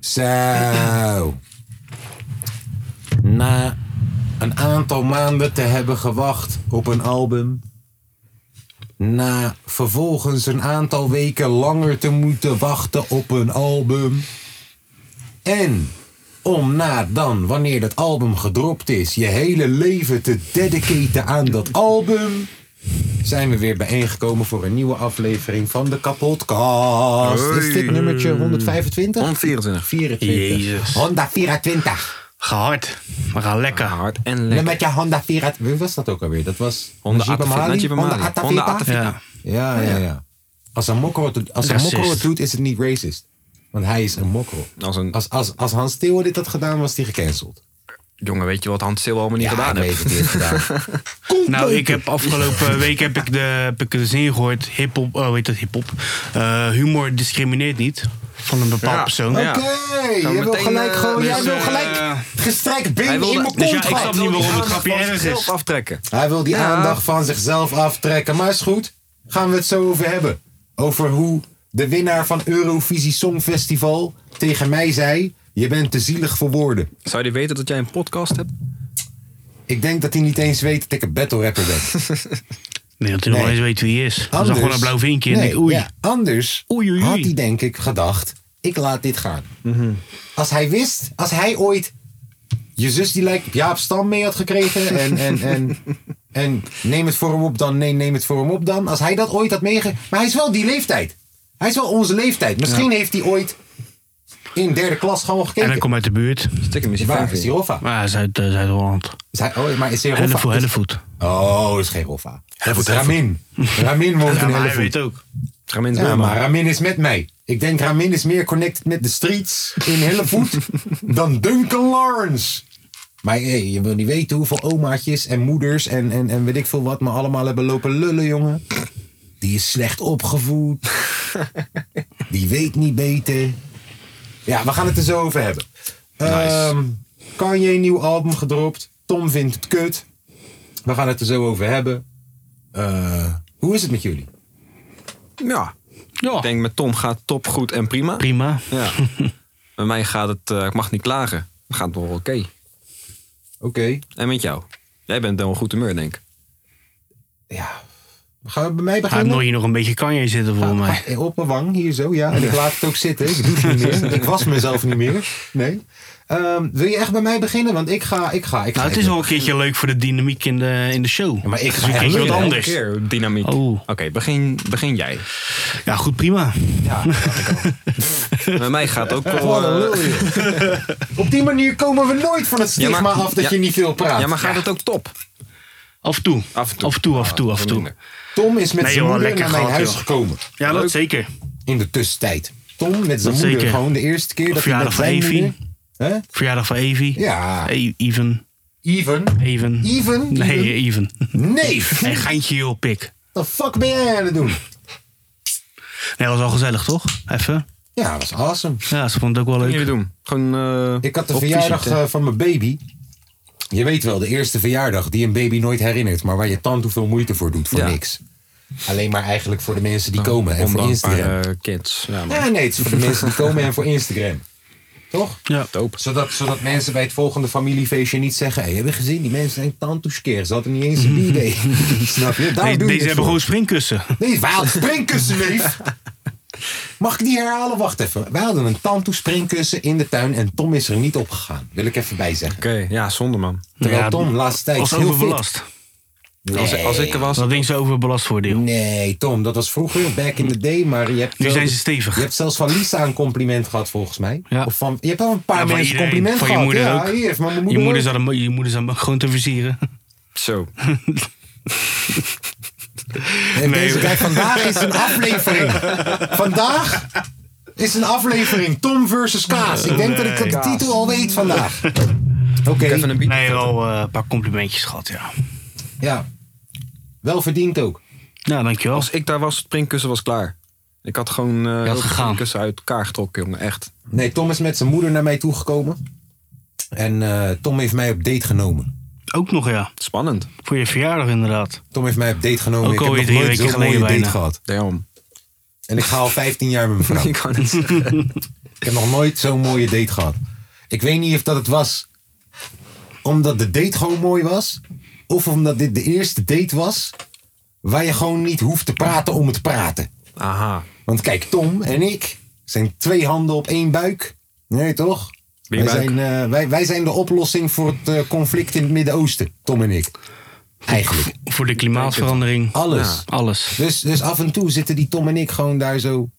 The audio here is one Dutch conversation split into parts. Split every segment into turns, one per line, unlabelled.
Zo. Na een aantal maanden te hebben gewacht op een album. Na vervolgens een aantal weken langer te moeten wachten op een album. En om na dan, wanneer dat album gedropt is, je hele leven te dedicaten aan dat album zijn we weer bijeengekomen voor een nieuwe aflevering van de Kapotcast. Dit is dit nummertje 125?
124.
124.
Jezus.
Honda 24.
Gehard. We gaan lekker. Hard en lekker.
Nummertje Honda 24. Wie was dat ook alweer? Dat was
Honda
Najib
Atavita.
Amali?
Najib Amali.
Honda
Honda
Atavita.
Atavita.
Ja,
Ja.
ja, ja. Als een mokro het doet, als een
Racist. Nou.
mokro het doet is het niet racist. Want hij is een mokro.
Als een-
als, als, als Hans Theo dit had gedaan, was hij gecanceld.
Jongen, weet je wat Hans Silber allemaal niet gedaan
ik
heeft?
weet het, hij heeft gedaan.
Nou, ik heb afgelopen week heb ik de, heb ik de zin gehoord. Hip-hop, oh, weet dat hip-hop? Eh, humor discrimineert niet van een bepaald
Ja.
persoon.
Ja.
Oké,
Gaan
jij
we
wil
meteen,
gelijk
eh,
gewoon, jij
dus,
wil
eh,
gelijk gestrekt binnen in mijn
dus ja, ik
contract.
snap niet waarom het grapje
van
erg
zichzelf
is.
aftrekken.
Hij wil die
Ja.
aandacht van zichzelf aftrekken. Maar is goed, gaan we het zo over hebben. Over hoe de winnaar van Eurovisie Songfestival tegen mij zei... Je bent te zielig voor woorden.
Zou je weten dat jij een podcast hebt?
Ik denk dat hij niet eens weet dat ik een battle rapper ben.
Nee, dat hij nog
Nee.
wel eens weet wie hij is. Dat is dan gewoon een blauw vinkje. en
Nee,
ik, oei.
ja, anders
Oei, oei, oei.
had hij denk ik gedacht... Ik laat dit gaan. Als hij wist, als hij ooit... Je zus die lijkt op Jaap Stam mee had gekregen. En, en, en, en neem het voor hem op dan. Nee, neem het voor hem op dan. Als hij dat ooit had meegegeven. Maar hij is wel die leeftijd. Hij is wel onze leeftijd. Misschien heeft hij ooit in derde klas gewoon
En hij
gekeken.
komt uit de buurt.
Stikken misschien
Waar is die Roffa?
Maar hij is uit eh, Zuid-Holland.
Is hij, oh, maar is hij
Hellevoet,
Roffa?
Hellevoet.
Oh, is geen Roffa. Het is Ramin. Ramin woont in Hellevoet.
ook.
Ga mensen
Ja,
mee,
maar
man.
Ramin is met mij. Ik denk Ramin is meer connected met de streets in Hellevoet dan Duncan Lawrence. Maar hey, je wil niet weten hoeveel omaatjes en moeders en, en, en weet ik veel wat me allemaal hebben lopen lullen, jongen. Die is slecht opgevoed. Die weet niet beter. Ja, we gaan het er zo over hebben. Ehm Kanye, nieuw album gedropt. Tom vindt het kut. We gaan het er zo over hebben. Eh, hoe is het met jullie?
Ja. Ik
Ja,
denk met Tom gaat top, goed en prima.
prima.
Ja. Bij mij gaat het, eh, ik mag niet klagen. Het gaat nog wel oké.
Oké.
En met jou? Jij bent dan wel goed humeur, denk ik.
Ja. Gaan we bij mij
Gaat
beginnen?
nooit hier nog een beetje Kanye zitten volgens mij.
Ah, Op mijn wang, hier zo, ja. En ik laat het ook zitten. Ik doe het niet meer. Ik was mezelf niet meer. Nee. Ehm, wil je echt bij mij beginnen? Want ik ga, ik ga, ik ga.
Nou, het is wel een keertje leuk voor de dynamiek in de, in de show.
maar ik
Het is
ga
een
echt
keertje wat
lullen, hè?
anders.
Keer, dynamiek.
Oh.
Oké, begin, begin jij.
Ja, goed, prima.
Ja,
Bij mij gaat ook wel...
wat een
eh,
lul, joh. Op die manier komen we nooit van het stigma
Ja, maar-
af dat
ja.
je niet veel praat.
ja, maar gaat het ook top?
Af en toe.
Af en toe.
Af en toe, af en toe, af en toe.
Minder.
Tom is met
Nee,
zijn
joh,
moeder
lekker
naar mijn
gehad,
huis
joh.
gekomen.
Ja, dat zeker.
In de tussentijd. Tom met zijn
Dat
moeder
zeker.
gewoon de eerste keer dat hij met
Verjaardag van
zijn
Evie.
moeder... Hè?
Verjaardag van Evie.
Ja.
E- Even.
Even.
Even.
Even?
Nee, even.
Nee.
En geintje joh, pik.
Wat de fuck ben jij aan het doen?
Nee, was al gezellig, toch? Even.
Ja, dat was awesome.
Ja, ze vond het ook wel
Wat
leuk.
jullie doen? Gewoon... eh,
Ik had de
op
verjaardag
visite.
eh, van mijn baby. Je weet wel, de eerste verjaardag die een baby nooit herinnert, maar waar je tand hoeveel moeite voor doet voor
Ja.
niks. Alleen maar eigenlijk voor de mensen die komen en voor
Ondankbare,
Instagram.
eh, kids. Ja, maar
Ja, nee, het is voor de mensen die komen en voor Instagram. Toch?
Ja.
dope.
Zodat, zodat mensen bij het volgende familiefeestje niet zeggen: Hé, hey, hebben we gezien, die mensen zijn tandtoeskeer. Ze hadden niet eens een idee. Snap je? Daar doe je
Deze, deze
het
hebben
voor.
gewoon springkussen.
Nee, wij hadden springkussen, neef. Mag ik die herhalen? Wacht even. Wij hadden een tantoe springkussen in de tuin en Tom is er niet op gegaan. Wil ik even bij zeggen.
Oké, ja, zonde man.
Terwijl
Ja,
Tom laatste tijd
Was
is heel fit.
overbelast.
Als, als ik er was...
Dat ding ze overbelast voor deel.
Nee, Tom, dat was vroeger, back in the day, maar je hebt...
Nu
wel-
zijn ze stevig.
Je hebt zelfs van Lisa een compliment gehad, volgens mij.
Ja.
Of van, je hebt wel een paar
Ja, van
mensen
iedereen.
compliment
Van je
gehad.
moeder
ja,
ook.
hier, van mijn
Je
moeder
moeder,
ook.
zat hem, je moeder zat hem gewoon te versieren.
Zo.
En deze, kijk, vandaag is een aflevering. Vandaag is een aflevering Tom versus Kaas. Ik denk dat ik de
Nee.
titel al weet vandaag. Oké.
Even een
Nee,
biertje.
wel eh, een paar complimentjes gehad, ja.
Ja. Wel verdiend ook.
Nou, dankjewel.
Als ik daar was, het springkussen was klaar. Ik had gewoon eh heel veel
gegaan.
springkussen uit elkaar getrokken, jongen. Echt.
Nee, Tom is met zijn moeder naar mij toegekomen. En eh, Tom heeft mij op date genomen.
Ook nog, ja.
Spannend.
Voor je verjaardag inderdaad.
Tom heeft mij op date genomen.
Ook
ik heb
alweer
nog
drie
nooit
weken
zo'n mooie
geleden
date
bijna.
gehad.
Damn.
En ik ga al 15 jaar met mijn vrouw.
Ik kan het zeggen.
Ik heb nog nooit zo'n mooie date gehad. Ik weet niet of dat het was omdat de date gewoon mooi was. Of omdat dit de eerste date was waar je gewoon niet hoeft te praten om het te praten.
Aha.
Want kijk, Tom en ik zijn twee handen op één buik. Nee, toch?
Wie
Wij
buik?
zijn, eh, wij, wij zijn de oplossing voor het eh, conflict in het Midden-Oosten, Tom en ik. Eigenlijk.
Voor de klimaatverandering.
Alles.
Alles.
Dus, dus af en toe zitten die Tom en ik gewoon daar zo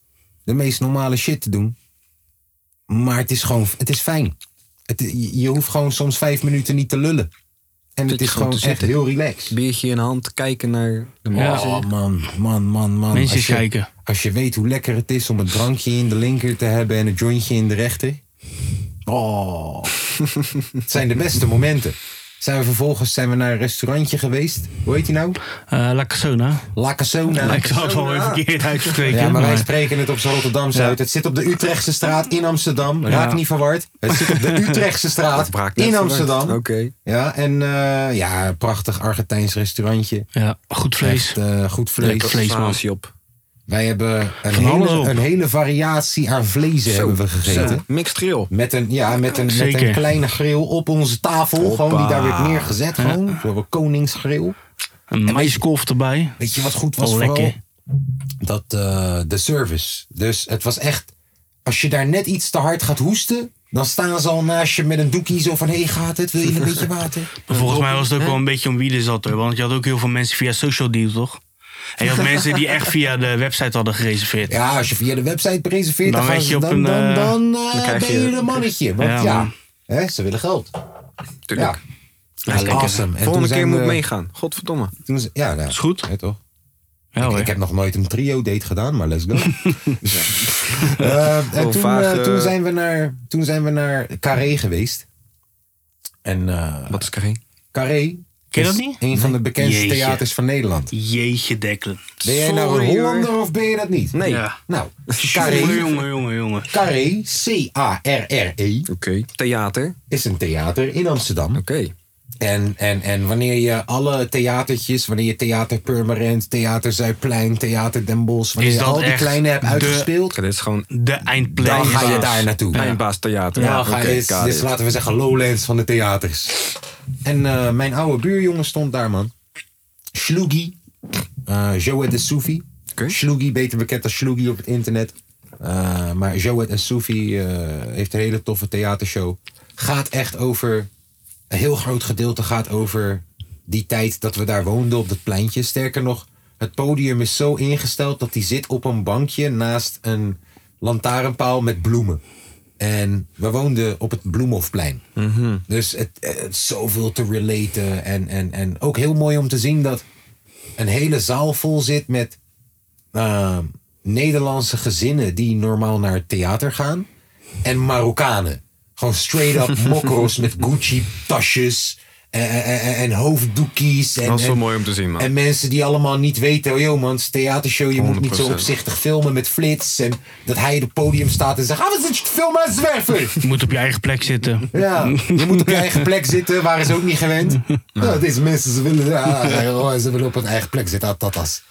de meest normale shit te doen. Maar het is gewoon, het is fijn. Het, je- je hoeft gewoon soms vijf minuten niet te lullen. En
Zit
het
je
is
gewoon
gewoon
te
echt
zitten.
heel relaxed.
Biertje in hand, kijken naar de
Ja.
mensen.
Oh man, man, man, man.
Mensen
als je,
kijken.
Als je weet hoe lekker het is om het drankje in de linker te hebben en het jointje in de rechter. Oh. het zijn de beste momenten. Zijn we vervolgens zijn we naar een restaurantje geweest. Hoe heet die nou?
Eh La Casona.
La Casona.
Ik zou het wel weer verkeerd uitspreken.
Ja, maar wij
maar-
spreken het op zijn Rotterdamse uit. Het zit op de Utrechtse straat in Amsterdam. Raak
Ja.
niet verward. Het zit op de Utrechtse straat
Het braakt net
in
verward.
Amsterdam.
Oké.
Ja, en eh, ja, een prachtig Argentijns restaurantje.
Ja, goed vlees.
Echt eh, goed vlees.
Lekker
vlees, man.
sausje op.
Wij hebben een
Van alles op.
hele, een hele variatie aan vlees hebben we gegeten.
Zo, Mixed grill.
Met een, ja, met een, met een
Zeker.
kleine grill op onze tafel. Gewoon die daar werd neergezet. Gewoon. We hebben koningsgrill.
Een maiskolf erbij.
Weet je wat goed was
Oh,
vooral?
lekker.
Dat eh, de service. Dus het was echt... Als je daar net iets te hard gaat hoesten... Dan staan ze al naast je met een doekie zo van... Hé, hey, gaat het? Wil je een beetje water?
Maar volgens mij was het ook wel een beetje om wie er zat hoor. Want je had ook heel veel mensen via social deal, toch? En je had mensen die echt via de website hadden gereserveerd.
Ja, als je via de website reserveert... Dan,
Dan
gaan
weet
ze-
je op
dan,
een,
dan,
eh,
dan, eh,
krijg
ben je
je-
een mannetje. Want ja,
Ja, man.
hè, ze willen geld.
Tuurlijk.
Ja. Ja, awesome. En
Volgende
toen
keer
zijn
moet ik
we-
meegaan. Godverdomme.
toen ze- ja, nou,
Is goed.
hè, toch?
Ja,
ik,
hoor.
ik heb nog nooit een trio-date gedaan, maar let's go. Dus, Eh, en
Gewoon
toen,
vaag,
eh,
eh,
toen, zijn we naar, toen zijn we naar Carré geweest. En eh,
Wat is Karin?
Carré
Ken je
is
dat niet?
een van de bekendste
Jeetje.
theaters van Nederland.
Jeetje, Dekkelen.
Ben jij nou
Sorry,
een
hoor.
Hollander of ben je dat niet?
Nee.
Ja.
Nou,
Jongen,
Carré,
jongen, jongen, jongen.
Carré, C-A-R-R-E,
Oké. Theater. Oké.
E, is een theater in Amsterdam. En, en, en wanneer je alle theatertjes, wanneer je Theater Purmerend, Theater Zuidplein, Theater Den Bosch, wanneer
Is
je
dat
al die
echt
kleine hebt
de-
uitgespeeld,
Oké, dit is gewoon
De eindplek.
dan ga je daar naartoe.
eindbaas theater.
Ja,
oké,
ga dit,
ga
dit is,
dit.
laten we zeggen, Lowlands van de theaters. En eh, mijn oude buurjongen stond daar, man. Shlugi. eh Joët de Soufi.
Oké.
Shlugi, beter bekend als Shlugi op het internet. Eh, maar Joët en Soufi eh, heeft een hele toffe theatershow. Gaat echt over... Een heel groot gedeelte gaat over die tijd dat we daar woonden op dat pleintje. Sterker nog, het podium is zo ingesteld dat hij zit op een bankje naast een lantaarnpaal met bloemen. En we woonden op het Bloemhofplein. Dus het, het is zoveel te relaten. En, en, en ook heel mooi om te zien dat een hele zaal vol zit met eh, Nederlandse gezinnen die normaal naar het theater gaan. En Marokkanen. Gewoon straight up mokros met Gucci tasjes. eh, En, en, en- en hoofddoekies. En,
Dat is wel
en-
mooi om te zien, man.
en mensen die allemaal niet weten, oh joh man, het is een theatershow, je moet niet zo
100%.
opzichtig filmen met flits. En dat hij op het podium staat en zegt, ah, wat is het film aan het zwerven?
Je moet op je eigen plek zitten.
Ja, je moet op je eigen plek zitten, waren ze ook niet gewend. Ja, deze mensen, ze willen, ja, ja, ze willen op hun eigen plek zitten, atatas.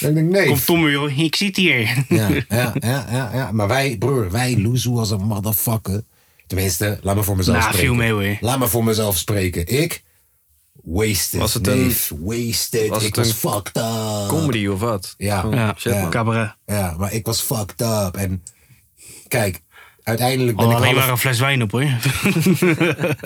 En ik denk, nee.
Kom Tom joh, ik zit hier.
Ja, ja, ja, ja, ja. Maar wij, broer, wij loezoe als een motherfucker. Tenminste, laat me voor mezelf
Nou,
spreken.
viel mee, hoor.
Laat me voor mezelf spreken. Ik, wasted,
Was het een-
neef, wasted.
was
ik
het
was
een
fucked up.
Comedy of wat?
Ja.
Gewoon
Ja,
shit, man.
cabaret.
Ja, maar ik was fucked up. En kijk, uiteindelijk ben
Oh,
Al
ik
alleen
half...
maar een fles wijn op hoor.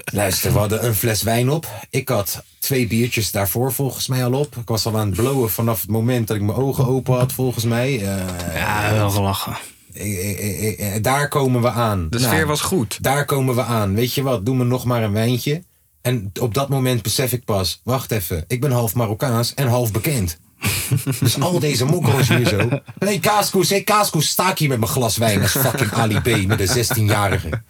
Luister, we hadden een fles wijn op. Ik had twee biertjes daarvoor volgens mij al op. Ik was al aan het blowen vanaf het moment dat ik mijn ogen open had volgens mij. Eh,
Ja, wel gelachen.
eh, eh, eh, eh, daar komen we aan. Nou,
De sfeer was goed.
Daar komen we aan. Weet je wat, doe me nog maar een wijntje. En op dat moment besef ik pas, wacht even, ik ben half Marokkaans en half bekend. Dus al deze mokro's hier zo. hey, Kaaskoes, hey, Kaaskoes, sta ik hier met mijn glas wijn als fucking Ali B. Met een 16-jarige.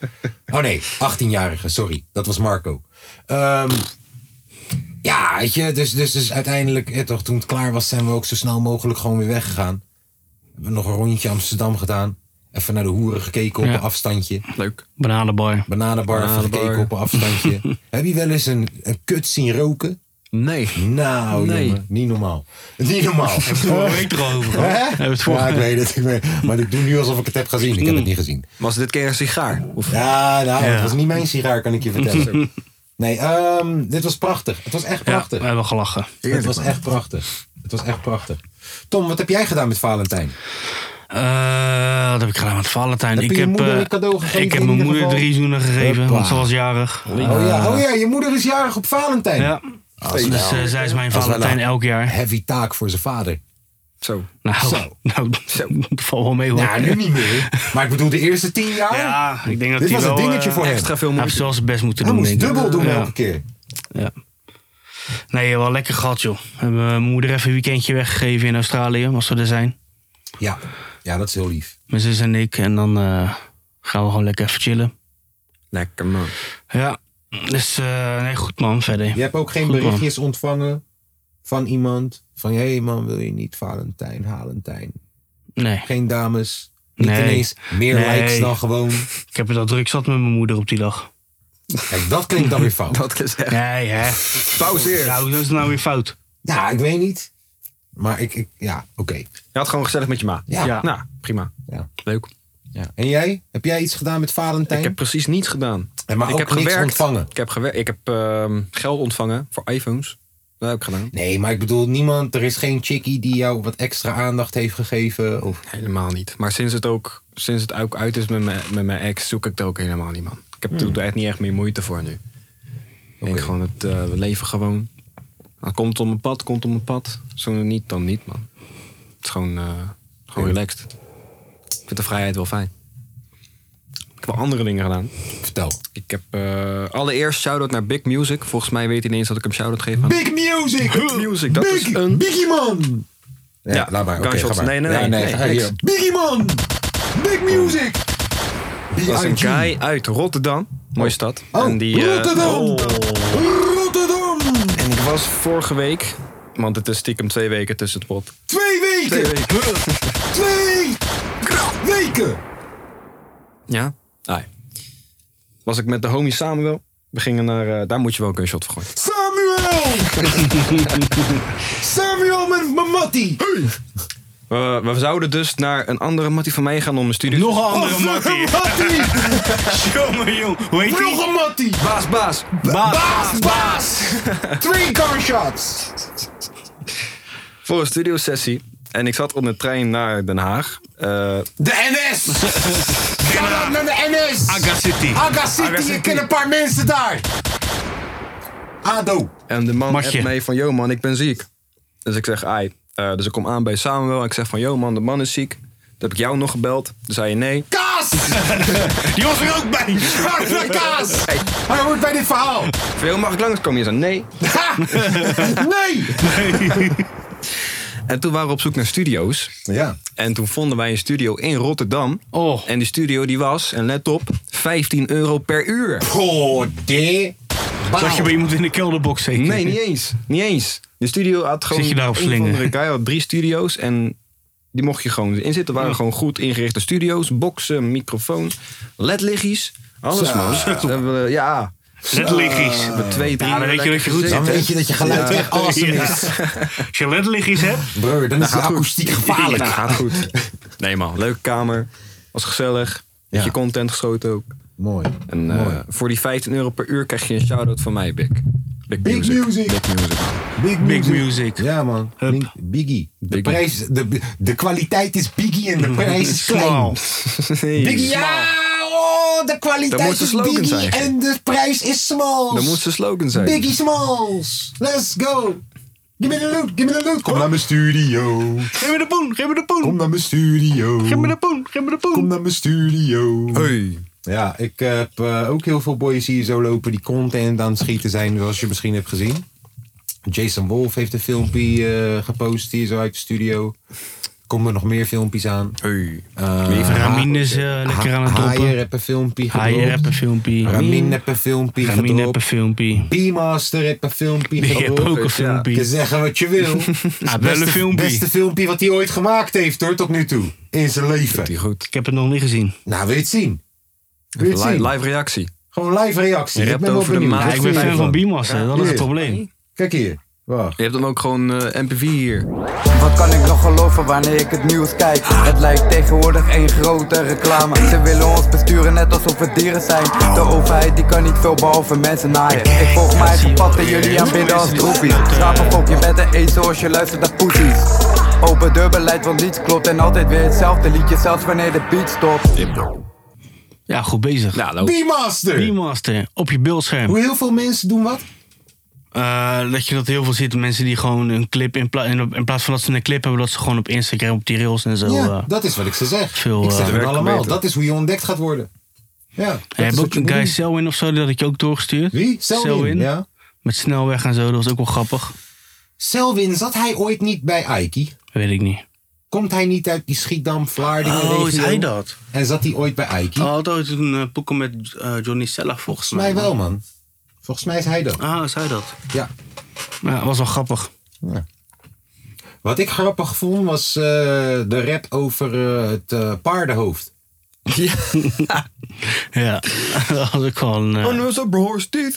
Oh nee, 18-jarige, sorry. Dat was Marco. Ehm, ja, weet je, dus, dus, dus uiteindelijk, eh, toch, toen het klaar was, zijn we ook zo snel mogelijk gewoon weer weggegaan. We hebben nog een rondje Amsterdam gedaan. Even naar de hoeren gekeken op
Ja.
een afstandje.
Leuk.
Bananenbar.
Bananenbar, even
Bananenbar.
gekeken op een afstandje. Heb je wel eens een, een kut zien roken?
Nee.
Nou,
Nee.
jongen, niet normaal. Niet normaal.
Vorige week erover.
Oh. Hè?
Hebben we het vorige
Ja, ik
week.
weet het. Ik weet, maar ik doe nu alsof ik het heb gezien. Ik heb het niet gezien.
Was dit keer een sigaar? Of
Ja, nou, het
Ja.
was niet mijn sigaar, kan ik je vertellen. Nee, ehm, dit was prachtig. Het was echt
Ja,
prachtig.
we hebben gelachen.
het was echt prachtig. Het was echt prachtig. Tom, wat heb jij gedaan met Valentijn?
Eh, wat heb ik gedaan met Valentijn?
Heb je
ik,
je
heb,
moeder
eh,
een cadeau gegeven
ik heb
in
mijn
ieder
moeder
geval?
drie zoenen gegeven,
Hoppa.
want ze was jarig.
oh, ja. oh ja, je moeder is jarig op Valentijn.
Ja.
Ah, dat is
Dus
wel-
eh, zij is
dat
mijn
is wel
Valentijn
een
elk jaar.
Heavy taak voor zijn vader.
zo.
Nou,
Zo.
nou dat valt wel mee hoor.
Nou, nu niet meer. Maar ik bedoel, de eerste tien jaar.
Ja, ik denk dat
Dit
hij
was een
wel...
dingetje
eh,
voor hem.
Extra veel
Hij heeft
moeite.
wel zijn best moeten
Hij
doen,
moest
denk ik.
dubbel doen
Ja.
elke keer.
Ja. Nee, wel lekker gehad, joh. Hebben we mijn moeder even een weekendje weggegeven in Australië, als we er zijn.
Ja. ja, dat is heel lief.
Mijn zus en ik. En dan eh, gaan we gewoon lekker even chillen.
Lekker man.
Ja, dus eh, nee, goed man, verder.
Je hebt ook geen
Goed, man.
berichtjes ontvangen van iemand. Van, hé hey man, wil je niet Valentijn, Halentijn?
Nee,
Geen dames. Niet
Nee.
ineens meer
Nee.
likes dan gewoon.
ik heb het al druk zat met mijn moeder op die dag.
Kijk, dat klinkt dan weer fout.
Dat is echt.
Nee, hè.
Pauzeer.
Nou, dat is nou weer fout.
Ja, ik weet niet. Maar ik, ik ja, oké.
Je had gewoon gezellig met je ma.
Ja.
Ja.
Nou, prima.
Ja.
Leuk.
Ja. En jij? Heb jij iets gedaan met Valentijn?
Ik heb precies niets gedaan.
En maar
ik
ook
heb
niks
gewerkt.
ontvangen.
Ik heb, gewerkt. ik heb ehm, geld ontvangen voor iPhones. Dat heb ik gedaan.
Nee, maar ik bedoel, niemand, er is geen chickie die jou wat extra aandacht heeft gegeven. Of...
Helemaal niet. Maar sinds het ook, sinds het ook uit is met mijn, met mijn ex, zoek ik het ook helemaal niet, man. Ik heb
Hmm.
er echt niet echt meer moeite voor nu. Ik denk gewoon, het, eh, we leven gewoon. Dat komt op mijn pad, komt op mijn pad. Zo niet, dan niet, man. Het is gewoon, eh, gewoon relaxed. Ik vind de vrijheid wel fijn. Ik heb wel andere dingen gedaan.
Vertel.
Ik heb eh, allereerst shout-out naar Big Music. Volgens mij weet hij ineens dat ik hem shout-out geef aan
Big music!
Big music, dat
Big,
is een-
Biggie man! Ja,
Ja,
laat maar. Oké, ga
gunshots.
maar.
Nee, nee,
Ja,
nee, nee,
ga
niks.
hier. Biggie man! Big music!
Dat is een
B.I.G..
guy uit Rotterdam. Mooie stad.
Oh,
En die, eh,
Rotterdam! Rotterdam!
En ik was vorige week, want het is stiekem twee weken tussen het pot.
Twee weken!
Twee weken.
Twee weken!
Ja? Ai. Was ik met de homie Samuel. We gingen naar, eh, daar moet je wel een shot voor gooien.
Samuel! Samuel met mijn mattie!
We- we zouden dus naar een andere mattie van mij gaan om een studie.
Nog een andere
Nog een
mattie.
mattie!
Jongen, jong. Hoe heet die?
Nog een mattie!
Baas, baas!
Baas, baas! Twee gunshots!
Voor een studiosessie. En ik zat op de trein naar Den Haag. Eh,
De NS! Ga dan naar de NS!
Aga City.
Aga City,
Aga
je
City.
kent een paar mensen daar. Ado.
En de man
Matje.
appt mij van, yo man, ik ben ziek. Dus ik zeg, ai. Eh, dus ik kom aan bij Samuel en ik zeg van, yo man, de man is ziek. Toen heb ik jou nog gebeld. Toen zei je nee.
Kaas!
Die was er ook bij.
Kaas! kaas! Hij hoort bij dit verhaal.
Ik zei, yo, mag ik langskomen? Je zei nee.
Ha! Nee!
En toen waren we op zoek naar studio's.
Ja.
En toen vonden wij een studio in Rotterdam.
Oh.
En die studio die was, en let op, 15 euro per uur.
Goddé.
Zat je bij iemand in de kelderbox zeker?
Nee, niet eens. Niet eens. De studio had gewoon...
Zit je daar op
een
slinger?
of andere guy had drie studio's en die mocht je gewoon inzitten. waren gewoon goed ingerichte studio's. Boksen, microfoon, ledliggies. Alles
Zo.
man. Dat hebben we, ja.
Ledliggies.
Met twee, drie
Ja, dan
uur
weet je
lekker
dat je goed
Dan
gezeten.
weet je dat je geluid echt awesome
Oh, Ja.
is.
Als je ledliggies hebt.
Broer, dan is de akoestiek gevaarlijk.
Ja, gaat goed. Nee man, leuke kamer. Was gezellig. Beetje
Ja.
content geschoten ook.
Mooi.
En eh, voor die 15 euro per uur krijg je een shout-out van mij, Big. Big,
music.
Big music.
Big
Big music.
Ja, man.
Hup.
Link- Biggie. Mm-hmm. De,
Biggie.
prijs, de, de kwaliteit is Biggie en de prijs is klein.
Small.
Biggie, ja! Oh, de
Dat
kwaliteit
moet de
is
slogan
Biggie
zijn.
en de prijs is Smalls.
Dat moet zijn slogan zijn.
Biggie Smalls. Let's go. Give me the loot, give me the loot. Kom naar mijn studio.
Geef me de poen, geef me de poen.
Kom naar mijn studio.
Geef me de poen, geef me de
Kom
poen.
naar mijn studio.
Hey.
Ja, ik heb eh, ook heel veel boys hier zo lopen die content aan het schieten zijn, zoals je misschien hebt gezien. Jason Wolf heeft een filmpje eh gepost hier zo uit de studio. Komen er nog meer filmpjes aan.
Hey.
Eh,
Leven
Ramin is eh, lekker aan het
Haier
toppen.
heb een filmpje
Haier heb een
gedropt.
filmpje.
Ramin heb een filmpje
Ramin heb een
gedropt.
filmpje.
P-Master heb een filmpje
Die heb ook
gedropt.
een
Ja.
Je
filmpje.
zeggen wat je wil.
Ah, wel een filmpje.
beste filmpje wat hij ooit gemaakt heeft hoor, tot nu toe. In zijn leven.
Die goed.
Ik heb het nog niet gezien.
Nou, wil je het zien? Wil je het
Live,
zien?
live reactie.
Gewoon live reactie.
Je
Ik
rapt
ben wel
over de
benieuwd.
maat.
Wat
ik
vind
ben
jij
fan van
ervan?
Beemaster, dat is het probleem.
Kijk hier. Wacht.
Je hebt dan ook gewoon eh, MP4 hier.
Wat kan ik nog geloven wanneer ik het nieuws kijk? Het lijkt tegenwoordig één grote reclame. Ze willen ons besturen net alsof we dieren zijn. De overheid die kan niet veel behalve mensen naaien. Ik volg mijn eigen pad en jullie aanbidden als troepies. Slaap op, je bent een eet zoals je luistert naar poesies. Open deurbeleid, want niets klopt en altijd weer hetzelfde liedje, zelfs wanneer de beat stopt.
Ja, goed bezig.
Ja, nou,
Beemaster!
Beemaster, op je beeldscherm.
Hoe heel veel mensen doen wat?
Eh, dat je dat heel veel ziet, mensen die gewoon een clip, in, pla- in, in plaats van dat ze een clip hebben, dat ze gewoon op Instagram, op die rails en zo.
ja,
eh,
dat is wat ik ze zeg.
veel,
ik zeg
eh,
het
werk
allemaal.
beter.
Dat is hoe je ontdekt gaat worden. Ja. dat
Je
is
hebt
wat
ook
je
een
moet
guy
doen.
Selwin of zo, die had ik je ook doorgestuurd.
Wie? Selwin. Ja.
Met snelweg en zo, dat was ook wel grappig.
Selwin, zat hij ooit niet bij Aiki?
Weet ik niet.
Komt hij niet uit die Schiedam, Vlaardingen regio?
Oh, dat?
En zat Oh, hij ooit bij Aiki?
Hij had ooit een eh, poeken met eh, Johnny Sella volgens
Hm? Volgens mij
man.
wel, man. Volgens mij is hij dat.
Ah, is hij dat?
Ja.
Ja, dat was wel grappig.
Wat ik grappig vond was eh, de rap over eh, het eh, paardenhoofd.
Ja, dat was ook gewoon...
Oh,
eh,
was dat horse teeth?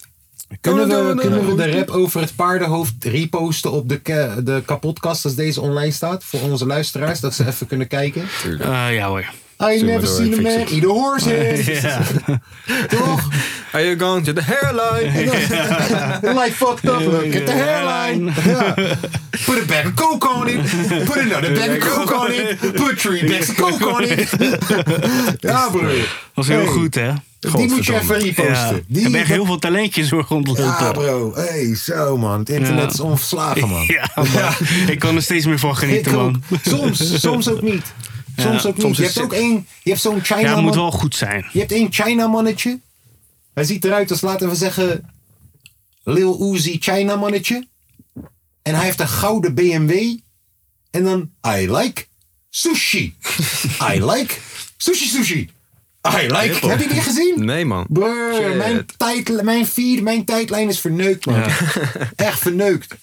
Kunnen
Kunnen
we,
we-
kunnen we de rap over het paardenhoofd reposten op de, ke- de kapotkast als deze online staat? Voor onze luisteraars, dat ze even kunnen kijken.
eh, ja hoor.
I
maar
never
door,
seen
ik
a
fix
man
het.
eat a horse head.
Ja.
Toch?
Are you gone to the hairline?
like fucked up, look at the hairline. Ja. Put a bag of coke on it. Put another bag of coke on it. Put three bags of coke on it. Ja, broer.
was heel
Hey.
goed hè?
Die moet je even
Ja.
reposten.
Ik heb echt
Die
heel veel talentjes hoor
ja,
rondlopen.
bro. Hey, zo man. Het internet
Ja.
is onverslagen, man.
Ja, man. Ik kan er steeds meer van
Ik
genieten
ook.
man.
Soms, soms ook niet. Soms ook niet.
soms
je
is
hebt ook
het-
één, je hebt zo'n China
Ja, het
man.
moet wel goed zijn.
Je hebt één China mannetje. Hij ziet eruit als laten we zeggen Lil Uzi China mannetje. En hij heeft een gouden BMW. En dan I like sushi. I like sushi sushi. I like. Heb je die gezien?
Nee, man.
Brr,
Shit.
mijn, tijd, mijn feed, mijn tijdlijn is verneukt, man. Echt verneukt.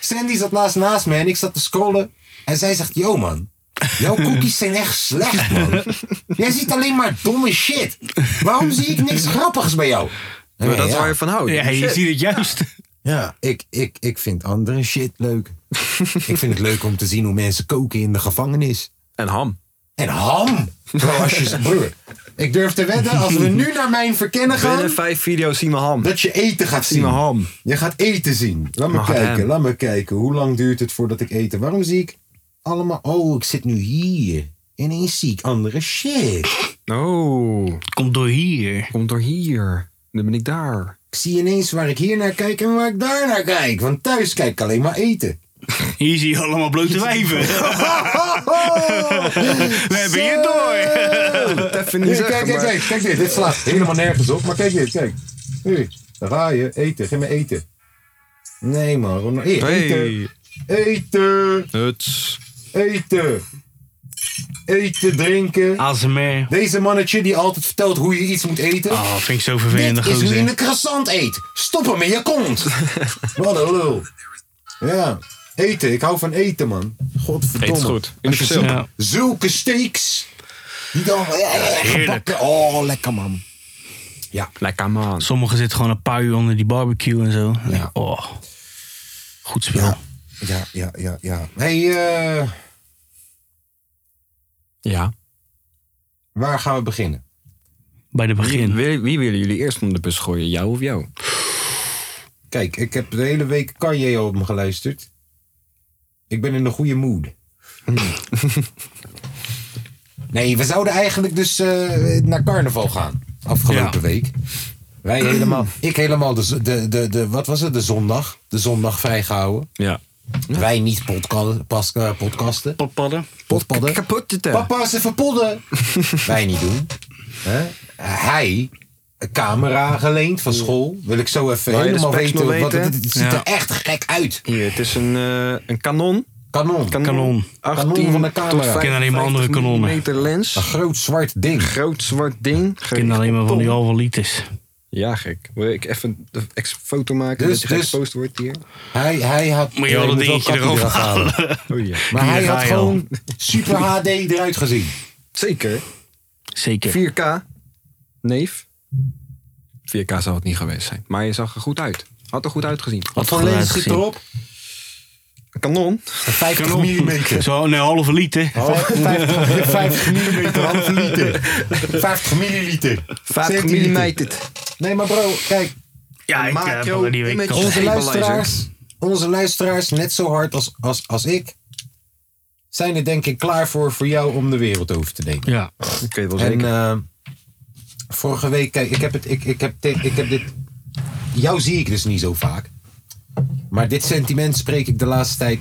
Sandy zat laatst naast me en ik zat te scrollen. En zij zegt, yo man, jouw cookies zijn echt slecht, man. Jij ziet alleen maar domme shit. Waarom zie ik niks grappigs bij jou?
Maar dat is
ja,
waar je van houdt.
Ja, je
Shit.
ziet het juist.
ja, ik, ik, ik vind andere shit leuk. ik vind het leuk om te zien hoe mensen koken in de gevangenis.
En ham.
En ham. Bro, als je... Broer, ik durf te wedden, als we nu naar mijn verkennen gaan...
Binnen vijf video's zien we ham.
Dat je eten gaat zien.
Zien we ham.
Je gaat eten zien. Laat me
Maar
kijken,
hem.
laat me kijken. Hoe lang duurt het voordat ik eten? Waarom zie ik allemaal... Oh, ik zit nu hier. Ineens zie ik andere shit.
Oh,
Komt door hier.
komt door hier. Dan ben ik daar.
Ik zie ineens waar ik hier naar kijk en waar ik daar naar kijk. Want thuis kijk ik alleen maar eten.
Hier zie je allemaal blote wijven.
We
hebben je door.
Dat vind
Oh! Hier, kijk, kijk, kijk, kijk dit. Dit slaat helemaal nergens op. Maar kijk dit, kijk. Hier, daar ga je. Eten, geef me eten. Nee man, Ronald. Hier,
Hey,
eten. Eten.
huts.
Eten. Eten, drinken.
ASMR.
Deze mannetje die altijd vertelt hoe je iets moet eten.
Ah, vind ik zo
dit
vervelende
is hoe je
gozer.
een croissant eet. Stop hem in je kont. Wat een lul. Ja. Eten. Ik hou van eten, man. Godverdomme.
Eet is goed.
Als je
Universeel.
Ja.
Zulke steaks. Die dan... Heerlijk. Oh, lekker, man.
Lekker man.
Sommigen zitten gewoon een paar uur onder die barbecue en zo. Oh, goed spel.
Ja. Ja, ja, ja, ja. hey, eh,
Ja.
waar gaan we beginnen?
Bij de begin.
Wie, wie willen jullie eerst van de bus gooien? Jou of jou?
Kijk, ik heb de hele week Kanye op me geluisterd. Ik ben in een goede mood. nee, we zouden eigenlijk dus eh, naar carnaval gaan. Afgelopen
Ja.
week. Wij helemaal, ik helemaal de, z- de, de, de, wat was het, de zondag. De zondag vrijgehouden.
Ja.
Wij niet podca- pas- eh, podcasten.
Potpadden.
Podpadden.
Kapot te
Papa is even podden. Wij niet doen. Hè? Hij een camera geleend van school. Wil ik zo even
Wil je de
helemaal
specs
weten.
nog
Want
weten?
het, het ziet
Ja.
er echt gek uit.
Hier, het is een, eh, een kanon.
Kanon.
Kanon.
18
Kanon van de camera.
tot
Ik ken
55
alleen maar andere kanonnen.
millimeter
Een
lens.
groot zwart ding.
Groot zwart ding.
Ik ken alleen maar van die halve liters.
Ja, gek. Wil ik even een ex- foto maken
Dus-
dat je
dus-
geëxposed wordt hier?
Hij, hij had.
Moet je wel
Ja,
dat
moet
dingetje
kapje
eraf
halen.
Oh ja.
Maar
Hier
hij
ga
had
je al.
gewoon super HD eruit gezien.
Zeker.
Zeker.
4K. Neef. 4K zal het niet geweest zijn. Maar je zag er goed uit. Had er goed uitgezien.
Wat
voor
voor
geluid
lens zit
gezien.
erop?
Een kanon.
Een 50 mm.
Zo, nee, halve liter.
50, 50 mm, half liter. 50 milliliter.
50
Centimeter.
mm.
Nee, maar bro, kijk,
Ja,
eh,
ik heb
Macro,
die
een
week
beetje-
al.
onze
Equalizer.
luisteraars, onze luisteraars, net zo hard als, als, als ik, zijn er denk ik klaar voor, voor jou om de wereld over te denken.
Ja.
Ik weet wel
En
zeker.
eh, vorige week, kijk, ik heb, het, ik, ik, heb te- ik heb dit. Jou zie ik dus niet zo vaak. Maar dit sentiment spreek ik de laatste tijd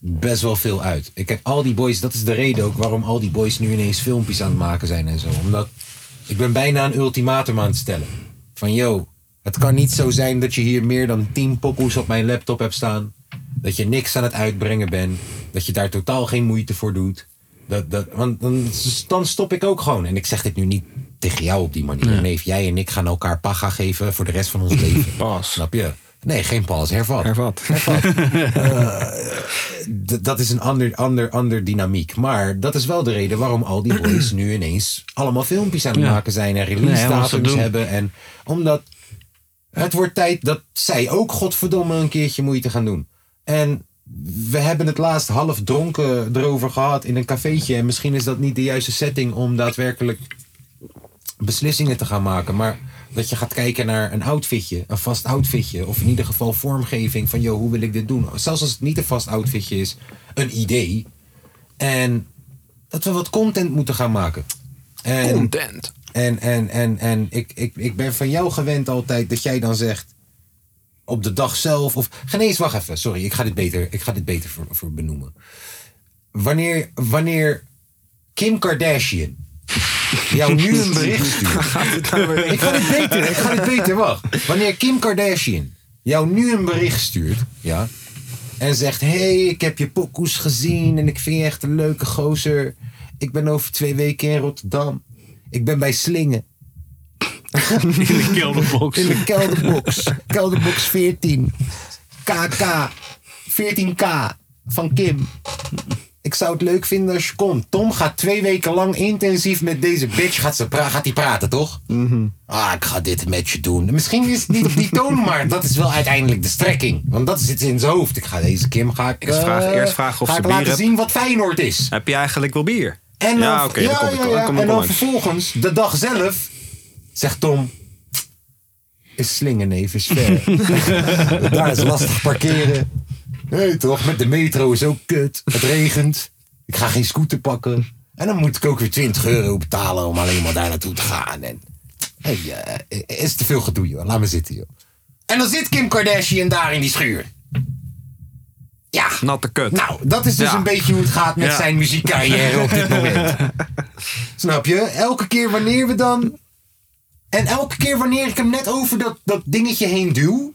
best wel veel uit. Ik heb al die boys, dat is de reden ook waarom al die boys nu ineens filmpjes aan het maken zijn en zo. Omdat ik ben bijna een ultimatum aan het stellen. Van yo, het kan niet zo zijn dat je hier meer dan 10 pokoes op mijn laptop hebt staan. Dat je niks aan het uitbrengen bent. Dat je daar totaal geen moeite voor doet. Dat, dat, want dan, dan stop ik ook gewoon. En ik zeg dit nu niet tegen jou op die manier. Neef, jij en ik gaan elkaar paga geven voor de rest van ons leven.
Pas.
Snap je? Nee, geen pas, hervat.
Hervat.
Eh, D- dat is een ander, ander, ander dynamiek. Maar dat is wel de reden waarom al die boys nu ineens allemaal filmpjes aan het
Ja.
maken zijn en
Nee,
release
hij was dat
datums
doen.
hebben. En omdat het wordt tijd dat zij ook godverdomme een keertje moeite gaan doen. En we hebben het laatst half dronken erover gehad in een cafeetje. En misschien is dat niet de juiste setting om daadwerkelijk beslissingen te gaan maken. Maar dat je gaat kijken naar een outfitje, een vast outfitje. Of in ieder geval vormgeving van, joh, hoe wil ik dit doen? Zelfs als het niet een vast outfitje is, een idee. En dat we wat content moeten gaan maken. En,
Content.
en, en, en, en ik, ik, ik ben van jou gewend altijd dat jij dan zegt. op de dag zelf. of. geen eens, wacht even. Sorry, ik ga dit beter, ik ga dit beter voor, voor benoemen. Wanneer, wanneer Kim Kardashian. jou nu een bericht stuurt. ik ga dit beter, ik ga dit beter, wacht. Wanneer Kim Kardashian. jou nu een bericht stuurt. ja. en zegt: hey, ik heb je pokoes gezien. en ik vind je echt een leuke gozer. Ik ben over twee weken in Rotterdam. Ik ben bij Slingen.
In de kelderbox.
In de kelderbox. kelderbox 14. KK. 14K. Van Kim. Ik zou het leuk vinden als je komt. Tom gaat twee weken lang intensief met deze bitch. Gaat, ze pra- gaat die praten, toch?
Mhm.
Ah, ik ga dit met je doen. Misschien is het niet op die toon, maar dat is wel uiteindelijk de strekking. Want dat zit in zijn hoofd. Ik ga deze Kim ga ik,
Eerst vragen-
eh,
eerst vragen of
ga
ze
ik
bier
laten
hebt.
zien wat Feyenoord is.
Heb je eigenlijk wel bier?
En dan,
ja, oké, dan kom ik
ja,
dan
ja.
kom ik
En
wel
dan
langs.
vervolgens, de dag zelf, zegt Tom... Is slingerneef is ver. Daar is lastig parkeren. Nee toch, met de metro is ook kut. Het regent. Ik ga geen scooter pakken. En dan moet ik ook weer 20 euro betalen om alleen maar daar naartoe te gaan. En, hey, eh, is te veel gedoe joh, laat me zitten joh. En dan zit Kim Kardashian daar in die schuur. Ja.
Natte kut.
Nou, dat is dus
Ja.
een beetje hoe het gaat met
Ja.
zijn muziekcarrière op dit moment. Snap je? Elke keer wanneer we dan. En elke keer wanneer ik hem net over dat, dat dingetje heen duw.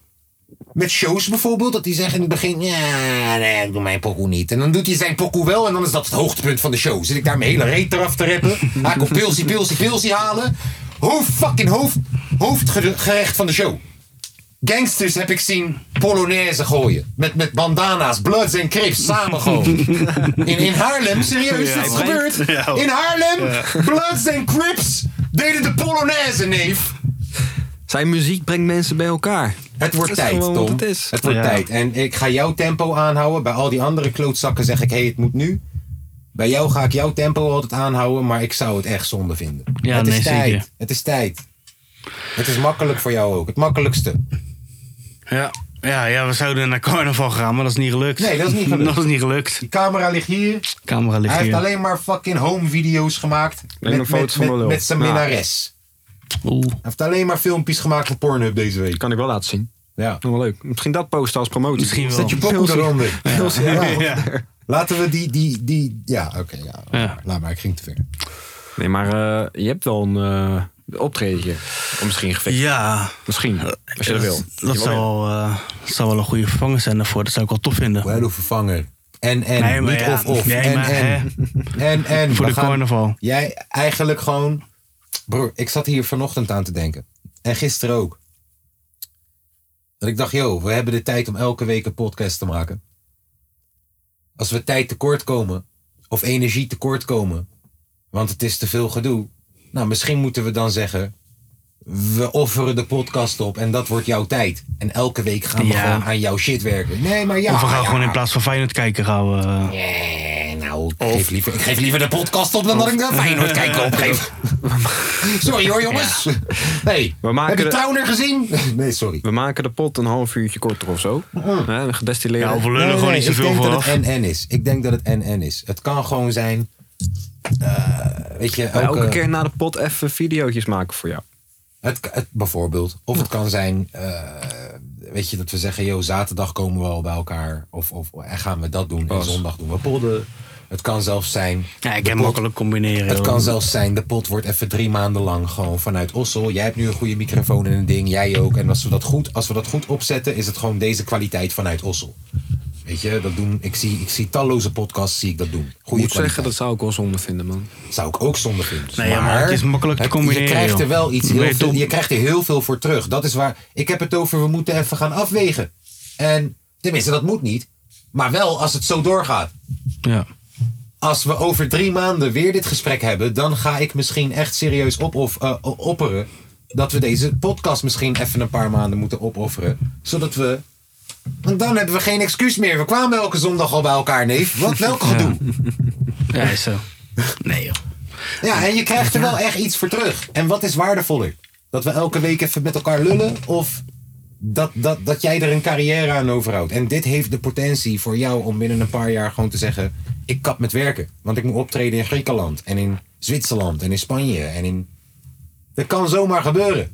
Met shows bijvoorbeeld, dat hij zegt in het begin: Ja, nee, ik doe mijn pokoe niet. En dan doet hij zijn pokoe wel en dan is dat het hoogtepunt van de show. Zit ik daar mijn hele reet eraf te rappen. Hij komt pilsie, pilsie, pilsie halen. Hoofd, fucking hoofd, hoofdgerecht van de show. Gangsters heb ik zien Polonaise gooien. Met, met bandana's, Bloods en Crips samen gewoon. In, in Haarlem, serieus, dat is gebeurd. In Haarlem, Bloods en Crips deden de Polonaise, neef.
Zijn muziek brengt mensen bij elkaar.
Het wordt
Dat is
tijd,
gewoon
Tom.
wat het is.
wordt
Ja.
tijd. En ik ga jouw tempo aanhouden. Bij al die andere klootzakken zeg ik, hé, hey, het moet nu. Bij jou ga ik jouw tempo altijd aanhouden, maar ik zou het echt zonde vinden.
Ja,
het is
nee,
tijd.
zeker.
Het is tijd. Het is makkelijk voor jou ook. Het makkelijkste.
Ja. Ja, ja, we zouden naar carnaval gaan, maar dat is niet gelukt.
Nee, dat is niet gelukt.
Dat is niet gelukt.
Die camera ligt hier.
Camera ligt
Hij heeft
hier.
alleen maar fucking home video's gemaakt.
Alleen
Met,
maar
met,
foto's van
met,
mijn lul.
met zijn
Ja.
minnares.
Oeh.
Hij heeft alleen maar filmpjes gemaakt voor Pornhub deze week.
Kan ik wel laten zien.
Ja.
Nog wel leuk. Misschien dat posten als promotie.
Misschien wel.
Zet je pokoe eronder. Ja.
Ja.
Laten we die, die, die... Ja, oké. ja.
Ja.
Laat maar, ik ging te ver.
Nee, maar eh, je hebt wel een, eh, De optredentje. Of misschien gefaked.
Ja,
Misschien. Als je dat wil.
dat zou, wel, eh, zou wel een goede vervanger zijn daarvoor. Dat zou ik wel tof vinden.
Wel of vervangen. En, en,
Nee, maar
niet
ja.
of, of.
Nee,
en,
maar,
en, en, en.
Voor
we
de carnaval.
Jij eigenlijk gewoon... Broer, ik zat hier vanochtend aan te denken. En gisteren ook. Dat ik dacht, joh, we hebben de tijd om elke week een podcast te maken. Als we tijd tekort komen, of energie tekort komen, want het is te veel gedoe. Nou, misschien moeten we dan zeggen, we offeren de podcast op en dat wordt jouw tijd. En elke week gaan we
Ja.
gewoon aan jouw shit werken. Nee, maar ja.
Of we gaan
ja.
gewoon in plaats van Feyenoord kijken. Gaan we, eh,
Nee, nou, ik geef, liever, ik geef liever de podcast op dan dat ik de Feyenoord kijken opgeef. sorry hoor, jongens. Nee,
We maken
heb je
de-
Trauner gezien? Nee, sorry.
We maken de pot een half uurtje korter of zo.
Mm.
Hè, gedestilleerd.
ja, of we lullen
Nee,
gewoon
nee,
niet zoveel
Ik denk dat
vooraf.
het NN is. Ik denk dat het NN is. Het kan gewoon zijn... eh, weet je, elke,
Elke keer na de pot even video's maken voor jou.
Het, het, bijvoorbeeld. Of het kan zijn, eh, weet je, dat we zeggen, joh, zaterdag komen we al bij elkaar. Of, of en gaan we dat doen. En zondag doen we podden. Het kan zelfs zijn,
Ja, ik kan makkelijk combineren.
Het
joh.
kan zelfs zijn, de pot wordt even drie maanden lang gewoon vanuit Ossel. Jij hebt nu een goede microfoon en een ding, jij ook. En als we dat goed, als we dat goed opzetten, is het gewoon deze kwaliteit vanuit Ossel. Weet je, dat doen, ik, zie, ik zie talloze podcasts, zie ik dat doen.
Ik
Goede
moet
kwaliteit.
zeggen, dat zou ik wel zonde vinden, man.
Zou ik ook zonde vinden.
Nee, ja, maar het is makkelijk te
het-
combineren,
Je krijgt er
joh.
wel iets
Dan ben je
heel veel,
dom.
je krijgt er heel veel voor terug. Dat is waar. Ik heb het over, we moeten even gaan afwegen. En tenminste, dat moet niet. Maar wel als het zo doorgaat
Ja.
als we over drie maanden weer dit gesprek hebben, dan ga ik misschien echt serieus op of, eh, o- opperen. Dat we deze podcast misschien even een paar maanden moeten opofferen. Zodat we. Want dan hebben we geen excuus meer. We kwamen elke zondag al bij elkaar, neef. Wat welk gedoe.
ja, is zo. Nee joh.
Ja, en je krijgt er wel echt iets voor terug. En wat is waardevoller? Dat we elke week even met elkaar lullen? Of dat, dat, dat jij er een carrière aan overhoudt? En dit heeft de potentie voor jou om binnen een paar jaar gewoon te zeggen... ik kap met werken, want ik moet optreden in Griekenland... en in Zwitserland en in Spanje en in... Dat kan zomaar gebeuren.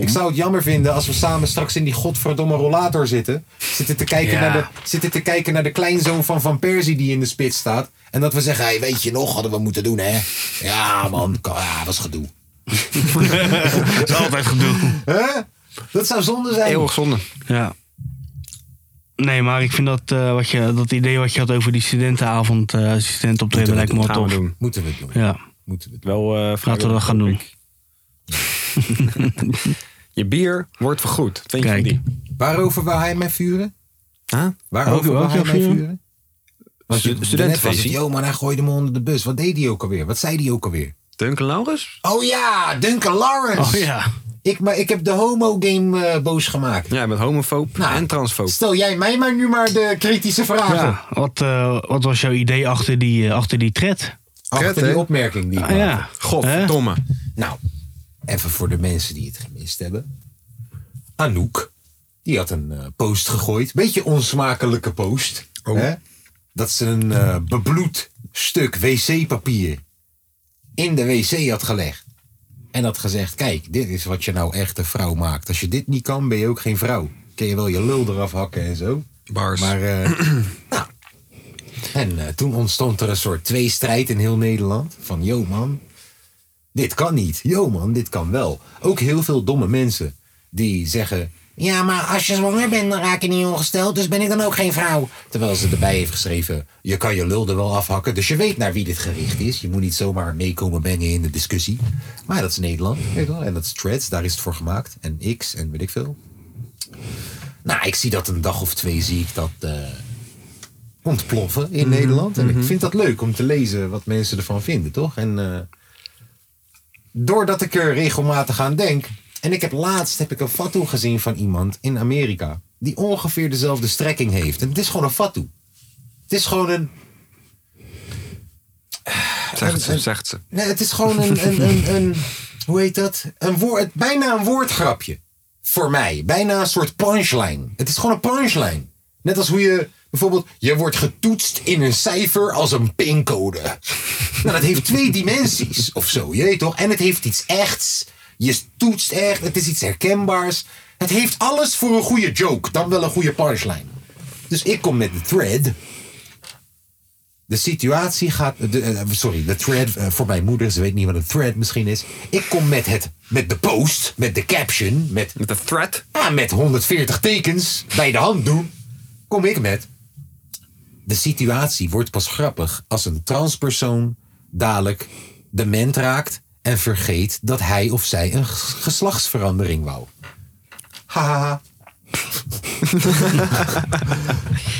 Ik zou het jammer vinden als we samen straks in die godverdomme rollator zitten. Zitten te kijken,
Ja.
naar, de, zitten te kijken naar de kleinzoon van Van Persie die in de spits staat. En dat we zeggen, hey, weet je nog, hadden we moeten doen hè. Ja man, kan- ja, dat is gedoe.
Dat is altijd gedoe.
Hè? Dat zou zonde zijn.
Eeuwig zonde.
Ja. Nee, maar ik vind dat, eh, wat je, dat idee wat je had over die studentenavond, eh studenten optreden, lijkt me wel
Gaan we
tof.
doen.
Moeten we het doen.
Ja,
Moeten we het doen.
Wel eh
laten we dat gaan doen.
Je bier wordt vergoed. Vind je van
Kijk.
die?
Waarover wil hij mij vuren?
Huh?
Waarover wil
welke
hij mij
vuren?
vuren? Want
Stu-
je- net was het,
studentenfeestje.
yo man, hij gooide me onder de bus. Wat deed hij ook alweer? Wat zei hij ook alweer?
Duncan Laurens?
Oh ja, Duncan
Oh
Lawrence.
ja.
ik, maar, ik heb de homo-game eh, boos gemaakt.
Ja, met homofoob
Nou,
en transfoob.
Stel jij mij maar nu maar de kritische vragen.
ja. Wat, eh, wat was jouw idee achter die, eh, achter die thread?
Achter
Kut, hè?
die opmerking die ik
Ah,
maakte.
ja. Hè?
Godverdomme.
Nou, even voor de mensen die het gemist hebben. Anouk, die had een eh, post gegooid. Beetje onsmakelijke post. Hè? Dat ze een eh, bebloed stuk wc-papier in de wc had gelegd. En had gezegd, kijk, dit is wat je nou echt een vrouw maakt. Als je dit niet kan, ben je ook geen vrouw. Kun je wel je lul eraf hakken en zo.
Bars.
Maar, eh, nou. En eh, toen ontstond er een soort tweestrijd in heel Nederland. Van, yo man, dit kan niet. Yo man, dit kan wel. Ook heel veel domme mensen die zeggen... Ja, maar als je zwanger bent, dan raak je niet ongesteld. Dus ben ik dan ook geen vrouw. Terwijl ze erbij heeft geschreven... Je kan je lul er wel afhakken. Dus je weet naar wie dit gericht is. Je moet niet zomaar meekomen bengen in de discussie. Maar dat is Nederland. weet je wel. En dat is threads. Daar is het voor gemaakt. En X en weet ik veel. Nou, ik zie dat een dag of twee zie ik dat eh, ontploffen in Nederland. En ik vind dat leuk om te lezen wat mensen ervan vinden, toch? En eh, doordat ik er regelmatig aan denk. En ik heb laatst heb ik een fatu gezien van iemand in Amerika. Die ongeveer dezelfde strekking heeft. En het is gewoon een fatu. Het is gewoon een.
Zegt ze, zegt ze.
Nee, het is gewoon een, een, een, een hoe heet dat? Een woord, bijna een woordgrapje. Voor mij. Bijna een soort punchline. Het is gewoon een punchline. Net als hoe je bijvoorbeeld, je wordt getoetst in een cijfer als een pincode. Nou, dat heeft twee dimensies of zo, je weet toch? En het heeft iets echts. Je toetst echt, het is iets herkenbaars. Het heeft alles voor een goede joke, dan wel een goede punchline. Dus ik kom met de thread De situatie gaat. De, eh, sorry, de thread eh, voor mijn moeder. Ze weet niet wat een thread misschien is. Ik kom met, het, met de post, met de caption, met,
Met de threat.
ah, met 140 tekens bij de hand doen. Kom ik met. De situatie wordt pas grappig als een transpersoon dadelijk dement raakt en vergeet dat hij of zij een ges- geslachtsverandering wou. Haha.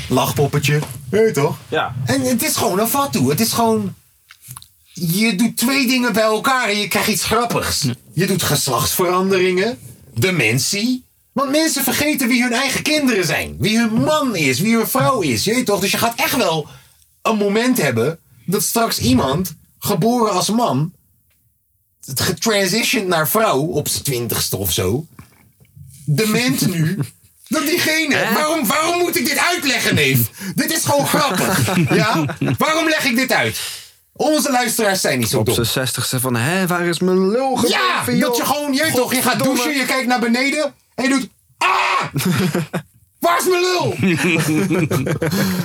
Lachpoppetje. Hé toch?
Ja.
En het is gewoon een fatsoen. Het is gewoon. Je doet twee dingen bij elkaar en je krijgt iets grappigs. Je doet geslachtsveranderingen, dementie. Want mensen vergeten wie hun eigen kinderen zijn. Wie hun man is, wie hun vrouw is. Je weet toch? Dus je gaat echt wel een moment hebben dat straks iemand, geboren als man, het getransitioned naar vrouw op zijn twintigste of zo, dement nu. Dat diegene. Waarom, waarom moet ik dit uitleggen, neef? dit is gewoon grappig. Ja? Waarom leg ik dit uit? Onze luisteraars zijn niet zo
Op
dom.
zijn zestigste van, hè, waar is mijn lul
Ja,
gebleven,
dat je
joh?
gewoon, je weet toch, je gaat douchen, je kijkt naar beneden en je doet. Ah! Waar is mijn lul?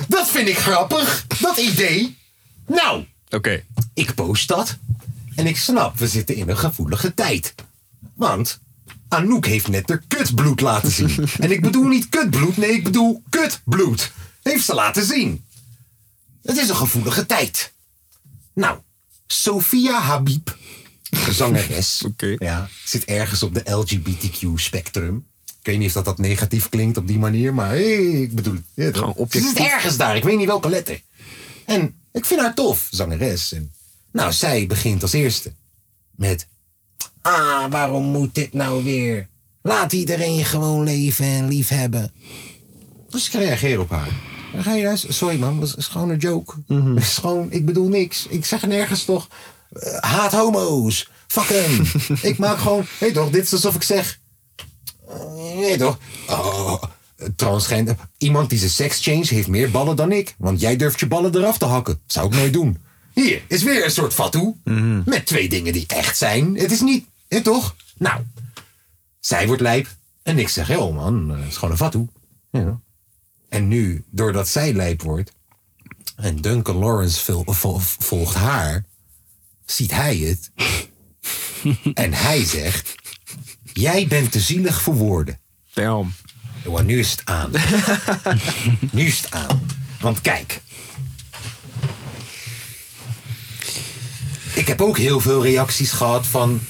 dat vind ik grappig, dat idee. Nou,
Oké.
ik post dat. En ik snap, we zitten in een gevoelige tijd. Want Anouk heeft net haar kutbloed laten zien. en ik bedoel niet kutbloed, nee, ik bedoel kutbloed. Heeft ze laten zien. Het is een gevoelige tijd. Nou, Sophia Habib, zangeres.
Oké.
ja, zit ergens op de LGBTQ-spectrum. Ik weet niet of dat, dat negatief klinkt op die manier, maar hey, ik bedoel Dus het. Ja, toch?
Gewoon objectief.
Ze zit ergens daar, ik weet niet welke letter. En ik vind haar tof, zangeres. En, nou, zij begint als eerste met... Ah, waarom moet dit nou weer? Laat iedereen gewoon leven en liefhebben. Dus ik reageer op haar. Dan ga je luisteren. Sorry man, dat is- is gewoon een joke.
Mhm.
Is gewoon, ik bedoel niks. Ik zeg nergens toch... eh, haat homo's. Fuck hem. ik maak gewoon... Hé toch, dit is alsof ik zeg... "Eh, Nee toch? Oh, transgender. Iemand die zijn seks change heeft meer ballen dan ik. Want jij durft je ballen eraf te hakken. Zou ik nooit doen. Hier is weer een soort fatu. Met twee dingen die echt zijn. Het is niet, hè, toch? Nou, zij wordt lijp. En ik zeg, joh man, eh, het is gewoon een fatu. Ja. En nu, doordat zij lijp wordt. En Duncan Lawrence vol- vol- volgt haar. Ziet hij het. en hij zegt, jij bent te zielig voor woorden.
Damn.
Jongen, nu is het aan. nu is het aan. Want kijk. Ik heb ook heel veel reacties gehad van...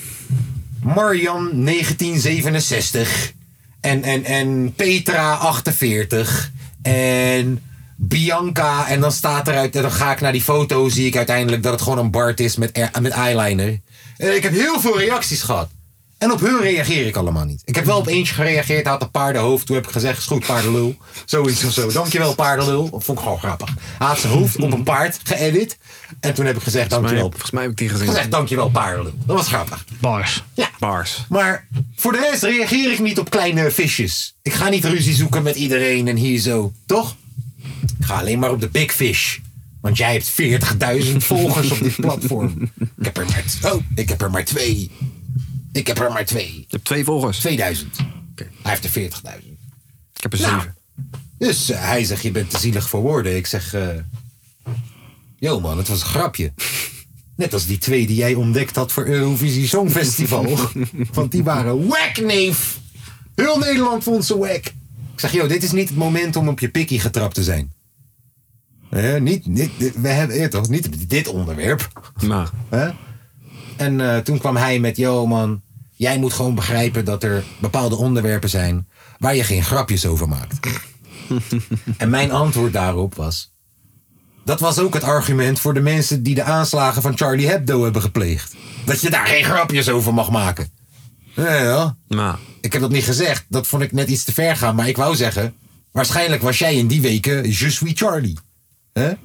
Marian 1967. En, en, en Petra 48. En Bianca. En dan staat eruit... En dan ga ik naar die foto. Zie ik uiteindelijk dat het gewoon een Bart is met, er- met eyeliner. En ik heb heel veel reacties gehad. En op hun reageer ik allemaal niet. Ik heb wel op eentje gereageerd. Hij had een paardenhoofd. Toen heb ik gezegd, is goed paardenlul. Zoiets of zo. Dankjewel paardenlul. Dat vond ik gewoon grappig. Hij had zijn hoofd op een paard geëdit. En toen heb ik gezegd,
Maar,
dankjewel.
volgens mij heb ik die gezien.
Gezegd, dankjewel paardenlul. Dat was grappig.
Bars.
Ja.
Bars.
Maar voor de rest reageer ik niet op kleine visjes. Ik ga niet ruzie zoeken met iedereen en hier zo, toch? Ik ga alleen maar op de big fish. Want jij hebt 40.000 volgers op dit platform. Ik heb er maar, t- oh, ik heb er maar twee. Ik heb er maar twee.
Je hebt twee volgers.
2000.
Oké.
Hij heeft er 40.000.
Ik heb er
Nou.
zeven.
Dus eh, hij zegt, je bent te zielig voor woorden. Ik zeg, eh, yo man, het was een grapje. Net als die twee die jij ontdekt had voor Eurovisie Songfestival. Want die waren wack, neef. Heel Nederland vond ze wack. Ik zeg, yo, dit is niet het moment om op je pikkie getrapt te zijn. Eh, niet, niet, we hebben, eh, toch, niet op dit onderwerp.
Maar,
Hè? En eh, toen kwam hij met: Yo, man, jij moet gewoon begrijpen dat er bepaalde onderwerpen zijn waar je geen grapjes over maakt. en mijn antwoord daarop was: Dat was ook het argument voor de mensen die de aanslagen van Charlie Hebdo hebben gepleegd. Dat je daar geen grapjes over mag maken. Ja, ja.
maar.
Ik heb dat niet gezegd, dat vond ik net iets te ver gaan, maar ik wou zeggen: Waarschijnlijk was jij in die weken Je suis Charlie. hè?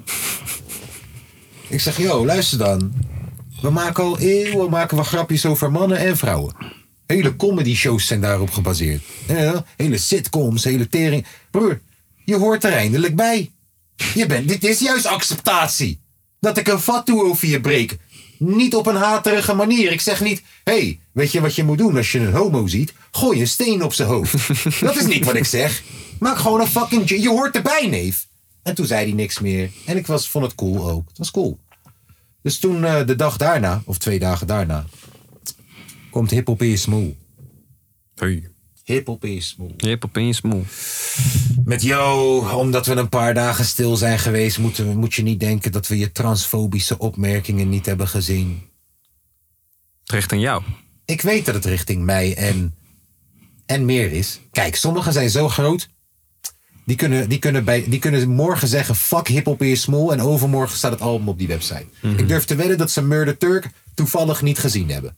Ik zeg, yo, luister dan. We maken al eeuwen maken we grapjes over mannen en vrouwen. Hele comedy shows zijn daarop gebaseerd. Ja, hele sitcoms, hele tering. Broer, je hoort er eindelijk bij. Je bent, dit is juist acceptatie. Dat ik een fatsoen over je breek. Niet op een haterige manier. Ik zeg niet, hé, hey, weet je wat je moet doen als je een homo ziet? Gooi een steen op zijn hoofd. Dat is niet wat ik zeg. Maak gewoon een fucking... j- Je hoort erbij, neef. En toen zei hij niks meer. En ik was, vond het cool ook. Het was cool. Dus toen eh, de dag daarna, of twee dagen daarna, komt Hiphop in je smoel.
Hey.
Hiphop in je smoel.
Hiphop in je smoel.
Met jou, omdat we een paar dagen stil zijn geweest, moeten we, moet je niet denken dat we je transfobische opmerkingen niet hebben gezien.
Terecht aan jou.
Ik weet dat het richting mij en, en meer is. Kijk, sommigen zijn zo groot. Die kunnen, die, kunnen bij, die kunnen morgen zeggen: fuck hip-hop is small. En overmorgen staat het album op die website. Ik durf te wedden dat ze Murder Turk toevallig niet gezien hebben.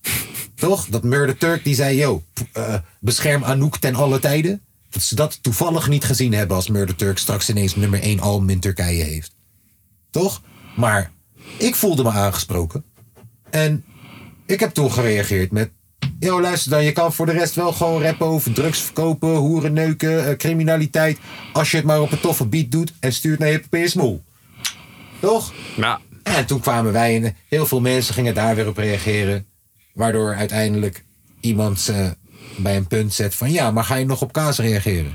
Toch? Dat Murder Turk die zei: yo, p- eh, bescherm Anouk ten alle tijden. Dat ze dat toevallig niet gezien hebben als Murder Turk straks ineens nummer 1 album in Turkije heeft. Toch? Maar ik voelde me aangesproken. En ik heb toen gereageerd met... Yo, luister dan, je kan voor de rest wel gewoon rappen over drugs verkopen, hoeren neuken, eh, criminaliteit. Als je het maar op een toffe beat doet en stuurt naar Hip Hop Smoel. Toch?
Ja.
En toen kwamen wij en heel veel mensen gingen daar weer op reageren. Waardoor uiteindelijk iemand ze bij een punt zet van... Ja, maar ga je nog op kaas reageren?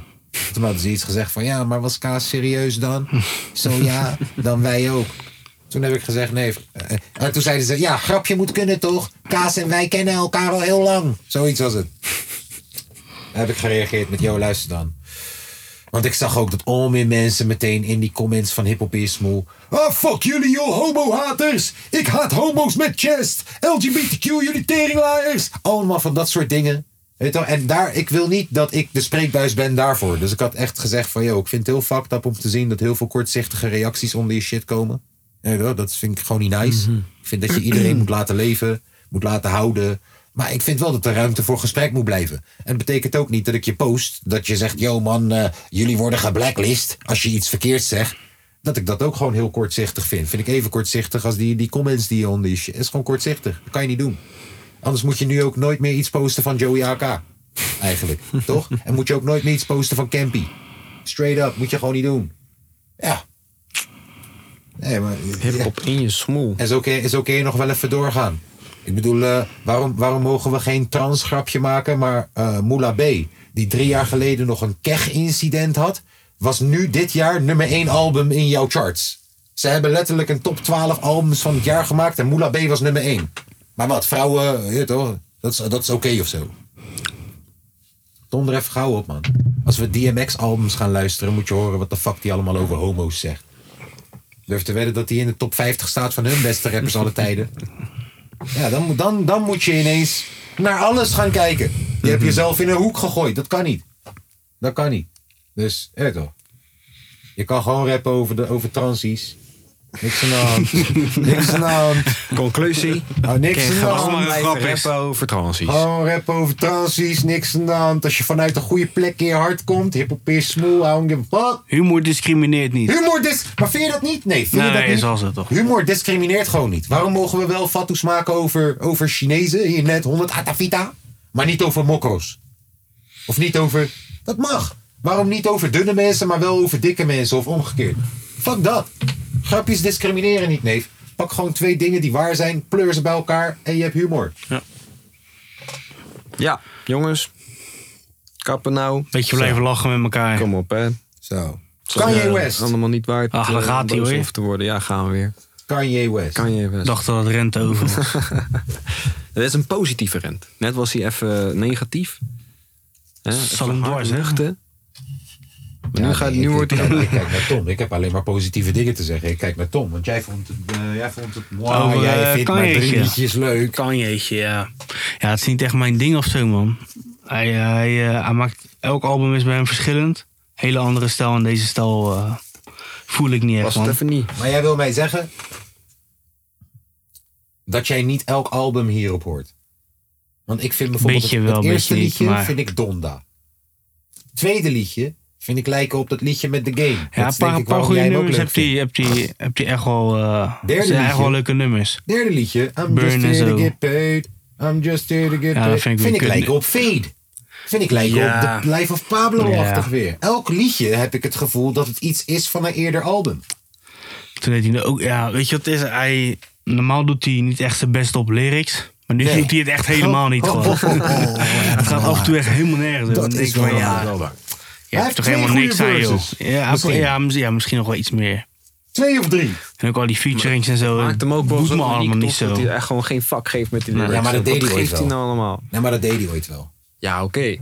Toen hadden ze iets gezegd van... Ja, maar was kaas serieus dan? Zo ja, dan wij ook. Toen heb ik gezegd nee. Eh, En toen zeiden ze, ja, grapje moet kunnen toch? Kaas en wij kennen elkaar al heel lang. Zoiets was het. Daar heb ik gereageerd met, yo, luister dan. Want ik zag ook dat al meer mensen meteen in die comments van Hip Hop is Smoel. Ah, fuck jullie, joh, homo-haters. Ik haat homo's met chest. LGBTQ, jullie teringlaaiers. Allemaal van dat soort dingen. Weet je wel? En daar, ik wil niet dat ik de spreekbuis ben daarvoor. Dus ik had echt gezegd van, yo, ik vind het heel fucked up om te zien... dat heel veel kortzichtige reacties onder je shit komen. Ja, weet je wel, dat vind ik gewoon niet nice. Ik vind dat je iedereen moet laten leven, moet laten houden. Maar ik vind wel dat er ruimte voor gesprek moet blijven. En het betekent ook niet dat ik je post, dat je zegt: yo man, eh, jullie worden geblacklist als je iets verkeerds zegt. Dat ik dat ook gewoon heel kortzichtig vind. Vind ik even kortzichtig als die, die comments die je onder je shit. is gewoon kortzichtig. Dat kan je niet doen. Anders moet je nu ook nooit meer iets posten van Joey AK. Eigenlijk, toch? En moet je ook nooit meer iets posten van Campy. Straight up, moet je gewoon niet doen. Ja. Nee, maar.
Hiphop in je smoel.
En zo kun, je, en zo kun je e nog wel even doorgaan. Ik bedoel, eh, waarom, waarom mogen we geen transgrapje maken? Maar eh Moula B, die drie jaar geleden nog een keg-incident had... was nu dit jaar nummer één album in jouw charts. Ze hebben letterlijk een top 12 albums van het jaar gemaakt... en Moula B was nummer één. Maar wat, vrouwen, je weet toch, dat is, dat is oké of zo. Donder even gauw op, man. Als we DMX-albums gaan luisteren... moet je horen wat de fuck die allemaal over homo's zegt. Durf te wedden dat hij in de top 50 staat van hun beste rappers alle tijden. Ja, dan, moet- dan, dan moet je ineens naar alles gaan kijken. Je hebt jezelf in een hoek gegooid. Dat kan niet. Dat kan niet. Dus, eh toch. Je kan gewoon rappen over, de, over transies. Niks aan de hand. niks aan de hand.
Conclusie.
Nou, niks aan de
Gewoon
hand.
maar
grap
rappen
is.
over transies.
Gewoon rappen over transies. Niks aan de hand. Als je vanuit een goede plek in je hart komt. Hiphop is smoel. I don't give a fuck.
Humor discrimineert niet.
Humor dis... Maar vind je dat niet? Nee, vind je
Nee,
dat
nee,
niet?
zo is het toch.
Humor discrimineert gewoon niet. Waarom mogen we wel fatsoes maken over, over Chinezen in net 100 atavita, maar niet over mokko's? Of niet over... Dat mag. Waarom niet over dunne mensen, maar wel over dikke mensen of omgekeerd? Fuck dat. Grapjes discrimineren niet, neef. Pak gewoon twee dingen die waar zijn, pleur ze bij elkaar en je hebt humor.
Ja, jongens. Kappen nou.
Beetje blijven lachen met elkaar.
Kom op, hè. eh,
Zo.
eh,
Kanye West.
Allemaal niet waard.
Ach, Ah, daar
eh,
gaat hij,
boos
hoor.
over te worden. Ja, gaan we weer.
Kanye West.
Kanye
Ik
West.
dacht dat het rente over was.
Dat is een positieve rent. Net was hij even eh, negatief. Hè, even
Zal hem
hard
dwars, hè?
luchten. Maar
Ja,
nu, gaat,
nee,
nu
ik-
wordt
ik,
hij...
kijk- Ik kijk naar Tom. Ik heb alleen maar positieve dingen te zeggen. Ik kijk naar Tom. Want jij vond het... eh, jij vond het wauw,
Oh,
jij
eh,
vindt
kan
maar
je
drie
eentje?
liedjes leuk.
Kan jeetje, ja. Ja, het is niet echt mijn ding of zo, man. Hij, eh, hij, eh, hij maakt, elk album is bij hem verschillend. Hele andere stijl en deze stijl eh, voel ik niet echt,
Was het
man.
even niet.
Maar jij wil mij zeggen... dat jij niet elk album hierop hoort. Want ik vind bijvoorbeeld
Beetje
het,
wel,
het
beetje
eerste
niet,
liedje
maar-
vind ik Donda. Tweede liedje vind ik lijken op dat liedje met The Game.
Ja,
dat
een
is denk
paar,
ik
paar
waarom
goede
jij hem ook
nummers
leuk
heb die,
vindt.
heb die, heb die echt wel, eh,
Derde
zijn echt
liedje.
wel leuke nummers.
Derde liedje, I'm
Burn
just
en
here to
zo.
get paid. I'm just here to get
Ja, dat
paid.
vind
Vind ik,
ik weer kut.
lijken op Fade. Vind ik lijken
Ja.
op de Life of Pablo-achtig
Ja.
weer. Elk liedje heb ik het gevoel dat het iets is van een eerder album.
Toen deed hij nou ook, ja, weet je wat het is? Hij, normaal doet hij niet echt zijn best op lyrics. Maar nu
Nee.
doet hij het echt helemaal niet
Oh,
gewoon.
oh, oh, oh, oh, ja,
Het gaat af en toe echt helemaal nergens. over.
Dat
Dan denk
is
ik
wel
van,
waar.
ja,
dat is wel waar.
Je hebt
heeft
toch
twee
helemaal
goede
niks aan, joh.
verses.
Ja, hij-
Misschien.
ja, mis- ja, misschien nog wel iets meer.
Twee of drie.
En ook al die featurings en zo.
Maakt hem ook wel
doet
zo
me allemaal
uniek,
niet
toch? Dat hij
zo.
echt gewoon geen vak geeft met die lyrics.
maar dat deed
Wat
hij ooit
geeft hij
wel.
nou allemaal?
Nee, maar dat deed hij ooit wel.
Ja, oké.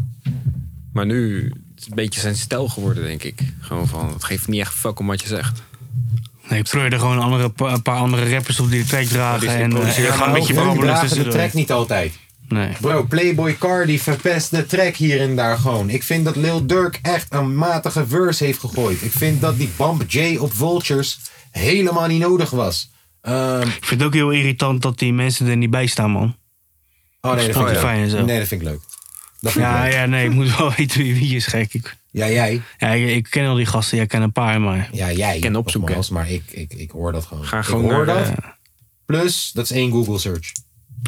Maar nu is het een beetje zijn stijl geworden, denk ik. Gewoon van, het geeft niet echt een fuck om wat je zegt.
Nee, pleur er gewoon andere, pa- een paar andere rappers op die de track dragen.
die
En eh,
produceert
gaan een
Maar
beetje
ook hun
babbelen
dragen de
tussendoor.
track niet altijd.
Nee.
Bro, Playboy Cardi verpest de track hier en daar gewoon. Ik vind dat Lil Durk echt een matige verse heeft gegooid. Ik vind dat die Bump J op Vultures helemaal niet nodig was. Ehm,
Ik vind het ook heel irritant dat die mensen er niet bij staan, man.
oh nee, dat vind ik
Spotify en zo.
Nee, dat vind ik leuk. Dat vind ik
Ja,
leuk.
ja, nee, ik moet wel weten wie, wie is gek. Ik,
Ja, jij.
ja, ik, ik ken al die gasten, jij ken een paar, maar...
Ja, jij. Ik
kan opzoeken.
maar ik, ik, ik hoor dat gewoon.
Ga
ik
gewoon
hoor
naar, eh,
dat. Plus, dat is één Google search.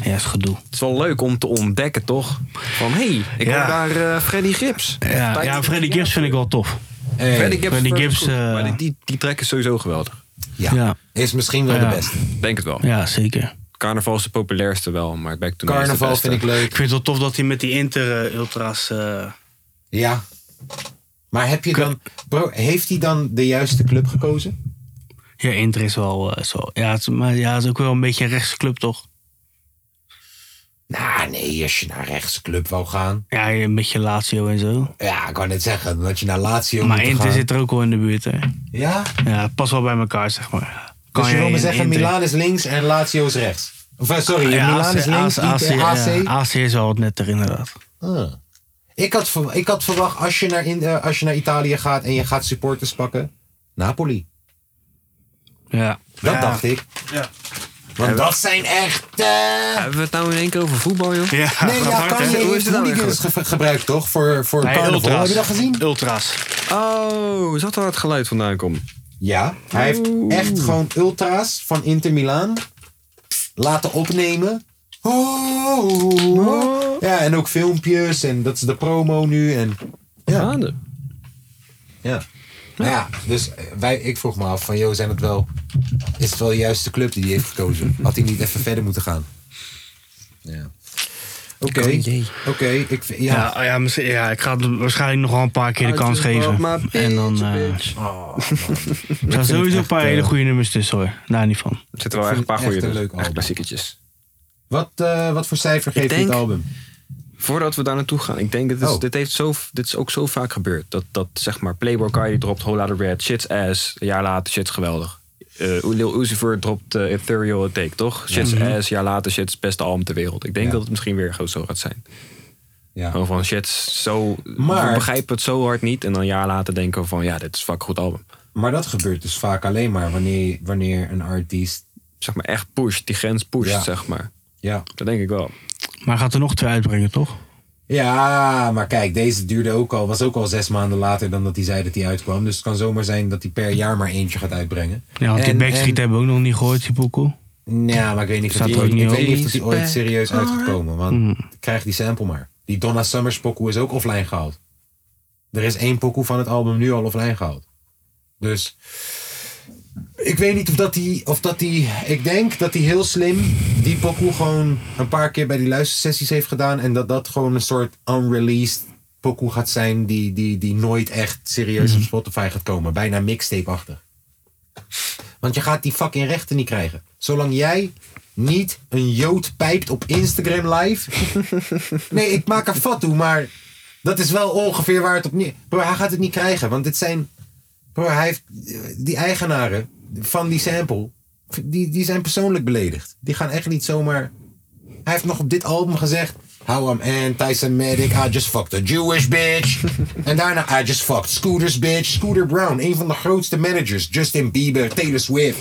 Ja, is gedoe.
Het is wel leuk om te ontdekken, toch? Van, hé, hey, ik
Ja.
hoor daar eh, Freddy Gibbs.
Ja, ja Freddy Gibbs vind ik wel tof.
Hey,
Freddy Gibbs,
Freddy
Freddy
Gibbs,
Gibbs
eh,
maar die, die, die track is sowieso geweldig.
ja.
Ja.
Is misschien wel
Ja.
de beste.
Denk het wel.
Ja, zeker.
Carnaval is de populairste wel, maar Back to Me is de
Carnaval
beste.
vind ik
Ik
leuk.
vind het wel tof dat hij met die eh, Inter-ultra's...
Ja. Maar heb je dan... Bro, heeft hij dan de juiste club gekozen?
ja, Inter is wel eh, zo... Ja, het, is- maar ja, het is ook wel een beetje een rechtse club, toch?
Nou, nee. Als je naar rechts club wou gaan...
Ja, een beetje Lazio en zo.
Ja, ik kan net zeggen. Dat je naar Lazio
Maar
moet
Inter
gaan.
zit er ook wel in de buurt, hè.
Ja?
Ja, het past wel bij elkaar, zeg maar. Kan
Dus je wil me
in
zeggen,
Inter- Ah,
Milaan is links en Lazio is rechts. Of, eh, sorry,
Ja,
Milaan is links,
AC,
Inter- AC.
ja, AC is wel wat netter, inderdaad.
Ah. Ik, had, verw- ik had verwacht, als je, naar in, eh, als je naar Italië gaat en je gaat supporters pakken, Napoli.
Ja.
Dat
Ja.
dacht ik. Want dat zijn echt... eh,
Hebben we het nou in één keer over voetbal, joh?
Ja,
Nee,
dat
ja,
hard, hè?
Kanye
Hoe is
heeft
het nou
hooligans ge gebruikt, toch? Voor, voor
Nee,
carnaval.
ultra's.
Heb je dat gezien?
Ultra's.
Oh, is dat waar het geluid vandaan komt?
Ja. Hij heeft echt gewoon ultra's van Inter Milaan laten opnemen. Oh. Ja, en ook filmpjes. En dat is de promo nu. En ja.
Gaande.
Ja. Nou ja, dus eh, wij, ik vroeg me af van, joh, zijn het wel, is het wel de juiste club die hij heeft gekozen? Had hij niet even verder moeten gaan? Ja. Oké, oké, ik, vind- ja.
Ja, oh ja, misschien- ja, ik ga het waarschijnlijk nog wel een paar keer de kans geven. En dan eh,
Oh.
er staan sowieso een paar hele
eh,
goede nummers tussen hoor. Daar niet van.
Er zitten wel
Ik
echt een
vind
paar
het echt
goede
een
dus.
leuk album.
echt klassieketjes.
Wat, eh, wat voor cijfer geeft
denk-
dit album?
Voordat we daar naartoe gaan, ik denk dat dit, is-
Oh.
dit, heeft zo, dit is ook zo vaak gebeurd. Dat, dat zeg maar Playboy
Mm-hmm.
Cardi dropt Whole Lotta Red, Shit's Ass, een jaar later Shit's Geweldig. Eh Lil Uzi Vert dropt eh, Ethereal A Take, toch? Shit's Ass, een jaar later Shit's Beste Album ter Wereld. Ik denk
Mm-hmm. Ja.
dat het misschien weer gewoon zo gaat zijn.
Ja.
Gewoon van Shit's zo,
Maar-
we begrijpen het zo hard niet. En dan een jaar later denken we van ja, dit is fuck goed album.
Maar dat gebeurt dus vaak alleen maar wanneer, wanneer een artiest,
Zeg maar echt push, die grens pusht,
Ja.
zeg maar.
ja.
Dat denk ik wel.
Maar hij gaat er nog twee uitbrengen toch?
Ja, maar kijk, deze duurde ook al, was ook al zes maanden later dan dat hij zei dat hij uitkwam. Dus het kan zomaar zijn dat hij per jaar maar eentje gaat uitbrengen.
Ja, want die
En-
Backstreet
en-
hebben we ook nog niet gehoord, die poekel.
Ja, maar ik weet niet of
Staat
die
er ook
ooit,
niet
ik
op. Hmm.
weet niet of die ooit serieus uitgekomen. Want krijg die sample maar. Die Donna Summers pokoe is ook offline gehaald. Er is één pokoe van het album nu al offline gehaald. Dus ik weet niet of dat die, of dat die, ik denk dat hij heel slim die pokoe gewoon een paar keer bij die luistersessies heeft gedaan. En dat dat gewoon een soort unreleased pokoe gaat zijn die, die, die nooit echt serieus
Hmm.
op Spotify gaat komen. Bijna mixtape-achtig. Want je gaat die fucking rechten niet krijgen. Zolang jij niet een jood pijpt op Instagram live. nee, ik maak er fat toe, maar dat is wel ongeveer waar het op neer... Bro, hij gaat het niet krijgen, want dit zijn... Bro, hij heeft... Die eigenaren van die sample, die, die zijn persoonlijk beledigd. Die gaan echt niet zomaar... Hij heeft nog op dit album gezegd... How I'm anti-Semitic, I just fucked a Jewish bitch. en daarna I just fucked Scooter's bitch. Scooter Brown, een van de grootste managers. Justin Bieber, Taylor Swift.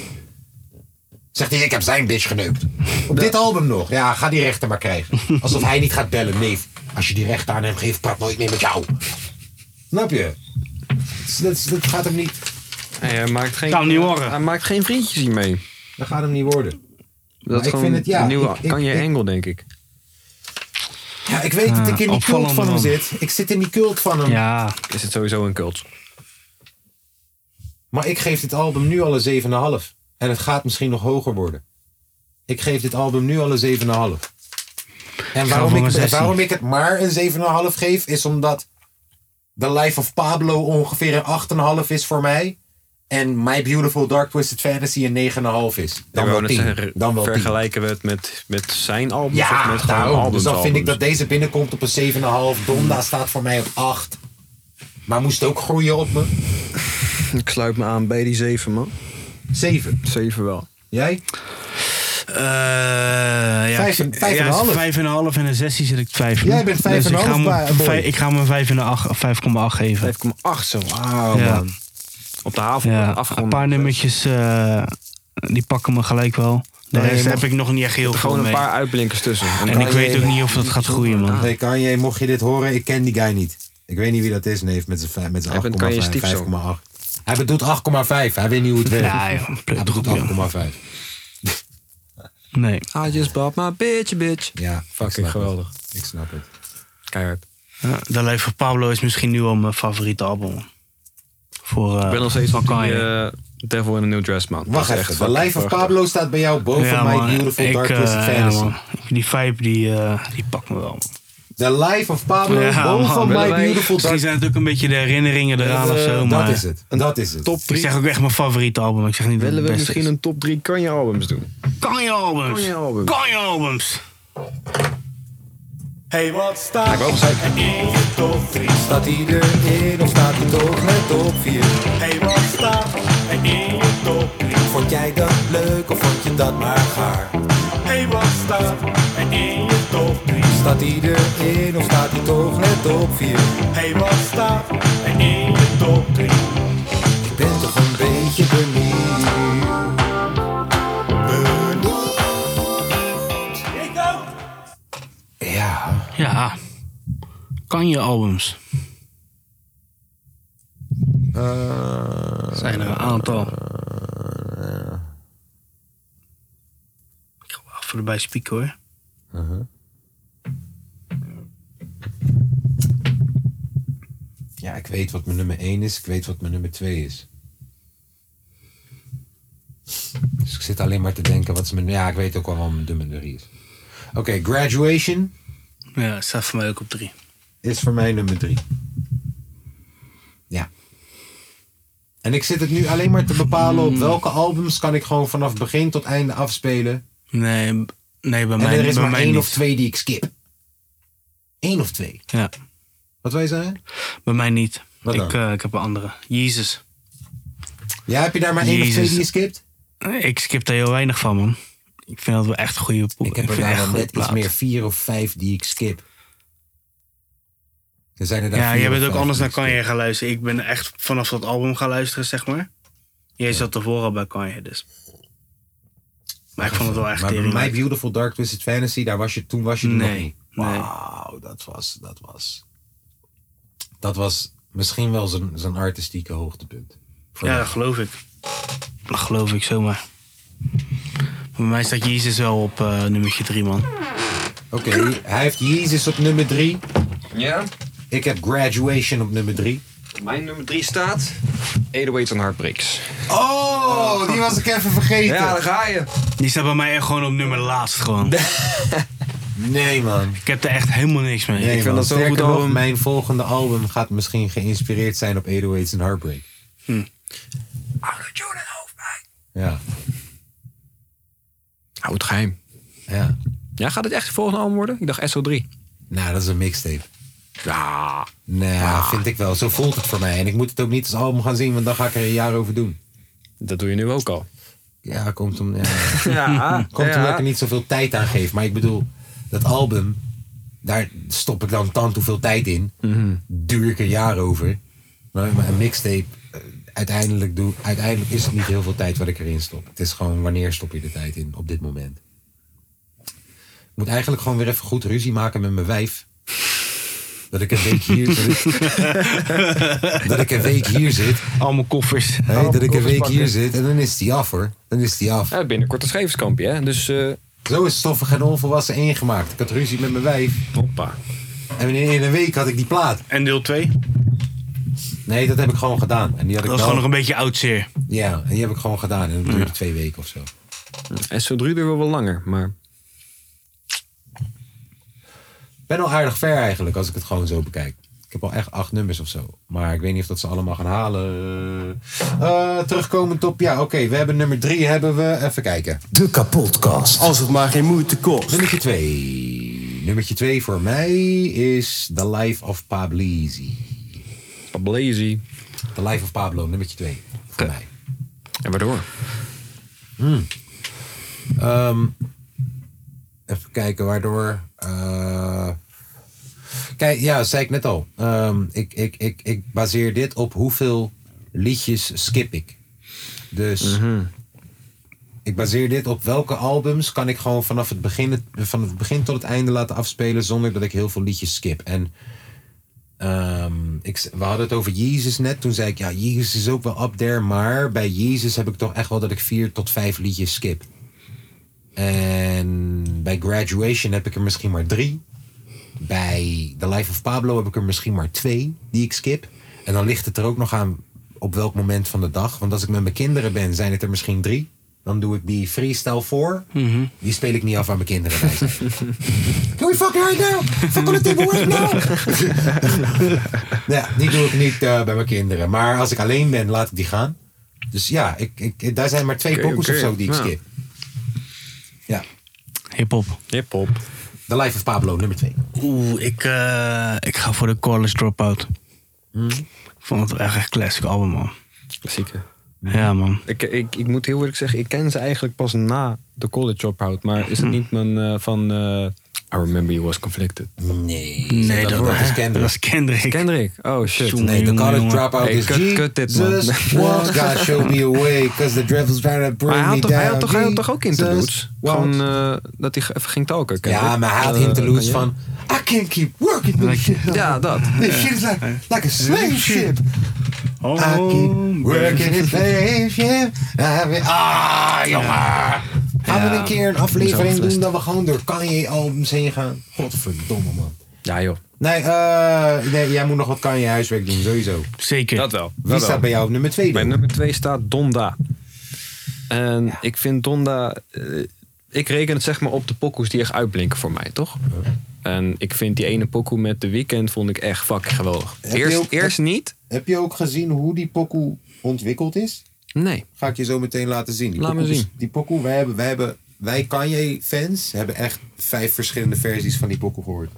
Zegt hij, ik heb zijn bitch geneukt. Op dit album nog. Ja, ga die rechter maar krijgen. Alsof hij niet gaat bellen. Nee, als je die rechter aan hem geeft, praat nooit meer met jou. Snap je? Dat, is- dat is- dat gaat hem niet,
hij, eh, maakt geen,
Kan hem niet horen.
hij maakt geen vriendjes hiermee.
dat gaat hem niet worden.
Dat is
ik
gewoon
vind het- ja,
een nieuwe
ik- ik-
Kanye
ik-
Engel, denk ik.
Ja, ik weet dat ik in die cult
opvallend,
van hem
Ah, man.
zit. Ik zit in die cult van hem.
Ja,
Is het sowieso een cult.
Maar ik geef dit album nu al een 7,5. En het gaat misschien nog hoger worden. Ik geef dit album nu al een 7,5. En
voor
waarom
een
ik,
16.
waarom ik het maar een 7,5 geef, is omdat The Life of Pablo ongeveer een 8,5 is voor mij. En My Beautiful Dark Twisted Fantasy een 9,5 is. Dan
Ja,
wel
maar dat
10.
zeggen,
Dan wel 10.
vergelijken we het met, met zijn album of
Ja,
met gewoon
daarom.
albums,
Dus dan vind ik dat
albums?
deze binnenkomt op een 7,5. Donda staat voor mij op 8. Maar moest ook groeien op me.
Ik sluit me aan bij die 7 man.
7.
7 wel.
Jij?
Eh, ja,
Vijf en-
ik-
vijf en
ja,
een half.
Vijf en een half en een zesje zit ik twijfelen.
Jij bent vijf
dus
en een
ik
half,
ga
ba-
hem-
boy.
vijf- Ik ga hem een vijf en een acht- 5,8 geven.
5,8 zo. Wauw
Ja.
man. Op de haven
Ja,
afgerond.
een paar nummertjes, eh, die pakken me gelijk wel. De
Nee,
rest
je
heb ik nog niet echt heel
Er
veel
gewoon een
mee.
paar uitblinkers tussen.
En ik
Kanye-
weet ook niet of dat gaat groeien, man.
Hey Kanye, mocht je dit horen, ik ken die guy niet. Ik weet niet wie dat is, neef, met zijn vij- met zijn
Hij bent Kanye's
8,5,
stiefzoon.
5,8. Hij bedoelt 8,5. Hij weet niet hoe het werkt.
Ja, joh.
Hij
pleur
bedoelt
toch op, joh.
8,5.
Nee.
I just bought my bitch, bitch.
Ja, snap
Fucking
het.
geweldig.
Ik snap het.
Keihard.
Ja, De Life van Pablo is misschien nu al mijn favoriete album. Voor, eh
Ik ben nog steeds
van
van eh,
Kanye.
Devil in a New Dress, man.
Wacht
Dat is
even,
fucking
The Life of
prachtig.
Pablo staat bij jou boven
Ja,
My
man,
Beautiful
ik,
Dark
eh,
Twisted
ja,
Fantasy.
man. Die vibe, die, eh, die pakt me wel. man.
The Life of Pablo
Ja,
boven
man.
My
Willen wij-
Beautiful
Misschien
Dark
zijn het ook een beetje de herinneringen eraan
eh,
of zo, maar...
Dat is het, dat is het.
Top
Ik
3.
zeg ook echt mijn favoriete album. Ik zeg niet
Willen
dat
we
het beste
misschien een top 3 Kanye albums doen?
is. Kanye albums!
Kanye albums.
Kanye albums!
Hey, wat staat er in je top 3? Staat hij erin of staat hij toch net top 4? Hey, wat staat er in je top 3? Vond jij dat leuk of vond je dat maar gaar? Hey, wat staat er in je top 3? Staat hij erin of staat hij toch net top 4? Hey, wat staat er in je top 3? Ik ben toch een beetje benieuwd. Benieuwd.
Ja,
Ja. Kanye albums. zijn er een aantal. eh, Ik ga wel even erbij spieken hoor.
ja, ik weet wat mijn nummer 1 is, ik weet wat mijn nummer 2 is. Dus ik zit alleen maar te denken wat is mijn... Ja, ik weet ook wel wat mijn nummer 3 is. Oké, Graduation
Ja, het staat voor mij ook op drie.
is voor mij nummer 3. Ja. En ik zit het nu alleen maar te bepalen
Hmm.
op welke albums kan ik gewoon vanaf begin tot einde afspelen.
Nee, b- nee bij
En
mij,
er is
bij
maar
mij
één
niet.
of twee die ik skip. Eén of twee.
Ja,
Wat wij zeggen?
bij mij niet.
Wat
ik,
dan?
eh, ik heb een andere. Jezus.
Ja, heb je daar maar één of
Jezus.
twee die je skipt?
Ik skip daar heel weinig van, man. Ik vind dat wel echt goede poep.
Ik heb er
vind
daar
echt
wel
goede
net iets
plaat.
meer vier of vijf die ik skip. Er zijn er daar
Ja,
vier
jij
of
bent ook
vijf
anders
die
naar
ik skip.
Kanye gaan luisteren. Ik ben echt vanaf dat album gaan luisteren, zeg maar. Jij zat tevoren al bij Kanye, dus. Maar ik vond het wel echt
Maar bij My
tering.
Beautiful Dark Twisted Fantasy, daar was je, toen was je er nog niet.
Nee, nee.
Wauw, dat was, dat was... Dat was misschien wel zijn, zijn artistieke hoogtepunt. Voor
Ja,
mij.
dat geloof ik. Dat geloof ik zomaar. Bij mij staat Jezus wel op eh nummertje 3, man.
Oké, hij heeft Jezus op nummer drie.
Ja.
Ik heb Graduation op nummer drie.
Mijn nummer 3 staat... 808 and Heartbreaks.
Oh, die was ik even vergeten.
ga je.
Die staat bij mij echt gewoon op nummer laatst, gewoon.
Nee, man.
Ik heb er echt helemaal niks mee.
Nee,
Ik-
man.
dat zo'n
Sterker
goed
nog,
album.
Mijn volgende album gaat misschien geïnspireerd zijn op 808's en Heartbreak. Ja,
Houd het geheim.
ja.
Ja, gaat het echt het volgende album worden? Ik dacht SO3.
Nou, dat is een mixtape.
Ja.
Nou, vind ik wel. Zo voelt het voor mij. En ik moet het ook niet als album gaan zien, want dan ga ik er een jaar over doen.
Dat doe je nu ook al.
Ja, komt om... Ja.
Ja.
Komt omdat ik er niet zoveel tijd aan geef. Maar ik bedoel, dat album, daar stop ik dan tant hoeveel tijd in.
Mhm.
Duur ik een jaar over. Maar maar een mixtape, eh, uiteindelijk, doe, uiteindelijk is het niet heel veel tijd wat ik erin stop. Het is gewoon wanneer stop je de tijd in op dit moment. Ik moet eigenlijk gewoon weer even goed ruzie maken met mijn wijf. Dat ik een week hier zit. dat ik een week hier zit.
Al mijn koffers.
Hè, dat ik een
koffers
week hier
pakken.
zit. En dan is die af hoor. Dan is die af.
Ja, binnenkort een scheverskampje, hè? Dus, eh
Zo is stoffig en onvolwassen ingemaakt. Ik had ruzie met mijn wijf.
hoppa.
En in, in een week had ik die plaat.
En deel 2?
Nee, dat heb ik gewoon gedaan. En die had ik wel-
Dat was gewoon nog een beetje oud zeer.
Ja, en die heb ik gewoon gedaan. En dat duurde twee weken of zo.
SO3 duurt wel wat langer, maar...
Ik ben al aardig ver eigenlijk, als ik het gewoon zo bekijk. Ik heb al echt acht nummers of zo. Maar ik weet niet of dat ze allemaal gaan halen. Eh, terugkomend op, ja oké, we hebben nummer drie, hebben we. Even kijken.
De kapotkast. Als het maar geen moeite kost.
Nummertje twee. Nummertje twee voor mij is The Life of Pablisi.
Blazy.
The Life of Pablo, nummertje twee voor mij.
En waardoor?
Ehm, even kijken waardoor. eh, kijk, ja, zei ik net al. Ehm, ik, ik, ik, ik baseer dit op hoeveel liedjes skip ik. Dus ik baseer dit op welke albums kan ik gewoon vanaf het, begin, van het begin tot het einde laten afspelen zonder dat ik heel veel liedjes skip. En ehm, ik, we hadden het over Jezus net. Toen zei ik, ja, Jezus is ook wel up there. Maar bij Jezus heb ik toch echt wel dat ik vier tot vijf liedjes skip. En bij Graduation heb ik er misschien maar drie. Bij The Life of Pablo heb ik er misschien maar twee die ik skip. En dan ligt het er ook nog aan op welk moment van de dag. Want als ik met mijn kinderen ben, zijn het er misschien drie. Dan doe ik die freestyle voor. Die speel ik niet af aan mijn kinderen. bij zijn. Mhm. Can we fuck right now? Fuck on the table right now? ja, die doe ik niet eh, bij mijn kinderen. Maar als ik alleen ben, laat ik die gaan. Dus ja, ik, ik, daar zijn maar twee
Oké,
pokus
oké.
of zo die ik
Ja.
skip. Ja.
Hip-hop.
Hip-hop.
The Life of Pablo, nummer 2.
Oeh, ik, eh, ik ga voor de Corliss Dropout. Ik vond het echt een classic album, man.
Klassieke.
Ja, man.
Ik, ik, ik moet heel eerlijk zeggen, ik ken ze eigenlijk pas na de college dropout. Maar is het niet mijn eh, van... eh, I remember you was conflicted.
Nee.
Nee, dat,
dat is Kendrick.
Dat is Kendrick.
Kendrick. Oh shit.
Jongen,
Nee, de
jongen,
college
jongen.
dropout
Hey,
is
kut- kut dit, man.
Jesus, what? God show me away, cause the devil's trying to bring
Maar hij
me
had, toch,
down.
hij, had toch, hij had toch ook
Jesus,
interludes?
what?
Gewoon eh, dat hij even ging talken.
ja,
Kendrick.
maar hij had
Eh,
interludes
ja.
van... I can't keep working this shit.
Ja, dat.
This shit is like, like a slave ship.
Oh,
I keep working this slave ship. I have- Ah, jongen. Gaan we een keer een aflevering doen dat we gewoon door Kanye-albums heen gaan? Godverdomme, man.
Ja joh,
Nee, eh, nee, jij moet nog wat Kanye huiswerk doen, sowieso.
Zeker.
dat wel.
Wie staat bij jou op nummer 2
Bij
dan?
nummer 2 staat Donda. En ik vind Donda. eh, ik reken het zeg maar op de pokoes die echt uitblinken voor mij, toch? En ik vind die ene pokoe met de weekend vond ik echt fucking geweldig.
je
Eerst,
ook-
eerst niet?
Heb je ook gezien hoe die pokoe ontwikkeld is?
Nee.
Ga ik je zo meteen laten zien. Die
Laat me
pokoe is-
zien.
Die pokoe, wij hebben, wij hebben, wij Kanye-fans hebben echt vijf verschillende versies van die pokoe gehoord.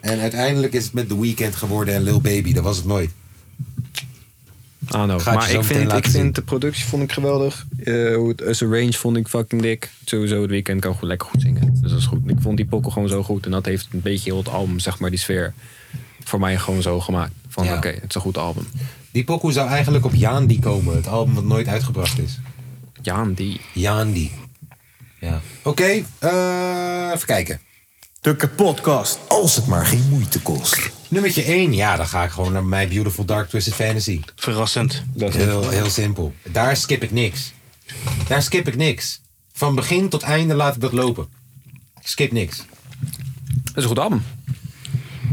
En uiteindelijk is het met The Weeknd geworden en Lil Baby. Dat was het nooit.
Ah,
Ga
no.
ik je
Maar
zo
ik
meteen
vind, ik
laten zien.
vind de productie vond ik geweldig. Eh, hoe het as range vond ik fucking dik. Sowieso, het weekend kan goed, lekker goed zingen. Dus dat is goed. Ik vond die pokkel gewoon zo goed. En dat heeft een beetje heel het album, zeg maar, die sfeer. Voor mij gewoon zo gemaakt. Van
Ja.
oké, het is een goed album.
Die pokoe zou eigenlijk op Jaandi komen. Het album wat nooit uitgebracht is.
Ja, en die.
Jaandi. Ja. Oké, eh, even kijken.
De kapotkast. Als het maar geen moeite kost.
Nummertje 1. Ja, dan ga ik gewoon naar My Beautiful Dark Twisted Fantasy.
Verrassend.
Heel, heel simpel. Daar skip ik niks. Daar skip ik niks. Van begin tot einde laat ik dat lopen. Ik skip niks.
Het is een goed album.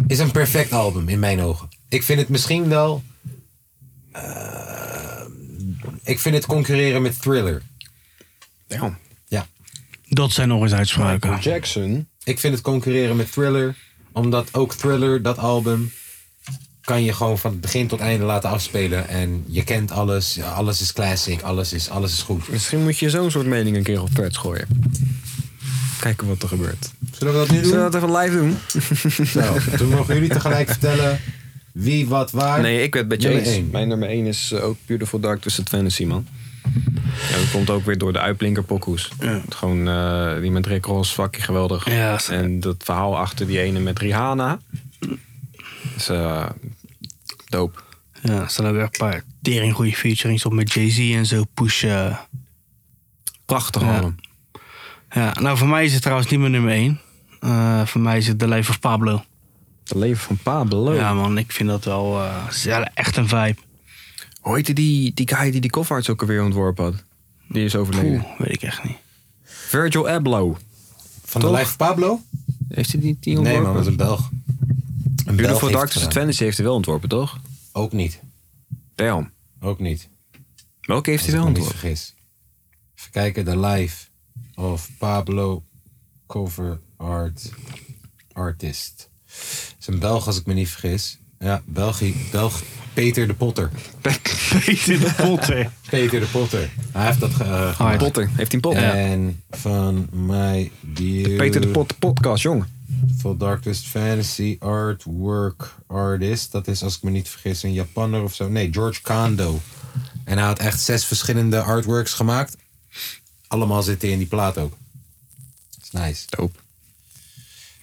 Is een perfect album in mijn ogen. Ik vind het misschien wel. eh, ik vind het concurreren met thriller.
Damn.
Ja.
Dat zijn nog eens uitspraken.
Jackson.
Ik vind het concurreren met Thriller. Omdat ook Thriller, dat album, kan je gewoon van het begin tot einde laten afspelen. En je kent alles. Ja, Alles is classic. Alles is, alles is goed.
Misschien moet je zo'n soort mening een keer op threads gooien. Kijken wat er gebeurt.
Zullen we dat nu doen?
Zullen we dat even live doen?
Nou, toen mogen jullie tegelijk vertellen wie wat waar.
Nee, ik werd bij
Nummer
James.
één.
Mijn nummer 1 is eh, ook Beautiful Dark Twisted Fantasy, man. Ja, dat komt ook weer door de uitblinker pokoes. Gewoon eh, die met Rick Ross, fucking geweldig.
Ja, zeker.
en dat verhaal achter die ene met Rihanna. is eh dope.
Ja, er staan ook echt een paar tering goede featurings op met Jay-Z en zo. Pushen.
Prachtig
Ja.
album.
Ja, nou voor mij is het trouwens niet mijn nummer 1. voor mij is het The Life of Pablo.
Het leven van Pablo.
Ja man, ik vind dat wel eh, is wel echt een vibe.
Hoe heette die, die guy die die kofferarts ook alweer ontworpen had? Die is overleden.
Oeh, weet ik echt niet.
Virgil Abloh.
Van de
Toch?
Life of Pablo?
Heeft hij die, die
Nee
ontworpen?
man, dat is een Belg. Een Belg
Beautiful
heeft
Dark
het
Twisted
gedaan.
Fantasy heeft hij wel ontworpen, toch?
Ook niet.
Damn.
Ook niet.
Welke heeft
Als
hij
ik
wel
me niet
ontworpen?
vergis. Even kijken, de Life of Pablo Cover Art Artist. Het is een Belg als ik me niet vergis. Ja, België. Belg Peter de Potter.
Peter de Potter.
Peter de Potter. Hij heeft dat ge- eh, gemaakt.
Oh, Potter. Heeft hij een pot?
En van mij die
Peter de Pot podcast, jong.
Full Darkest Fantasy Artwork Artist. Dat is, als ik me niet vergis, een Japanner of zo. Nee, George Kondo. En hij had echt zes verschillende artworks gemaakt. Allemaal zitten in die plaat ook. Is nice.
Dope.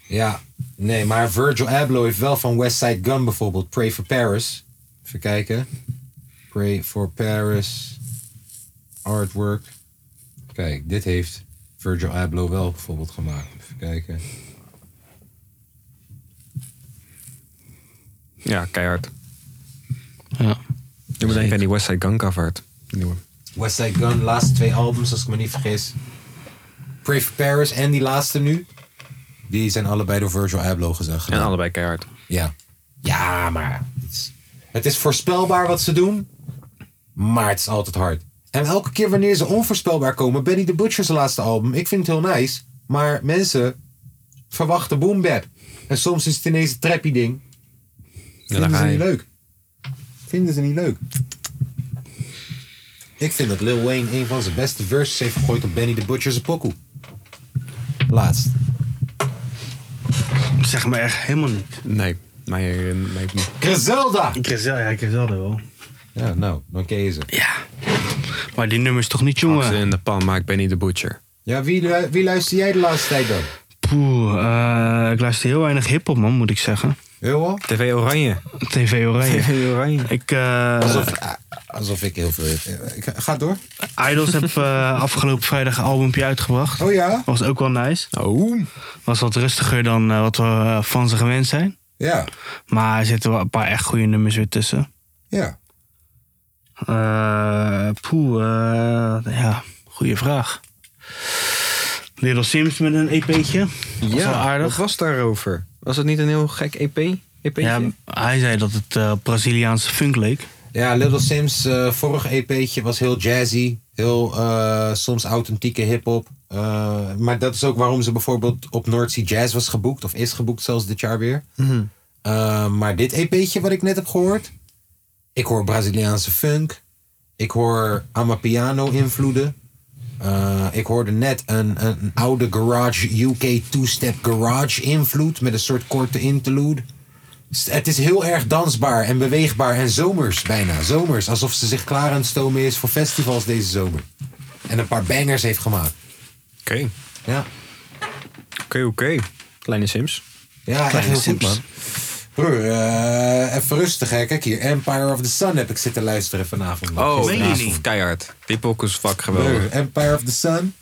Ja, nee, maar Virgil Abloh heeft wel van Westside Gun bijvoorbeeld. Pray for Paris. Even kijken. Pray for Paris. Artwork. Kijk, dit heeft Virgil Abloh wel bijvoorbeeld gemaakt. Even kijken.
Ja, keihard.
Ja.
Doe me denken aan die West Side Gun cover. art. Die nieuwe.
Westside Gun, laatste twee albums, als ik me niet vergis. Pray for Paris en die laatste nu. Die zijn allebei door Virgil Abloh gezegd.
En
gedaan.
allebei keihard.
Ja. Ja, maar het is, het is voorspelbaar wat ze doen. Maar het is altijd hard. En elke keer wanneer ze onvoorspelbaar komen, Benny the Butcher's laatste album. Ik vind het heel nice. Maar mensen verwachten boom bap. En soms is het ineens een trappy ding. Vinden
daar
ze
ga je.
niet leuk. Vinden ze niet leuk. Ik vind dat Lil Wayne een van zijn beste verses heeft gegooid op Benny the Butcher's pokoe. Laatst.
Zeg maar echt helemaal niet.
Nee, maar eh, nee, ik niet.
Griselda!
Griselda, ja, Griselda wel.
Ja, nou, dan ken je ze.
Maar die nummer is toch niet
Ze
jongen?
in de pan, maar ik ben niet de butcher.
Ja, wie, lu- wie luister jij de laatste tijd dan?
Poeh, eh, ik luister heel weinig hiphop man, moet ik zeggen.
Heel
TV Oranje.
TV Oranje.
Oranje.
Ik, eh,
Alsof, ik- ah, alsof ik heel veel. eh, Ik, ga door.
Idols heb eh, afgelopen vrijdag een albumpje uitgebracht.
Oh ja?
Was ook wel nice.
Oh.
Was wat rustiger dan eh, wat we eh, van ze gewend zijn.
Ja.
Maar er zitten wel een paar echt goede nummers weer tussen.
Ja.
Eh, poeh, eh, ja, goede vraag. Little Sims met een E EP'tje. was wel
Ja, wat
aardig.
was daarover? Was het niet een heel gek E EP? EP?
Ja, hij zei dat het eh, Braziliaanse funk leek.
Ja, Little Sims, eh vorige EP'tje was heel jazzy. Heel eh, soms authentieke hip-hop. Eh, maar dat is ook waarom ze bijvoorbeeld op North Sea Jazz was geboekt. Of is geboekt zelfs dit jaar weer. Eh, maar dit EP'tje wat ik net heb gehoord. Ik hoor Braziliaanse funk. Ik hoor Amapiano invloeden. Eh, ik hoorde net een, een, een oude garage, UK two-step garage invloed. Met een soort korte interlude. S- Het is heel erg dansbaar en beweegbaar en zomers bijna. Zomers, alsof ze zich klaar aan het stomen is voor festivals deze zomer. En een paar bangers heeft gemaakt.
Oké,
Ja,
oké, oké. Kleine Sims.
ja echt heel goed man. Broer, eh, even rustig hè. Kijk hier, Empire of the Sun heb ik zitten luisteren vanavond. man.
Oh,
meen je
naast-
niet?
keihard. Die pokoe is fuck geweldig.
Broer, Empire of the Sun.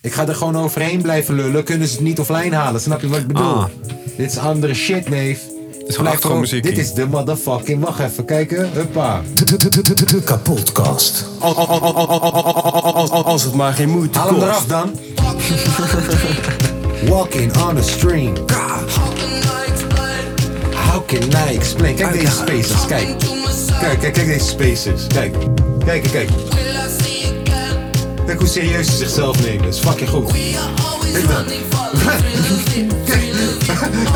Ik ga er gewoon overheen blijven lullen. Kunnen ze het niet offline halen? Snap je wat ik bedoel?
Ah.
Dit is andere shit, neef.
is gewoon
Blijf
achtergrondmuziek
Dit
hier.
is de motherfucking. Wacht even, kijken. Huppa.
De kapotkast.
Al- al- al- al- al- al- al- al- al- al- Als het maar geen moeite
Haal hem
kost.
eraf dan. Walking on a stream. How can I explain? Kijk deze spaces, kijk. Kijk, kijk, kijk deze spaces. Kijk, kijk, kijk, kijk. Kijk hoe serieus ze zichzelf nemen. Dat is fucking goed. Kijk dan.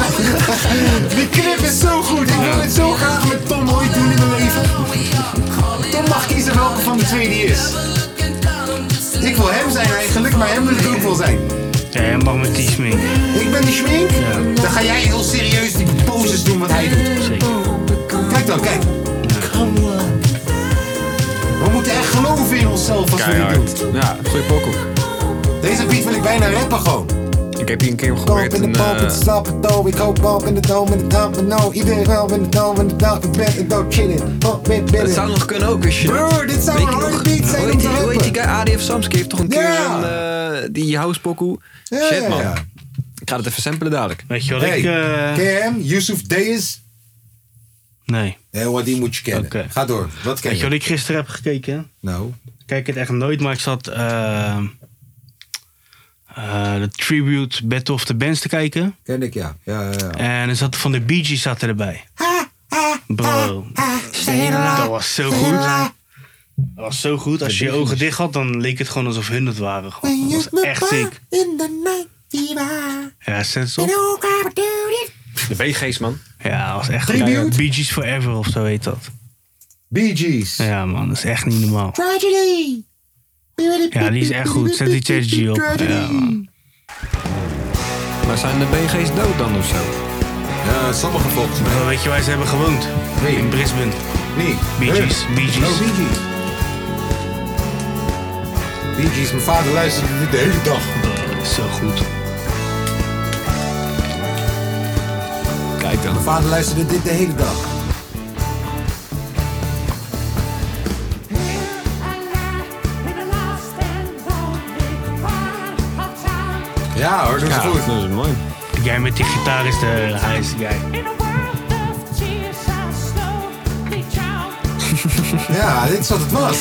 Die clip is zo goed. Ik wil het zo graag met Tom ooit doen in mijn leven. Tom mag kiezen welke van de twee die is. Ik wil hem zijn eigenlijk, maar hem wil ik ook wel zijn.
Ja, hij mag met die smink.
Ik ben die schmink. Dan ga jij heel serieus die poses doen wat hij doet. Kijk dan, kijk. We moeten echt geloven in onszelf als we dit
Keihard. Ja, goeie pokoe.
doen. Deze beat wil ik bijna rappen gewoon.
Ik heb hier een keer
Bump
geprobeerd
in de
een...
pump,
eh,
het stap het dood. Ik hoop bump in de dome, in de dump en nou. Iedereen wel in de dome, in de dump. Ik ben, ik ben chillen. Hop, met
Het
binnen.
zou nog kunnen ook, wist je.
Broer, dit zou
Weet
een
je
harde
nog-
beat zijn
hoe
om
heet
te
die- Hoe heet die guy? ADF Samski heeft toch een keer
Ja.
een, eh, die house pokoe?
Ja, ja,
Shit, man.
ja.
Ik ga het even samplen dadelijk.
Weet je wat
Hey,
ik... eh,
ken je hem? Yusuf Deis?
nee.
Hé, wat die moet je kennen.
Oké.
Ga door, wat ken
Weet je wat
je?
ik gisteren heb gekeken?
Nou,
Ik Kijk het echt nooit, maar ik zat eh, eh, de tribute Battle of the Bands te kijken.
ken ik ja. Ja, ja, ja.
En er zat van de Bee Gees zat erbij. Bro, dat was zo goed. Dat was zo goed. Als je je ogen dicht had, dan leek het gewoon alsof hun het waren. gewoon. Dat was echt ziek. Ja, sens op.
De BG's, man.
Ja, dat was echt
Tribute?
keihard. Bee Gees Forever of zo heet dat.
Bee Gees.
Ja, man, dat is echt niet normaal.
Tragedy.
Ja, die is echt goed. Zet die Tragedy op. Ja, man.
Maar zijn de BG's dood dan of zo?
Ja, Eh, sommige volgens mij.
Wel, Weet je waar ze hebben gewoond?
Nee.
In Brisbane.
Nee.
Bee Gees,
Huh?
Bee Gees.
Oh, Bee Gees. Bee Gees, mijn vader luisterde dit de hele dag.
Zo goed.
Kijk dan.
Mijn vader luisterde dit de hele dag. Ja hoor, dat is goed.
dat is mooi.
Jij met die gitaar is de hij is die guy.
Ja, dit is wat het was.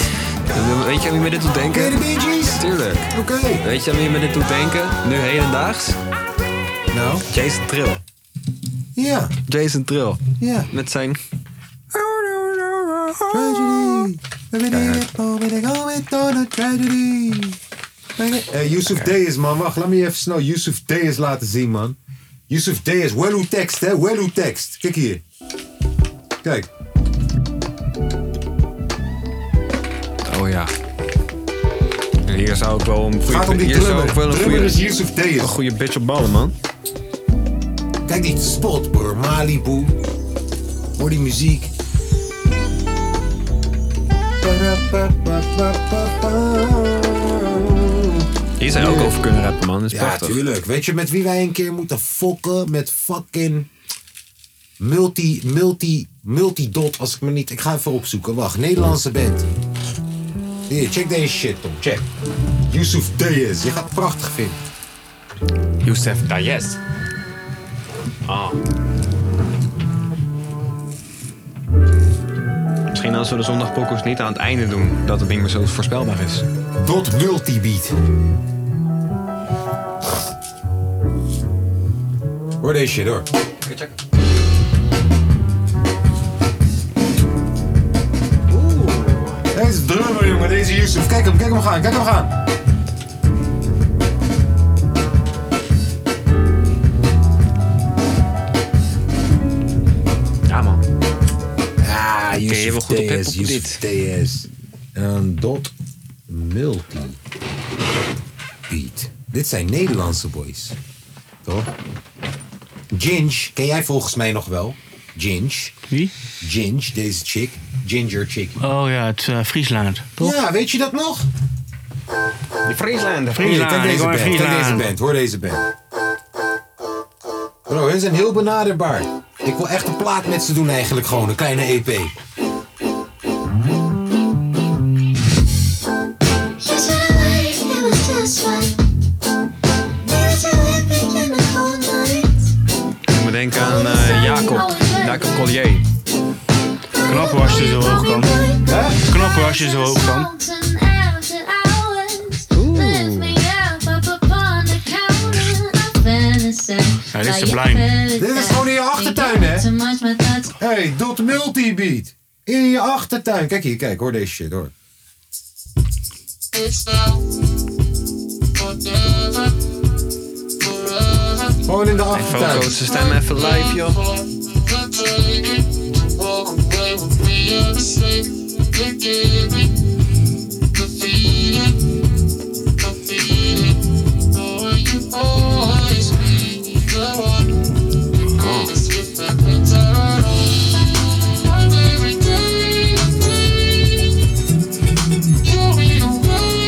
Weet je aan wie me dit doet
Ken je de
denken?
Bee Gees?
Tuurlijk.
Oké.
Weet je aan wie me dit doet denken? Nu hedendaags?
Nou,
Jason Trill.
ja,
Jason Trill.
ja.
Met zijn...
Tragedy. Everything everything always on a tragedy. Eh Yusuf Dees, man. Wacht, laat me je even snel Yusuf Dees laten zien, man. Yusuf Dees, Welu tekst, hè? Welu tekst. Kijk hier. Kijk.
Oh ja. En hier zou ik wel een goede...
Gaat om die
hier zou ik
drummer.
wel een
Drummer is
goede,
Yusuf
een
Dees.
goede bitch op ballen, man.
Kijk die spot, bro. Malibu. Hoor die muziek.
Hier zou je ook over kunnen rappen, man. Dat is
Ja,
prachtig.
tuurlijk. Weet je met wie wij een keer moeten fokken? Met fucking multi, multi, multidot. Als ik me niet... Ik ga even opzoeken. Wacht, Nederlandse band. Hier, check deze shit, Tom. Check. Yusuf Deyes. Je gaat het prachtig vinden.
Youssef Dayes. Ah. Misschien als we de zondagpokkels niet aan het einde doen, dat het ding maar zo voorspelbaar is.
Dot multibeat. Hoor deze shit, hoor. Deze drummer, jongen, deze Yusuf. Kijk hem, kijk hem gaan, kijk hem gaan.
Ja, man.
Ja,
je wel
Ah, Yusuf
goed
TS,
op hip-hop op
Yusuf TS. En dan Dot Multi Beat. Dit zijn Nederlandse boys. Toch? Ginge, ken jij volgens mij nog wel? Ginge.
Wie?
Ginge, deze chick. Ginger chick.
Oh ja, het eh, Friesland. Toch?
Ja, weet je dat nog?
De Friesland.
Friesland,
kijk
ik
deze
hoor
band, kijk
Friesland.
deze band, hoor deze band. Bro, hun zijn heel benaderbaar. Ik wil echt een plaat met ze doen eigenlijk gewoon, een kleine E EP.
Ik moet denken aan eh, Jacob. Jacob Collier.
Knapper als je zo hoog kan. Knapper als je zo hoog kan. Ja, dit is sublime.
Dit is gewoon in je achtertuin, hè? Hey, dot multibeat. In je achtertuin. Kijk hier, kijk, hoor deze shit, hoor. Gewoon in de achtertuin.
Foto's, ze stemmen even live, joh.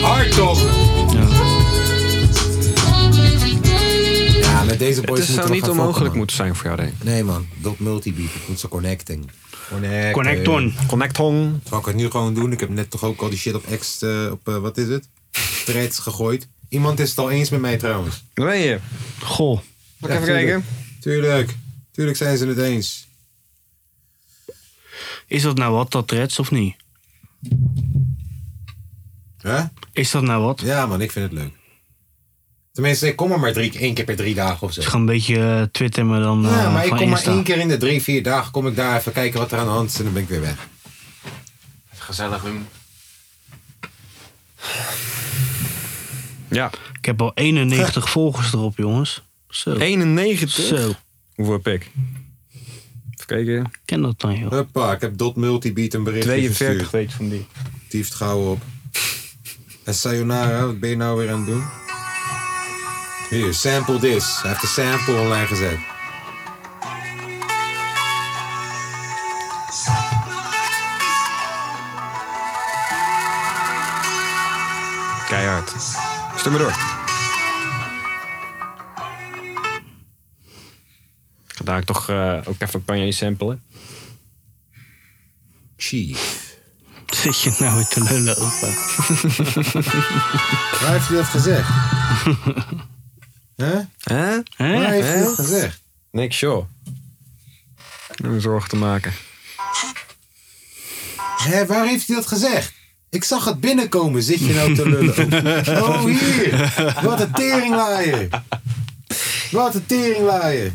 Hard toch? Ja, met deze boys
Het
moeten
zou
we
eh, niet
gaan
onmogelijk
fokken, man.
moeten zijn voor jou, denk ik.
Nee man, dot multibeat. Ik moet zo connecting. Connecting.
Connect on.
Connect Hong.
Zal ik het nu gewoon doen? Ik heb net toch ook al die shit op ex, eh, op eh, wat is het? Threads gegooid. Iemand is het al eens met mij trouwens.
Daar ben je.
Goh.
Mag
Ja,
ik even
tuurlijk.
kijken?
Tuurlijk. Tuurlijk zijn ze het eens.
Is dat nou wat, dat Reds of niet?
Hè?
Is dat nou wat? Het
Ja man, ik vind het leuk. Tenminste, ik kom er maar drie, één keer per drie dagen of zo.
is gewoon een beetje eh, Twitter, maar dan eh,
Ja, maar ik
van
kom maar
Insta.
één keer in de drie, vier dagen. Kom ik daar even kijken wat er aan de hand is en dan ben ik weer weg.
Gezellig doen. Ja.
Ik heb al 91 volgers erop, jongens. Zo.
91.
Zo.
Hoeveel heb ik? Even kijken.
Ken dat dan, joh.
Huppa, ik heb Dot Multibeat een berichtje
42
gestuurd.
weet je van die.
Tieft gauw op. En sayonara, wat ben je nou weer aan het doen? Hier, sample this. Hij heeft de sample online gezet.
Keihard. Stuk maar door. Ga Daar ik toch eh, ook even Kanye samplen.
Chief.
Zit je nou weer te lullen, opa?
Waar heeft hij dat gezegd? Huh?
Hè?
Waar
Hè?
heeft hij dat gezegd?
Niks, joh. Om zorgen te maken.
Hé, waar heeft hij dat gezegd? Ik zag het binnenkomen, zit je nou te lullen? Oh, hier! Wat een teringlaaier! Wat een teringlaaier!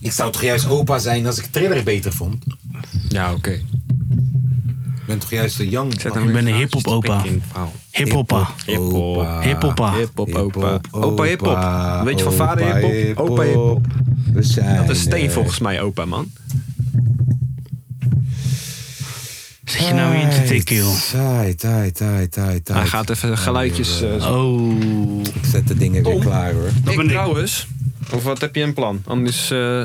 Ik zou toch juist opa zijn als ik Thriller beter vond?
Ja, oké.
Ik ben toch juist een young
Zet
man?
hem
Ik ben een
weer
hiphop
naast je
opa.
spik in het verhaal.
Hiphoppa.
Hiphop.
Hiphoppa.
Hiphop opa. Opa hiphop. Weet je van vader hiphop? Opa hiphop.
hiphop. We zijn...
Dat is steen
eh,
volgens mij opa, man.
Zit je nou weer te tikken, joh?
Taai, taai, taai, taai, taai.
Hij gaat even geluidjes... eh,
Oh.
Ik zet de dingen weer klaar, hoor.
Dat
ik
Ah, ben ik.
trouwens. Of wat heb je in plan? Anders. eh,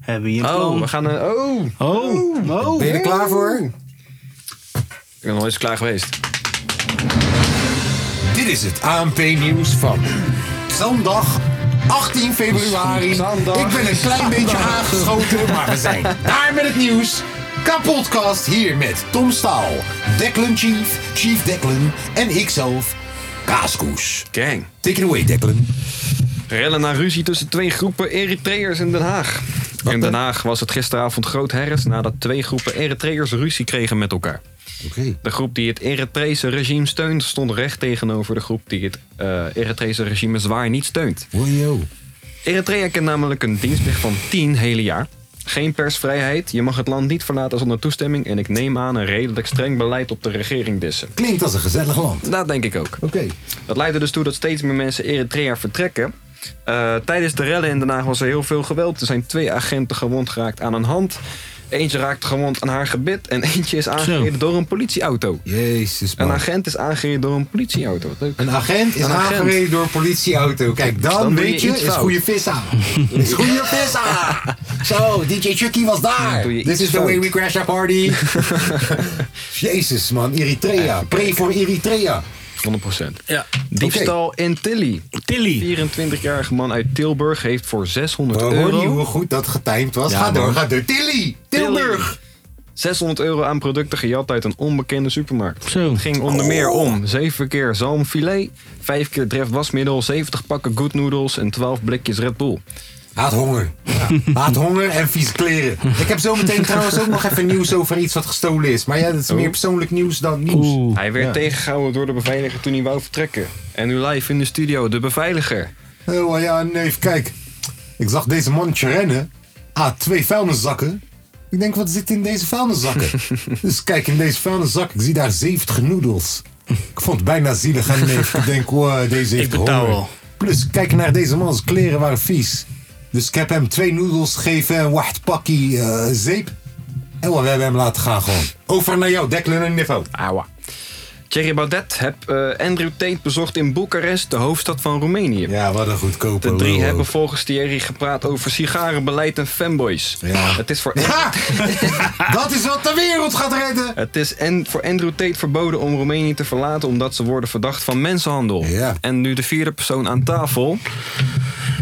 Hebben je een
oh, we
plan?
gaan. eh, oh! Ik
Oh. Oh.
Ben je er klaar voor?
ben al eens klaar geweest.
Dit is het ANP-nieuws van zondag 18 februari. Ik ben een klein beetje aangeschoten, maar we zijn daar met het nieuws. Kapodcast hier met Tom Staal, Declan Chief, Chief Declan en ikzelf, Kaaskoes.
Gang.
Take it away, Declan.
Rellen na ruzie tussen twee groepen Eritreërs in Den Haag. in Den Haag was het gisteravond groot herres nadat twee groepen Eritreërs ruzie kregen met elkaar.
Oké.
De groep die het Eritrese regime steunt stond recht tegenover de groep die het eh Eritrese regime zwaar niet steunt.
Wojo.
Eritrea kent namelijk een dienstplicht van 10 hele jaar. Geen persvrijheid, je mag het land niet verlaten zonder toestemming en ik neem aan een redelijk streng beleid op de regering dissen.
Klinkt als een gezellig land.
Dat denk ik ook.
Oké.
Dat leidt er dus toe dat steeds meer mensen Eritrea vertrekken. Eh, tijdens de rellen in Den Haag was er heel veel geweld. Er zijn twee agenten gewond geraakt aan een hand. Eentje raakt gewond aan haar gebit en eentje is aangereden door een politieauto.
Jezus,
Een
man.
agent is aangereden door een politieauto. Wat leuk.
Een agent is
Een agent.
aangereden door een politieauto. Kijk, dan,
Dan doe je
weet je,
iets
is
fout.
goede vis aan. Is goede vis aan. Zo, DJ Chucky was daar.
doe je
This
iets
is the
fout.
way we crash our party. Jezus man, Eritrea. Pray voor Eritrea.
100%. Ja. Diefstal in Tilly.
Tilly.
24-jarige man uit Tilburg heeft voor 600
Hoor
euro.
je hoe goed dat getimed was?
Ja,
ga door,
man.
ga door. Tilly, Tilburg.
600 euro aan producten gejat uit een onbekende supermarkt.
Zo.
Het ging onder meer
Oh.
om 7 keer zalmfilet, 5 keer dref wasmiddel, 70 pakken good noodles en 12 blikjes Red Bull.
Haat honger. Haat honger en vieze kleren. Ik heb zometeen trouwens ook nog even nieuws over iets wat gestolen is. Maar ja, dat is meer persoonlijk nieuws dan nieuws.
Oeh.
Hij werd tegengehouden door de beveiliger toen hij wou vertrekken. En nu live in de studio, de beveiliger.
Oh ja, neef, kijk. Ik zag deze mannetje rennen. Ah, twee vuilniszakken. Ik denk, wat zit in deze vuilniszakken? dus kijk, in deze vuilniszak, ik zie daar 70 noedels. Ik vond het bijna zielig aan neef. Ik denk, wow, deze heeft
betaal
honger.
wel.
Plus, kijk naar deze man, zijn kleren waren vies. Dus ik heb hem twee noedels gegeven en wacht pakkie eh, zeep. En we hebben hem laten gaan gewoon. Over naar jou, Declan en Niffo.
Auwa. Thierry Baudet heb eh, Andrew Tate bezocht in Boekarest, de hoofdstad van Roemenië.
Ja, wat een goedkope
De drie
lul
hebben
ook.
volgens Thierry gepraat over sigarenbeleid en fanboys.
Ja.
Het is voor
Ja, dat is wat de wereld gaat redden.
Het is en voor Andrew Tate verboden om Roemenië te verlaten omdat ze worden verdacht van mensenhandel.
Ja.
En nu de vierde persoon aan tafel,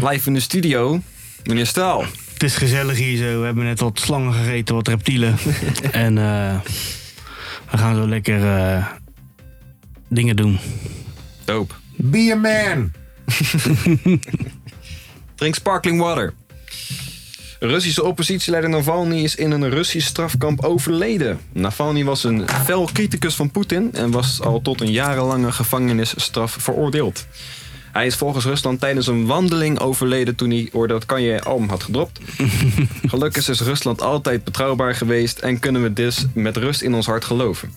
live in de studio, meneer Staal.
Het is gezellig hier zo. We hebben net wat slangen gegeten, wat reptielen. en eh, we gaan zo lekker eh, dingen doen.
Doop.
Be a man.
Drink sparkling water. Russische oppositieleider Navalny is in een Russisch strafkamp overleden. Navalny was een fel criticus van Poetin en was al tot een jarenlange gevangenisstraf veroordeeld. Hij is volgens Rusland tijdens een wandeling overleden toen hij oor dat Kanye album had gedropt. Gelukkig is Rusland altijd betrouwbaar geweest en kunnen we dus met rust in ons hart geloven.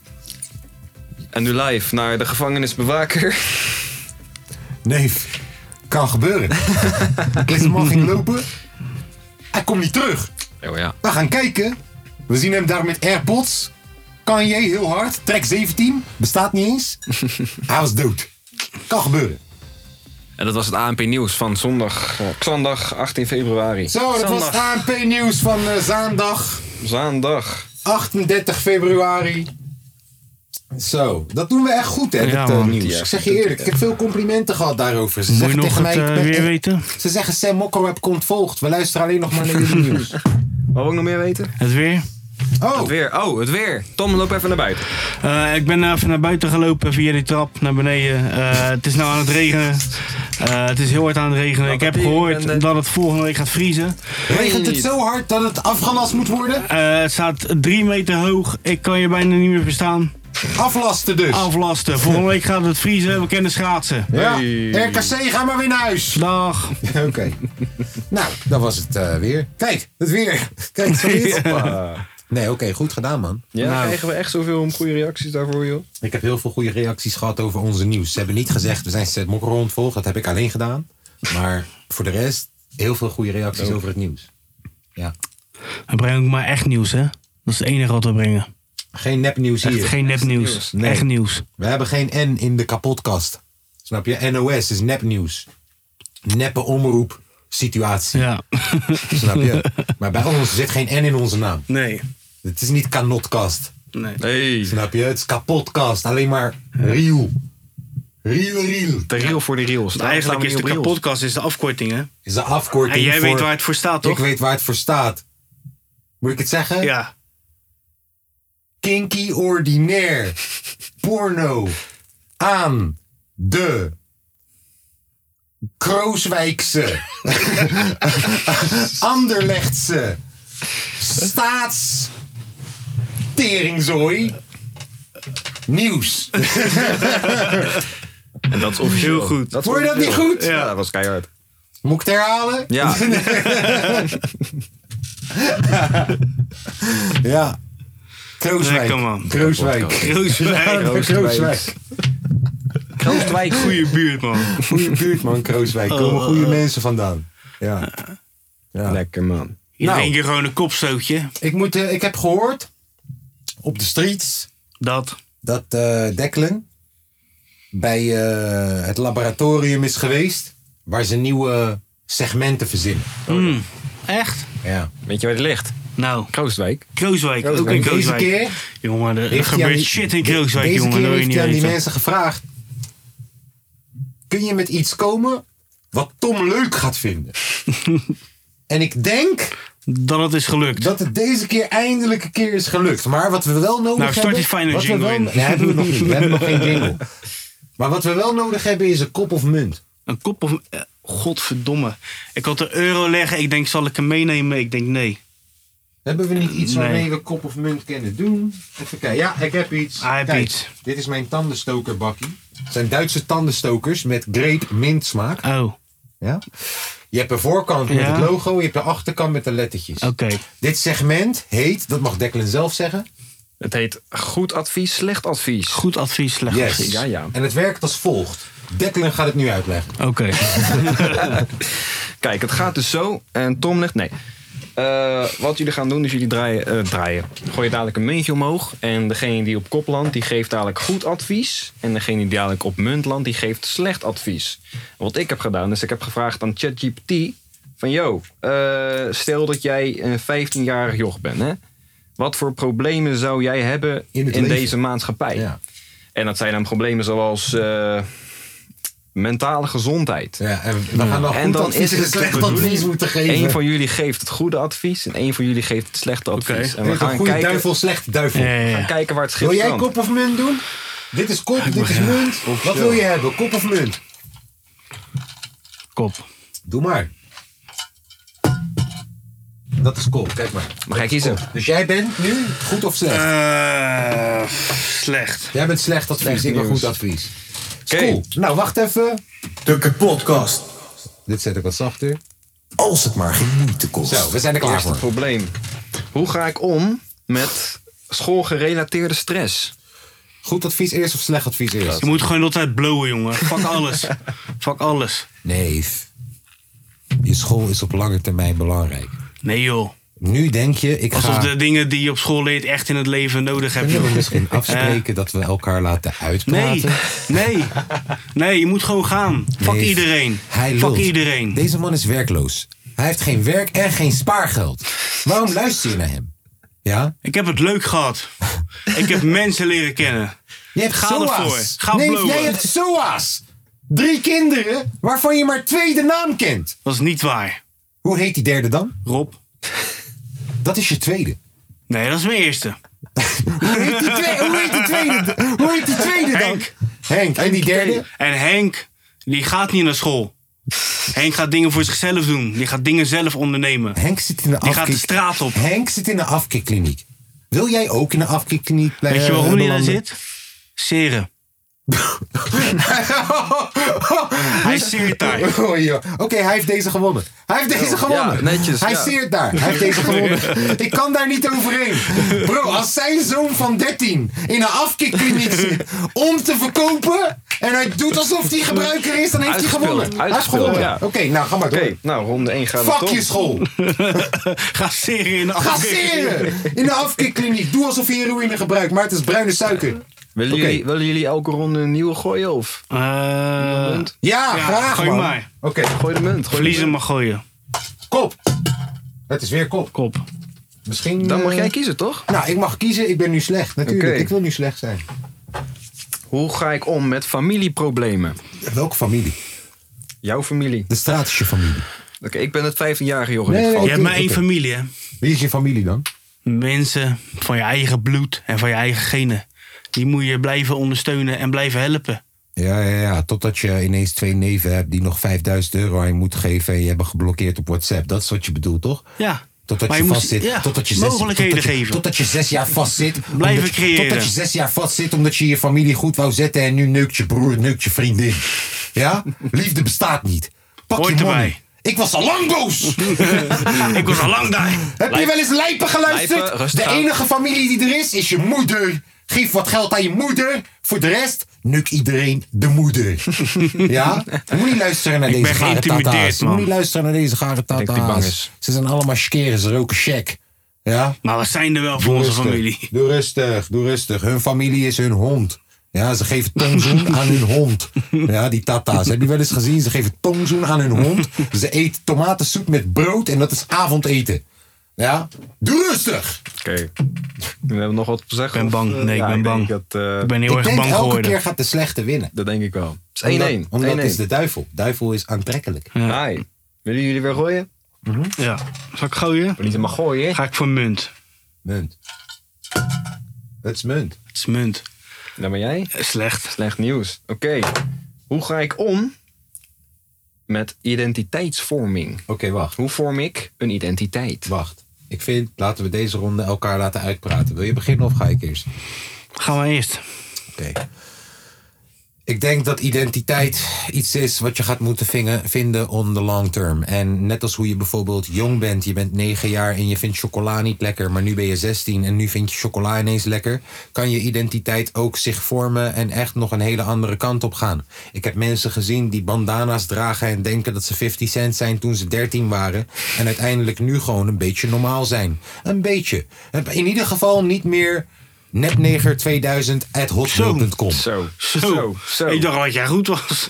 En nu live naar de gevangenisbewaker.
Neef, kan gebeuren. Deze man ging lopen. Hij komt niet terug.
Oh ja.
We gaan kijken. We zien hem daar met AirPods. Kanye heel hard. Track 17. Bestaat niet eens. Hij was dood. Kan gebeuren.
En dat was het ANP nieuws van zondag, eh, zondag 18 februari.
Zo, dat was
Zondag.
het ANP nieuws van eh, zaandag
Zaandag.
38 februari. Zo, dat doen we echt goed hè,
Ja,
dat eh,
man.
nieuws.
Ja,
ik zeg je eerlijk, ik heb veel complimenten gehad daarover. Ze
Moet je
zeggen
nog
tegen
het
mij, ik
eh,
ben
weer
echt-
weten?
Ze zeggen Sam Mokkerweb komt volgt. We luisteren alleen nog maar naar jullie nieuws.
Wou we ook nog meer weten?
Het weer?
Oh,
Het weer. Oh, het weer. Tom, loop even naar buiten.
Eh, ik ben even naar buiten gelopen via die trap naar beneden. Eh, het is nou aan het regenen. Eh, het is heel hard aan het regenen. Ik heb
papier en, eh,
gehoord dat het volgende week gaat vriezen.
regent het zo hard dat het afgelast moet worden?
Eh, het staat drie meter hoog. Ik kan je bijna niet meer verstaan.
Aflasten dus.
Aflasten. Volgende week gaat het vriezen. We kennen schaatsen.
Ja, RKC, ga maar weer naar huis.
Dag.
Oké. nou, dat was het eh, weer. Kijk, het weer. Kijk, zo dit. Nee, oké, goed gedaan, man.
Ja, krijgen we echt zoveel goede reacties daarvoor, joh.
Ik heb heel veel goede reacties gehad over onze nieuws. Ze hebben niet gezegd, we zijn Seth Mokker ontvolgd. Dat heb ik alleen gedaan. Maar voor de rest, heel veel goede reacties over het nieuws. Ja.
We brengen ook maar echt nieuws, hè? Dat is het enige wat we brengen.
Geen nepnieuws
Echt
hier.
geen nepnieuws.
Nee.
Echt nieuws.
We hebben geen N in de kapotkast. Snap je? NOS is nepnieuws. Neppe omroep situatie.
Ja.
Snap je? Maar bij ons zit geen N in onze naam.
Nee.
Het is niet kanotkast.
Nee.
Hey.
Snap je? Het is kapotkast. Alleen maar real. Real, real.
De reel voor de reels. Daarom
Eigenlijk is
staan
de
we niet op reels.
podcast is de afkorting, hè?
Is de afkorting
En jij
voor-
weet waar het voor staat,
Ik
toch?
weet waar het voor staat. Moet ik het zeggen?
Ja.
Kinky ordinair. Porno. Aan de. Krooswijkse. Anderlechtse. Staats. Teringzooi. Nieuws.
En dat is officieel.
Heel goed.
Dat is
Vond je dat niet
officieel.
goed?
Ja, dat was keihard.
Moet ik het herhalen?
Ja.
Ja. Krooswijk.
Lekker, man.
Krooswijk.
Rooswijk.
Krooswijk.
Kroostwijk.
Goeie buurt, man.
Goeie buurt, man, Krooswijk. Komen goede mensen vandaan. Ja. Ja.
Lekker, man.
Iedereen
Nou.
keer gewoon een kopstootje.
Ik, moet, eh, ik heb gehoord op de streets
Dat.
dat eh Declan bij eh, het laboratorium is geweest waar ze nieuwe segmenten verzinnen.
Echt?
Ja.
Weet je waar die ligt?
Nou,
Kroostwijk.
Krooswijk. Ook in
En deze
Krooswijk.
keer
Jongen, er- er
heeft hij aan
gebeurt
die-
shit in Krooswijk,
deze
jongen.
keer
Dat wil je
heeft
niet
hij aan die
weten.
mensen gevraagd: kun je met iets komen wat Tom leuk gaat vinden? en ik denk
Dat het is gelukt.
dat het deze keer eindelijk een keer is gelukt. Maar wat we wel nodig
Nou, start
hebben...
die final
wat we
jingle
wel-
in.
Nee, hebben we nog niet. We hebben nog geen jingle. Maar wat we wel nodig hebben is een kop of munt.
Een kop of... eh, Godverdomme. Ik had de euro leggen. Ik denk, zal ik hem meenemen? Ik denk, nee.
Hebben we niet iets
Nee.
waarmee we kop of munt kunnen doen? Even kijken. Ja, ik heb iets.
Hij heeft
Kijk,
iets.
Dit is mijn tandenstokerbakkie. Het zijn Duitse tandenstokers met grape mint smaak.
Oh, oké.
Ja? Je hebt de voorkant met
Ja.
het logo, je hebt de achterkant met de lettertjes. Dit segment heet, dat mag Declan zelf zeggen.
Het heet goed advies, slecht advies.
Goed advies, slecht
Yes.
advies.
Ja, ja.
En het werkt als volgt. Declan gaat het nu uitleggen.
Oké.
Kijk, het gaat dus zo. En Tom legt. Nee. Eh, wat jullie gaan doen is jullie draaien, eh draaien. Gooi je dadelijk een muntje omhoog. En degene die op kop landt, die geeft dadelijk goed advies. En degene die dadelijk op munt landt, die geeft slecht advies. Wat ik heb gedaan, is ik heb gevraagd aan ChatGPT. Van yo, eh, stel dat jij een 15-jarig joch bent. Hè? Wat voor problemen zou jij hebben
In
in,
het leven.
deze maatschappij?
Ja.
En dat zijn dan problemen zoals eh, mentale gezondheid.
Ja, en we gaan dan
En
goed
dan
advies
is
en
het
slecht
de bedoeling,
advies moeten geven.
Eén van jullie geeft het goede advies en één van jullie geeft het slechte advies. En
Dit
we
is een
gaan
goede
kijken,
duivel, slechte duivel.
Ja, ja,
we
ja.
gaan kijken waar het schip
Wil jij
strandt.
kop of munt doen? Dit is kop, dit is munt. Wat wil je hebben, kop of munt?
Kop.
Doe maar. Dat is kop, kijk maar.
Maar ga ik kiezen?
Dus jij bent nu goed of slecht?
Eh, slecht.
jij bent slecht advies, ik ben
nieuws.
goed advies.
Oké.
Cool. Nou, wacht even.
De kapotkast.
Dit zet ik wat zachter.
Als het maar geen moeite kost.
Zo, we zijn er klaar
Eerste
voor.
probleem. Hoe ga ik om met schoolgerelateerde stress?
Goed advies eerst of slecht advies eerst?
Je moet gewoon altijd blowen, jongen. Fuck alles. Fuck alles.
Nee. Je school is op lange termijn belangrijk.
Nee, joh.
Nu denk je, ik
Alsof
ga
de dingen die je op school leert echt in het leven nodig hebt.
Kunnen we
joh.
misschien
Eh,
afspreken dat we elkaar laten
nee,
uitpraten?
nee, nee, je moet gewoon gaan. Fuck
Nee,
iedereen.
Hij
Fuck
lult.
iedereen.
Deze man is werkloos. Hij heeft geen werk en geen spaargeld. Waarom luister je naar hem? Ja?
Ik heb het leuk gehad. Ik heb mensen leren kennen.
Je hebt
Ga ervoor.
SOA's.
Ga
nee,
blowen.
jij hebt SOA's. Drie kinderen waarvan je maar twee de naam kent.
Dat is niet waar.
Hoe heet die derde dan?
Rob?
Dat is je tweede.
Nee, dat is mijn eerste.
Hoe heet die, twee- hoe heet die tweede, hoe heet die tweede dan?
Henk.
Henk. En die derde?
En Henk, die gaat niet naar school. Henk gaat dingen voor zichzelf doen. Die gaat dingen zelf ondernemen.
Henk zit in de
Die gaat
afkik-
de straat op.
Henk zit in de afkikkliniek. Wil jij ook in de afkikkliniek blijven?
Weet je waarom die daar zit? Seren. Hij seert daar.
Oh, joh. Oké, hij heeft deze gewonnen. Hij heeft deze gewonnen.
Oh, netjes,
Hij
ja.
seert daar. Hij heeft deze gewonnen. Ik kan daar niet overheen. Bro, als zijn zoon van 13 in een afkikkliniek zit om te verkopen en hij doet alsof hij gebruiker is, dan heeft hij
Uitgespeeld.
gewonnen. Hij heeft
Uitgespeeld,
gewonnen.
ja.
Oké, nou ga maar door.
Oké, nou, ronde 1 gaat
Fuck je school.
Ga seren in de
Ga
afkik.
seren. In de afkikkliniek. Doe alsof je heroïne gebruikt, maar het is bruine suiker.
Willen,
Oké.
jullie, willen jullie elke ronde een nieuwe gooien of
Eh,
Ja,
Ja,
graag
gooi
man.
maar.
Oké,
gooi de munt? Gooi de
verliezen mag gooien.
kop. Het is weer kop.
Kop.
Misschien...
munt. Dan mag
eh,
jij kiezen, toch?
Nou, ik mag kiezen. Ik ben nu slecht. Natuurlijk.
Oké.
Ik wil nu slecht zijn.
Hoe ga ik om met familieproblemen?
Welke familie?
Jouw familie.
De straat is je familie.
Oké, ik ben het 15-jarige jongen. in
Nee, nee,
dit geval.
Je hebt maar
Oké,
één
oké.
familie, hè?
Wie is je familie dan?
Mensen van je eigen bloed en van je eigen genen. Die moet je blijven ondersteunen en blijven helpen.
Ja, ja, ja. Totdat je ineens twee neven hebt die nog 5000 euro aan je moeten geven. en je hebben geblokkeerd op WhatsApp. Dat is wat je bedoelt, toch?
Ja.
Totdat
Maar
je,
je moest-
vastzit.
ja,
totdat je zes,
mogelijkheden
totdat je,
geven.
Totdat je zes jaar vastzit.
Blijven
omdat je-
creëren.
Totdat je zes jaar vastzit omdat je je familie goed wou zetten. En nu neukt je broer, neukt je vriendin. Ja? Liefde bestaat niet. Pak
Hoort
je money.
erbij.
Ik was al lang boos. Ah.
Ik was al lang daar.
Heb je wel eens lijpen geluisterd?
Lijpen, rustig
de
aan.
enige familie die er is, is je moeder. Geef wat geld aan je moeder. Voor de rest, nuk iedereen de moeder. ja? Je moet niet luisteren naar
Ik
deze
ben
gare
geïntimideerd,
tata's. Je moet
man.
niet luisteren naar deze gare
dat die bang
tata's.
is.
Ze zijn allemaal schkeren, ze roken check. Ja?
Maar we zijn er wel voor onze familie.
Doe rustig, doe rustig. Hun familie is hun hond. Ja, ze geven tongzoen aan hun hond. Ja, die tata's. Heb je wel eens gezien? Ze geven tongzoen aan hun hond. Ze eten tomatensoep met brood en dat is avondeten. Ja? Doe rustig!
Oké. We hebben nog wat te zeggen.
Ik ben
of,
bang.
eh,
Nee, ik
ja,
ben
denk
bang.
Dat, eh,
Ik ben heel
ik
erg
denk
bang
elke keer
geworden.
gaat de slechte winnen.
dat denk ik wel. Het is 1-1.
Omdat, omdat het is
1-1.
de duivel. Duivel is aantrekkelijk.
Hai. Willen jullie weer gooien?
Ja. Zal ik gooien?
Niet mag gooien.
Ga ik voor munt.
Munt. Het is munt.
Het is munt.
Dan ben jij.
Eh, Slecht.
Slecht nieuws. Oké. Hoe ga ik om met identiteitsvorming?
Oké, wacht.
Hoe vorm ik een identiteit?
Wacht. Ik vind, laten we deze ronde elkaar laten uitpraten. Wil je beginnen of ga ik eerst?
Gaan we eerst.
Oké. Ik denk dat identiteit iets is wat je gaat moeten vingen- vinden on the long term. En net als hoe je bijvoorbeeld jong bent, je bent 9 jaar en je vindt chocola niet lekker, maar nu ben je 16 en nu vind je chocola ineens lekker, kan je identiteit ook zich vormen en echt nog een hele andere kant op gaan. Ik heb mensen gezien die bandana's dragen en denken dat ze 50 cent zijn toen ze 13 waren en uiteindelijk nu gewoon een beetje normaal zijn. Een beetje. In ieder geval niet meer netneger2000 at hotmail.com.
Zo.
Zo. Ik dacht dat jij goed was.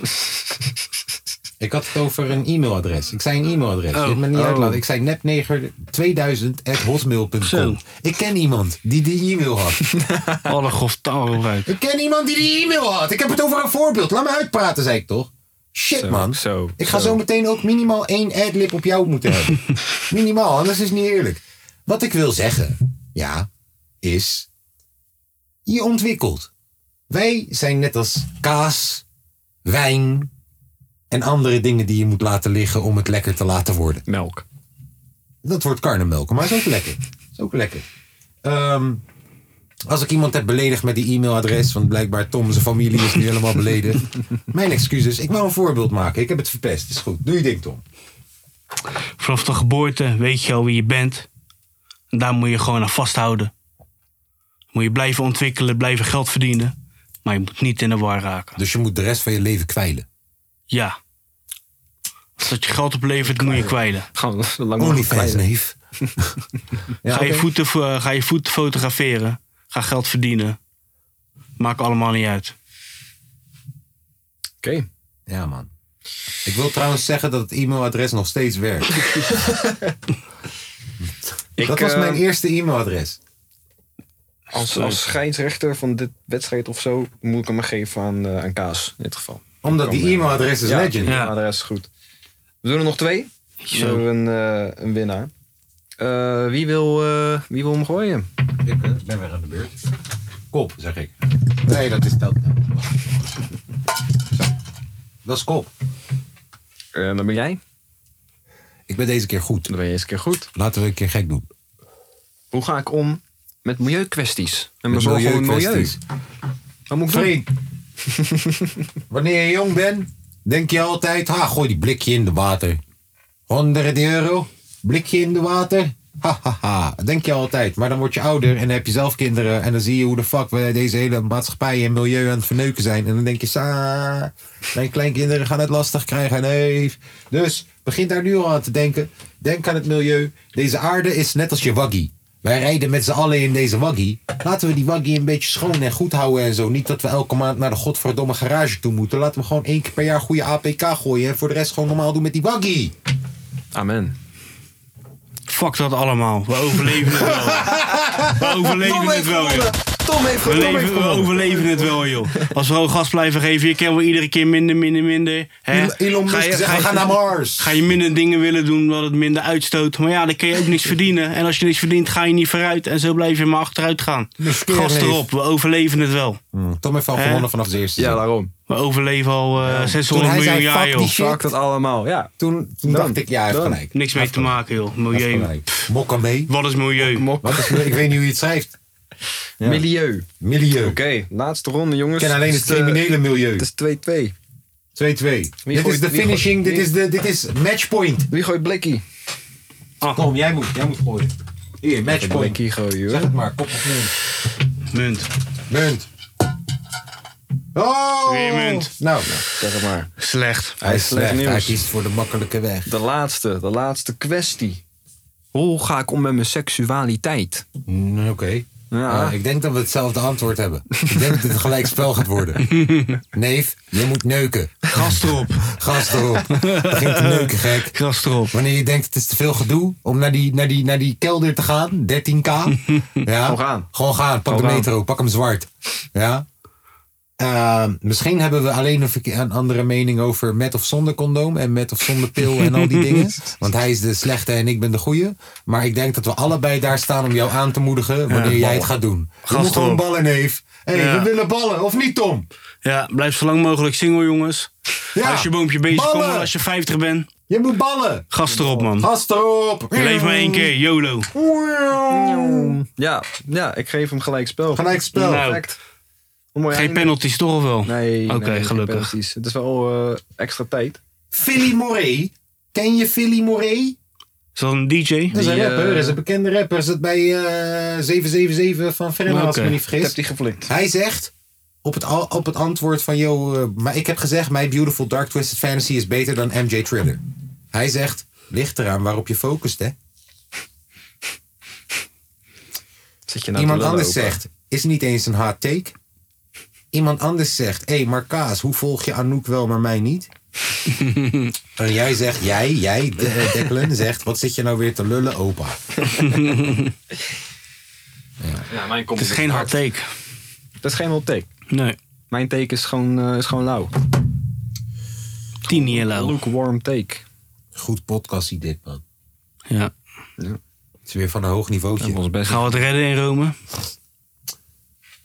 Ik had het over een e-mailadres. Ik zei een e-mailadres. Je
Oh.
hebt me niet
Oh.
uitlaten. Ik zei
Zo.
nepneger2000.hotmail.com. Ik ken iemand die die e-mail had.
Alle grof taal uit.
ik ken iemand die die e-mail had. Ik heb het over een voorbeeld. Laat me uitpraten, zei ik toch? Shit,
Zo,
man.
zo,
ik ga
zo.
zo meteen ook minimaal één adlib op jou moeten hebben. minimaal, anders is het niet eerlijk. Wat ik wil zeggen, ja, is... Je ontwikkelt. Wij zijn net als kaas, wijn en andere dingen die je moet laten liggen om het lekker te laten worden.
Melk.
Dat wordt karnemelk, maar is ook lekker. Is ook lekker. Ehm, als ik iemand heb beledigd met die e-mailadres, want blijkbaar Tom zijn familie is nu helemaal beledigd. Mijn excuses, ik wou een voorbeeld maken. Ik heb het verpest. Is goed. Doe je ding, Tom.
Vanaf de geboorte weet je al wie je bent. En daar moet je gewoon aan vasthouden. Moet je blijven ontwikkelen, blijven geld verdienen. Maar je moet niet in de war raken.
Dus je moet de rest van je leven kwijlen.
Ja. Als dat je geld oplevert, moet je kwijlen.
Gewoon lang
Onlyfans, neef. Ja,
ga, je
oké.
voeten, fo- eh, ga je voeten fotograferen. Ga geld verdienen. Maakt allemaal niet uit.
Oké.
Ja, man. Ik wil trouwens zeggen dat het e-mailadres nog steeds werkt. dat
Ik,
was
eh,
mijn eerste e-mailadres.
Als, als scheidsrechter van dit wedstrijd of zo, moet ik hem maar geven aan, eh, aan Kaas in dit geval.
Omdat die e-mailadres is
Ja,
legend.
Ja, de rest is goed. We doen er nog twee. Zo. We hebben een, eh, een winnaar. Eh, wie, wil, eh, wie wil hem gooien?
Ik eh, ben weer aan de beurt. Kop, zeg ik. Nee, dat is dat. Zo. Dat is kop.
Eh dan ben jij.
Ik ben deze keer goed.
Dan ben je eens een keer goed.
Laten we een keer gek doen.
Hoe ga ik om met milieukwesties? En
Met
bezorgen voor het milieu.
milieukwesties.
Wat moet ik doen?
Vriend, wanneer je jong bent, denk je altijd, ha, gooi die blikje in de water. 100 euro, blikje in de water. Ha, ha, ha. Dat Denk je altijd. Maar dan word je ouder en dan heb je zelf kinderen. En dan zie je hoe de fuck we deze hele maatschappij en milieu aan het verneuken zijn. En dan denk je, sa, mijn kleinkinderen gaan het lastig krijgen. Nee. Dus begin daar nu al aan te denken. Denk aan het milieu. Deze aarde is net als je waggie. Wij rijden met z'n allen in deze waggie. Laten we die waggie een beetje schoon en goed houden en zo. Niet dat we elke maand naar de godverdomme garage toe moeten. Laten we gewoon één keer per jaar goede APK gooien. En voor de rest gewoon normaal doen met die waggie.
Amen.
Fuck dat allemaal. We overleven het wel. We overleven het wel, joh.
Tom heeft
We, leven, we overleven het wel, joh. Als we hoog gas blijven geven, je kan wel iedere keer minder, minder, minder. Hè?
Elon Musk
Ga je-
zegt,
ga
we
je-
gaan naar Mars.
Ga je minder dingen willen doen omdat het minder uitstoot. Maar ja, dan kan je ook niks verdienen. En als je niks verdient, ga je niet vooruit. En zo blijf je maar achteruit gaan.
Miskeer
Gas
leef.
erop, we overleven het wel.
Tom heeft al
Hè?
gewonnen vanaf zijn eerste
Ja,
zin.
daarom.
We overleven al eh,
Toen
600
hij
miljoen
zei,
jaar,
fuck die
joh.
shit.
Fuck dat allemaal, ja.
Toen, toen
Dan.
dacht ik, ja, hij heeft
Dan.
gelijk.
Niks mee
Hij
te
heeft
maken, joh.
gelijk. Hij heeft
Milieu.
gelijk. Mokka mee.
Wat is milieu?
Mok.
Wat is, ik weet niet hoe je het schrijft.
Milieu.
Milieu.
Oké, laatste ronde, jongens.
Ik ken alleen het
is, eh,
criminele milieu. 2-2.
Het is 2-2.
Dit is
gooit-
de
wie
finishing,
gooit-
dit is, de, dit is matchpoint.
Wie gooit Blikkie? Ah.
Kom, jij moet, jij moet gooien. Hier, matchpoint.
Blikkie gooien,
Zeg
hoor.
het maar, kop of munt.
Munt.
Munt. Oh!
Weer munt.
Nou,
Zeg het maar.
Slecht.
hij is
slecht
slecht. Hij
nieuws.
kiest voor de makkelijke weg.
De laatste, de laatste kwestie. Hoe ga ik om met mijn seksualiteit?
Mm, Oké.
Ja.
Eh, ik denk dat we hetzelfde antwoord hebben. Ik denk dat het gelijk spel gaat worden. Neef, je moet neuken.
Gas erop.
Gast erop. Begin te neuken, gek.
Gas erop.
Wanneer je denkt het is te veel gedoe om naar die, naar die, naar die kelder te gaan, 13k. Ja?
Gewoon gaan.
Gewoon gaan. Pak
Gewoon
de
gaan.
metro, pak hem zwart. Ja? Ehm, misschien hebben we alleen een, verke- een andere mening over met of zonder condoom en met of zonder pil en al die dingen. Want hij is de slechte en ik ben de goeie. Maar ik denk dat we allebei daar staan om jou aan te moedigen wanneer jij het gaat doen. Je
Gast
moet gewoon
erop.
ballen, neef. Hé, hey,
Ja.
we willen ballen, of niet, Tom?
Ja, blijf zo lang mogelijk single, jongens.
Ja.
Als je boompje bezig komt,
ballen.
als je 50 bent,
Je moet ballen.
gas erop, man.
Gast erop.
Leef maar één keer, YOLO.
Ja, ja, ik geef hem gelijk spel.
Gelijk spel.
Nou.
Perfect. Een mooi
Geen
einde.
penalties toch of wel?
Nee,
Oké,
nee, geen
gelukkig.
penalties. Het is wel eh, extra tijd.
Philly Moray. Ken je Philly Moray?
Is dat een DJ?
Dat is
Die,
een rapper,
eh,
dat is een bekende rapper. Zit bij eh 777 van Ferma, als ik me
Oké.
niet
Ik
vergis.
heb die geflikt.
Hij zegt op het, al- op het antwoord van... Yo, eh, maar ik heb gezegd, My Beautiful Dark Twisted Fantasy is beter dan MJ Thriller. Hij zegt, ligt eraan waarop je focust, hè.
Zit je nou
Iemand
te lullen
anders
open?
zegt, is niet eens een hot take. Iemand anders zegt, hé, hey, maar Kaas, hoe volg je Anouk wel, maar mij niet? en jij zegt, jij, jij, de, eh, Declan, zegt, wat zit je nou weer te lullen, opa?
Ja, mijn
Het is geen hard take.
Dat is geen hot take.
Nee.
Mijn take is gewoon, eh, is gewoon lauw.
Tien niet lauw.
Lukewarm take.
Goed podcastie dit, man.
Ja.
Het is weer van een hoog niveautje.
Dat was best.
Gaan we het redden in Rome?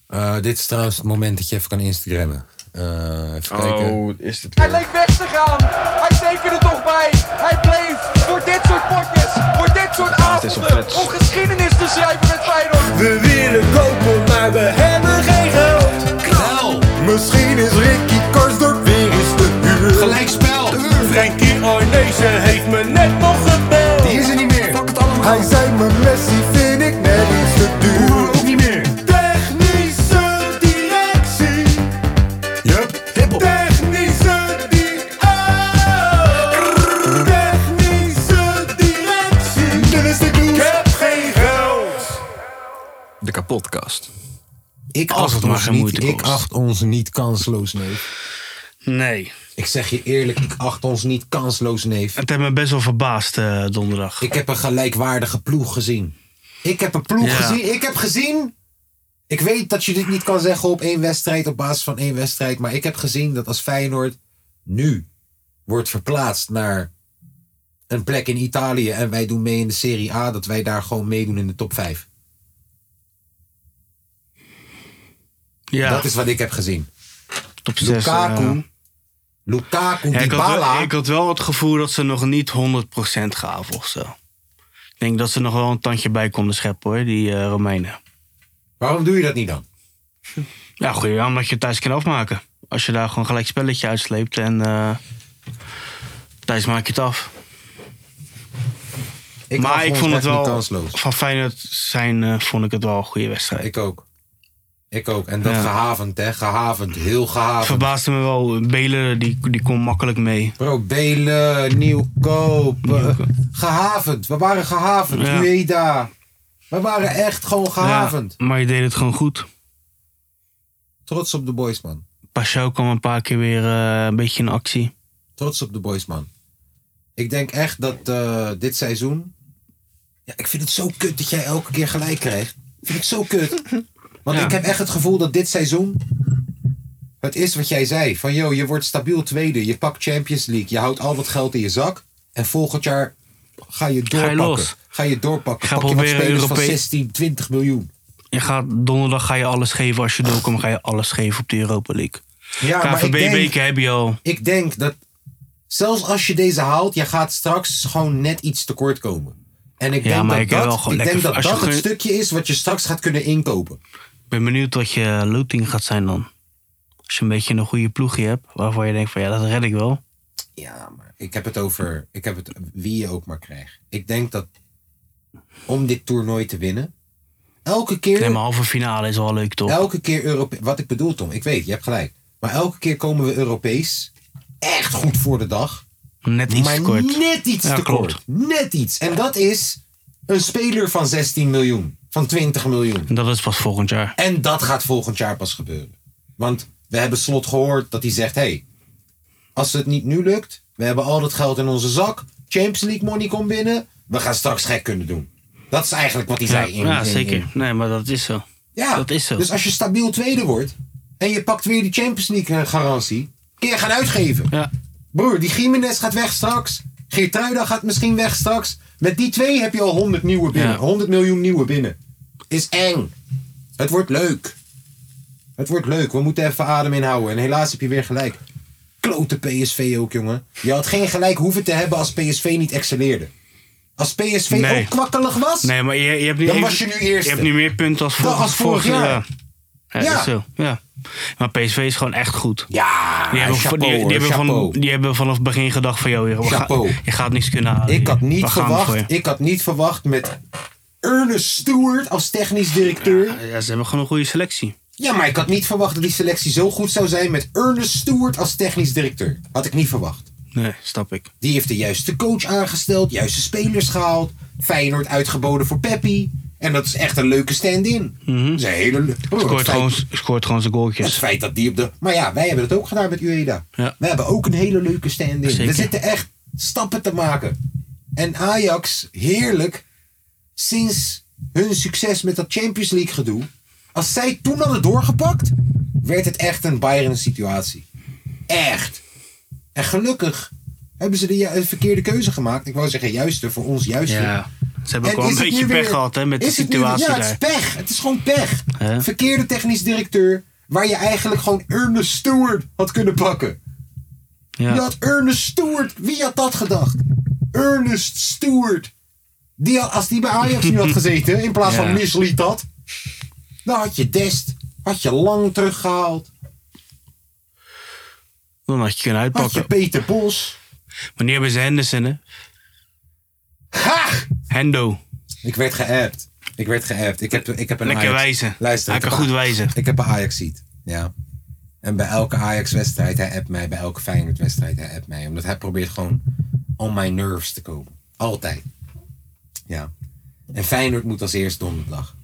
Eh, dit is trouwens het moment dat je even kan Instagrammen. Eh, even kijken.
Oh, is dit
Hij leek weg te gaan. Hij tekende toch bij. Hij bleef door dit soort potjes, voor dit soort
het is
avonden,
op Fets.
om geschiedenis te schrijven met Feyenoord.
We willen kopen, maar we hebben geen geld. Knal! Misschien is Ricky Karsdorp weer eens te duur.
Gelijkspel!
Frankie Arnezen heeft me net nog gebeld.
Die is er niet meer!
Hij zei mijn Messi vind ik net iets te duur. Ook niet meer. Technische directie. Yup. Technische directie.
podcast.
Ik
Als
acht,
het maar
ons
geen
niet,
moeite
ik
kost.
acht ons niet kansloos, neef.
Nee.
Ik zeg je eerlijk, ik acht ons niet kansloos, neef.
Het heeft me best wel verbaasd eh, donderdag.
Ik heb een gelijkwaardige ploeg gezien. Ik heb een ploeg
Ja.
gezien. Ik heb gezien. Ik weet dat je dit niet kan zeggen op één wedstrijd, op basis van één wedstrijd. Maar ik heb gezien dat als Feyenoord nu wordt verplaatst naar een plek in Italië. En wij doen mee in de Serie A. Dat wij daar gewoon meedoen in de top 5.
ja,
Dat is wat ik heb gezien.
top zes,
Lukaku.
eh,
Lukaku,
ja, ik, had
Dybala.
wel, ik had wel het gevoel dat ze nog niet 100% gaven of zo. Ik denk dat ze nog wel een tandje bij konden scheppen hoor, die eh, Romeinen.
Waarom doe je dat niet dan?
Ja, goed, ja, omdat je het thuis kan afmaken. Als je daar gewoon gelijk spelletje uitsleept en eh, thuis maak je het af.
Ik acht
maar ik
ons
vond het
echt niet
wel,
kansloos.
van Feyenoord zijn eh, vond ik het wel een goede wedstrijd.
Ik ook. Ik ook. En dat
Ja.
gehavend, hè? Gehavend. Heel
Het
gehavend.
verbaasde me wel, Belen die, die kon makkelijk mee.
Bro, Belen, Nieuwkoop. eh,
Nieuwkoop.
gehavend. We waren gehavend.
Ja.
Ueda. We waren echt gewoon gehavend.
Ja, maar je deed het gewoon goed.
Trots op de boys, man.
Pashao kwam een paar keer weer eh, een beetje in actie.
Trots op de boys, man. Ik denk echt dat eh, dit seizoen... Ja, ik vind het zo kut dat jij elke keer gelijk krijgt. Vind ik zo kut. Want
Ja.
ik heb echt het gevoel dat dit seizoen... Het is wat jij zei. Van, joh, je wordt stabiel tweede. Je pakt Champions League. Je houdt al wat geld in je zak. En volgend jaar ga je doorpakken. Ga je,
los.
doorpakken.
Ga
Pak je wat
proberen
spelers van
Europees-
16, 20 miljoen.
Je gaat, donderdag ga je alles geven. Als je doorkomt ga je alles geven op de Europa League.
Ja, maar ik
KVB
denk,
weken heb je al.
ik denk dat... Zelfs als je deze haalt, je gaat straks gewoon net iets tekort komen. En ik
Ja,
denk
maar
dat
ik heb wel
dat,
gewoon
ik
lekker-
denk dat,
als je
dat het
gewoon-
stukje is wat je straks gaat kunnen inkopen.
Ik ben benieuwd wat je loting gaat zijn dan. Als je een beetje een goede ploegje hebt. Waarvan je denkt van ja dat red ik wel.
Ja, maar ik heb het over ik heb het, wie je ook maar krijgt. Ik denk dat om dit toernooi te winnen, elke keer,
Nee maar halve finale is wel leuk toch.
elke keer Europe, wat ik bedoel Tom, ik weet, je hebt gelijk. Maar elke keer komen we Europees echt goed voor de dag.
Net iets
maar
te kort.
net iets
Ja,
te
klopt.
kort. Net iets. En dat is een speler van 16 miljoen, van 20 miljoen.
En Dat is pas volgend jaar.
En dat gaat volgend jaar pas gebeuren. Want we hebben slot gehoord dat hij zegt: hé, hey, als het niet nu lukt, we hebben al dat geld in onze zak, Champions League money komt binnen, we gaan straks gek kunnen doen. Dat is eigenlijk wat hij
Ja,
zei. in-
ja
in- in-
zeker. Nee maar dat is zo.
ja,
Dat is zo.
Dus als je stabiel tweede wordt en je pakt weer die Champions League eh, garantie, kun je gaan uitgeven.
Ja.
Broer, die Gimenez gaat weg straks. Geertruida gaat misschien weg straks. Met die twee heb je al 100, nieuwe binnen.
Ja.
100 miljoen nieuwe binnen. Is eng. Het wordt leuk. Het wordt leuk. We moeten even adem inhouden. En helaas heb je weer gelijk. Klote PSV ook, jongen. Je had geen gelijk hoeven te hebben als PSV niet excelleerde. Als PSV
Nee.
ook kwakkelig was.
Nee maar je, je hebt nu
Dan
even-
was je nu eerste.
Je hebt nu meer punten als, vorig-
als vorig jaar.
Ja,
Ja.
dat is zo. Ja. Maar PSV is gewoon echt goed.
Ja,
Die hebben,
Ah, chapeau,
die- die,
hoor,
hebben
chapeau.
van, die hebben vanaf het begin gedacht van... Yo, we gaan-
Chapeau.
je gaat niks kunnen halen.
Ik had
We
niet
gaan voor
verwacht.
je.
Ik had niet verwacht met Ernest Stewart als technisch directeur.
Ja, ze hebben gewoon een goede selectie.
Ja, maar ik had niet verwacht dat die selectie zo goed zou zijn met Ernest Stewart als technisch directeur. Had ik niet verwacht.
Nee, snap ik.
Die heeft de juiste coach aangesteld, juiste spelers gehaald. Feyenoord uitgeboden voor Peppi. En dat is echt een leuke stand-in. Dat is een hele le- Oh, Bro, het
Mhm. Scoort
feit-
gewoon, scoort gewoon zijn
Het
goaltjes.
feit dat die op de. Maar ja, wij hebben het ook gedaan met Ueda.
Ja.
We hebben ook een hele leuke stand-in. We
Zeker.
zitten echt stappen te maken. En Ajax, heerlijk, sinds hun succes met dat Champions League gedoe. Als zij toen hadden doorgepakt, werd het echt een Bayern-situatie. Echt. En gelukkig hebben ze de ju- de verkeerde keuze gemaakt. Ik wou zeggen, juiste, voor ons juiste.
Ja. Ze hebben ook
En
wel een
is het
beetje
nu
pech
weer-
gehad hè, met de
is het nu weer-
situatie
ja,
daar.
het is pech. Het is gewoon pech.
Hè?
Verkeerde technisch directeur, waar je eigenlijk gewoon Ernest Stewart had kunnen pakken.
Ja.
Je had Ernest Stewart, wie had dat gedacht? Ernest Stewart. Die had- als die bij Ajax nu had gezeten, in plaats
Ja.
van Misliet dat, dan had je Dest, had je Lang teruggehaald,
Dan had je kunnen
had je
uitpakken.
Peter Bos.
Maar nu hebben ze Henderson, hè?
Ha!
Hendo.
Ik werd geappt. Ik werd geappt. Ik heb, ik heb een
Lekker
Ajax-
wijzen.
Luister, ik
Hij kan
heb
goed
een-
wijzen.
Ik heb een Ajax-seat. Ja. En bij elke Ajax-wedstrijd, hij appt mij. Bij elke Feyenoord-wedstrijd, hij appt mij. Omdat hij probeert gewoon on my nerves te komen. Altijd. Ja. En Feyenoord moet als eerst donderdag.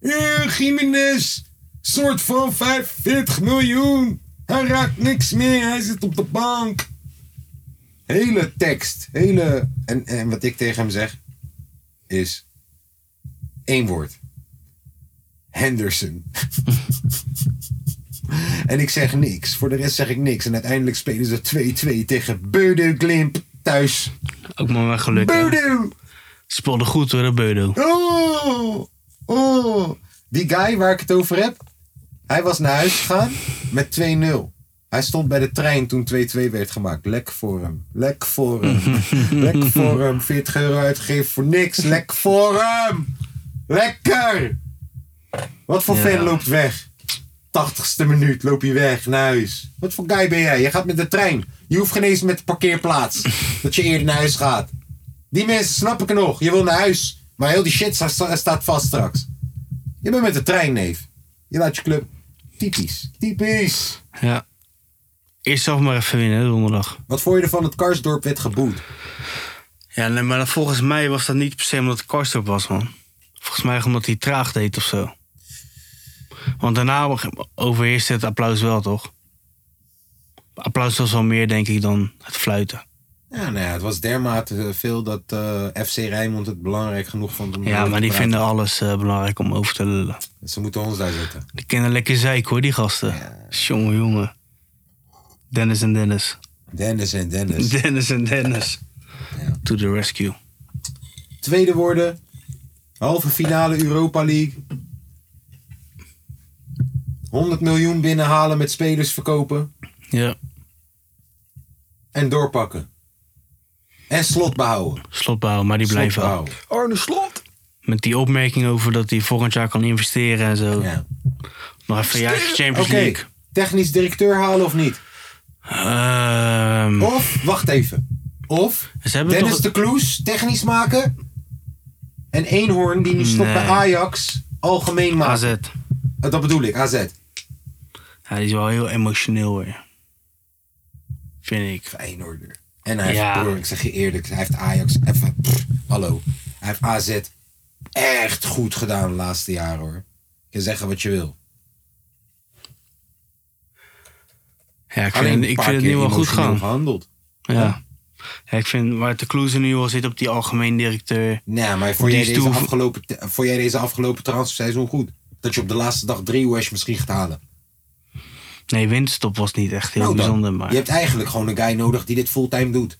Eh, Jiménez, soort van 45 miljoen. Hij raakt niks meer, hij zit op de bank. Hele tekst, hele... En, en wat ik tegen hem zeg, is één woord. Henderson. en ik zeg niks. Voor de rest zeg ik niks. En uiteindelijk spelen ze 2-2 tegen Beudo Glimp thuis.
Ook maar wel geluk. hè.
Beudo!
Speelde goed hoor, dat Beudo.
Oh, oh. Die guy waar ik het over heb, hij was naar huis gegaan met 2-0. Hij stond bij de trein toen 2-2 werd gemaakt. Lek voor hem. Lek voor hem. Lek voor hem. 40 euro uitgegeven voor niks. Lek voor hem. Lekker. Wat voor fan loopt weg? 80ste minuut loop je weg naar huis. Wat voor guy ben jij? Je gaat met de trein. Je hoeft geen eens met de parkeerplaats. Dat je eerder naar huis gaat. Die mensen snap ik nog. Je wil naar huis. Maar heel die shit sta- sta- staat vast straks. Je bent met de trein, neef. Je laat je club. Typisch. Typisch.
Ja. Eerst zelf maar even winnen, hè, donderdag.
Wat vond je ervan dat Karsdorp werd geboet?
Ja, nee, maar volgens mij was dat niet per se omdat het Karstorp was, man. Volgens mij omdat hij traag deed of zo. Want daarna overheerste het applaus wel, toch? Applaus was wel meer, denk ik, dan het fluiten.
Ja, nou ja, het was dermate eh, veel dat eh, FC Rijnmond het belangrijk genoeg vond om
Ja,
erover
maar
te
die
praten.
vinden alles eh, belangrijk om over te lullen.
Ze moeten ons daar zetten.
Die kennen lekker zeik, hoor, die gasten. Jongen, jongen. Dennis en Dennis.
Dennis en Dennis.
Dennis en Dennis. To the rescue.
Tweede worden. Halve finale Europa League. 100 miljoen binnenhalen met spelers verkopen.
Ja,
En doorpakken. En slot behouden.
slot behouden, maar die
Slot
blijven al.
behouden.
Arne Slot.
Met die opmerking over dat hij volgend jaar kan investeren en zo.
Ja.
Nog even een jaartje
Oké,
Champions League.
technisch directeur halen of niet?
Ehm,
Of, wacht even. Of,
ze hebben
Oh, Dennis
toch...
de Kloes, technisch maken. En Eenhoorn, die nu stopt
Nee.
bij Ajax, algemeen maken.
AZ.
Eh, Dat bedoel ik, AZ.
Ja, die is wel heel emotioneel hoor. Vind ik.
Feyenoorder. En hij heeft,
Ja.
broer, ik zeg je eerlijk, hij heeft Ajax even, pff, hallo. Hij heeft AZ echt goed gedaan de laatste jaren hoor. Je kan zeggen wat je wil.
Ja, ik
Alleen
vind,
een
ik
paar
vind het
keer
nu wel goed
emotioneel
gaan.
gehandeld.
Ja. ja. Ik vind waar de Kloeze nu al zit op die algemeen directeur.
Nee, maar vond
Die
jij,
is
deze
toe-
afgelopen, te- vond jij deze afgelopen transferseizoen goed? Dat je op de laatste dag drie wash misschien gaat halen.
Nee, winststop was niet echt heel
Nou dan,
bijzonder. Maar...
Je hebt eigenlijk gewoon een guy nodig die dit fulltime doet.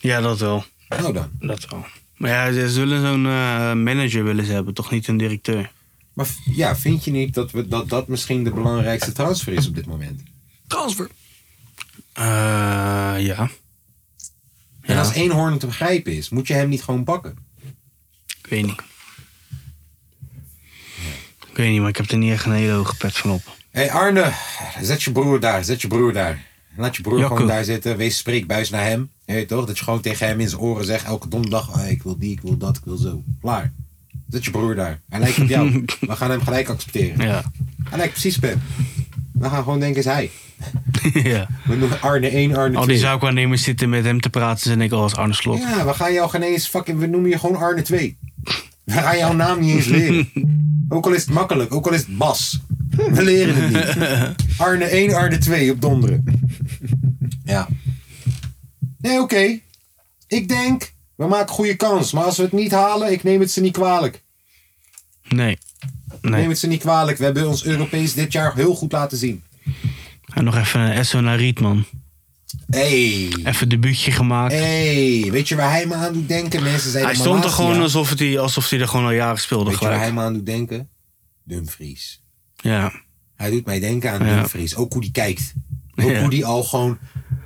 Ja, dat wel.
Nou dan.
Dat wel. Maar ja, ze zullen zo'n eh, manager willen ze hebben, toch niet een directeur?
Maar v- ja, vind je niet dat we, dat, dat misschien de belangrijkste transfer is op dit moment?
Transfer.
Eh, ja.
En
Ja.
als Eenhoorn te begrijpen is, moet je hem niet gewoon pakken?
Ik weet niet. Ik weet niet, maar ik heb er niet echt een hele hoge pet van op.
Hé hey Arne, zet je broer daar, zet je broer daar. Laat je broer
Jacco.
gewoon daar zitten, wees spreekbuis naar hem. Je weet toch, dat je gewoon tegen hem in zijn oren zegt elke donderdag... "Ah, ik wil die, ik wil dat, ik wil zo. Klaar. Zet je broer daar. Hij lijkt op jou. We gaan hem gelijk accepteren.
Ja.
Hij lijkt precies op hem. We gaan gewoon denken, is hij.
ja.
We noemen Arne 1, Arne
Al
2.
Oh, die zaakwaarnemers zitten met hem te praten, en ik al als Arne Slot.
Ja, we gaan jou geen eens fucking, we noemen je gewoon Arne 2. We gaan jouw naam niet eens leren. Ook al is het makkelijk, ook al is het Bas. We leren het niet. Arne 1, Arne 2 op donderen. Ja. Nee, oké. Ik denk, we maken goede kans. Maar als we het niet halen, ik neem het ze niet kwalijk.
Nee.
Ik neem
nee.
het ze niet kwalijk. We hebben ons Europees dit jaar heel goed laten zien.
En nog even eh, een SO naar Rietman.
Hey.
Even debuutje gemaakt.
Eh, Hey. Weet je waar hij me aan doet denken? Mensen zeiden
hij stond er
Malasia.
gewoon alsof hij, alsof hij er gewoon al jaren speelde.
Weet je waar
gelijk.
hij me aan doet denken? Dumfries.
Ja.
Hij doet mij denken aan
Ja.
Dumfries. Ook hoe die kijkt. Ook
Ja.
hoe die al gewoon...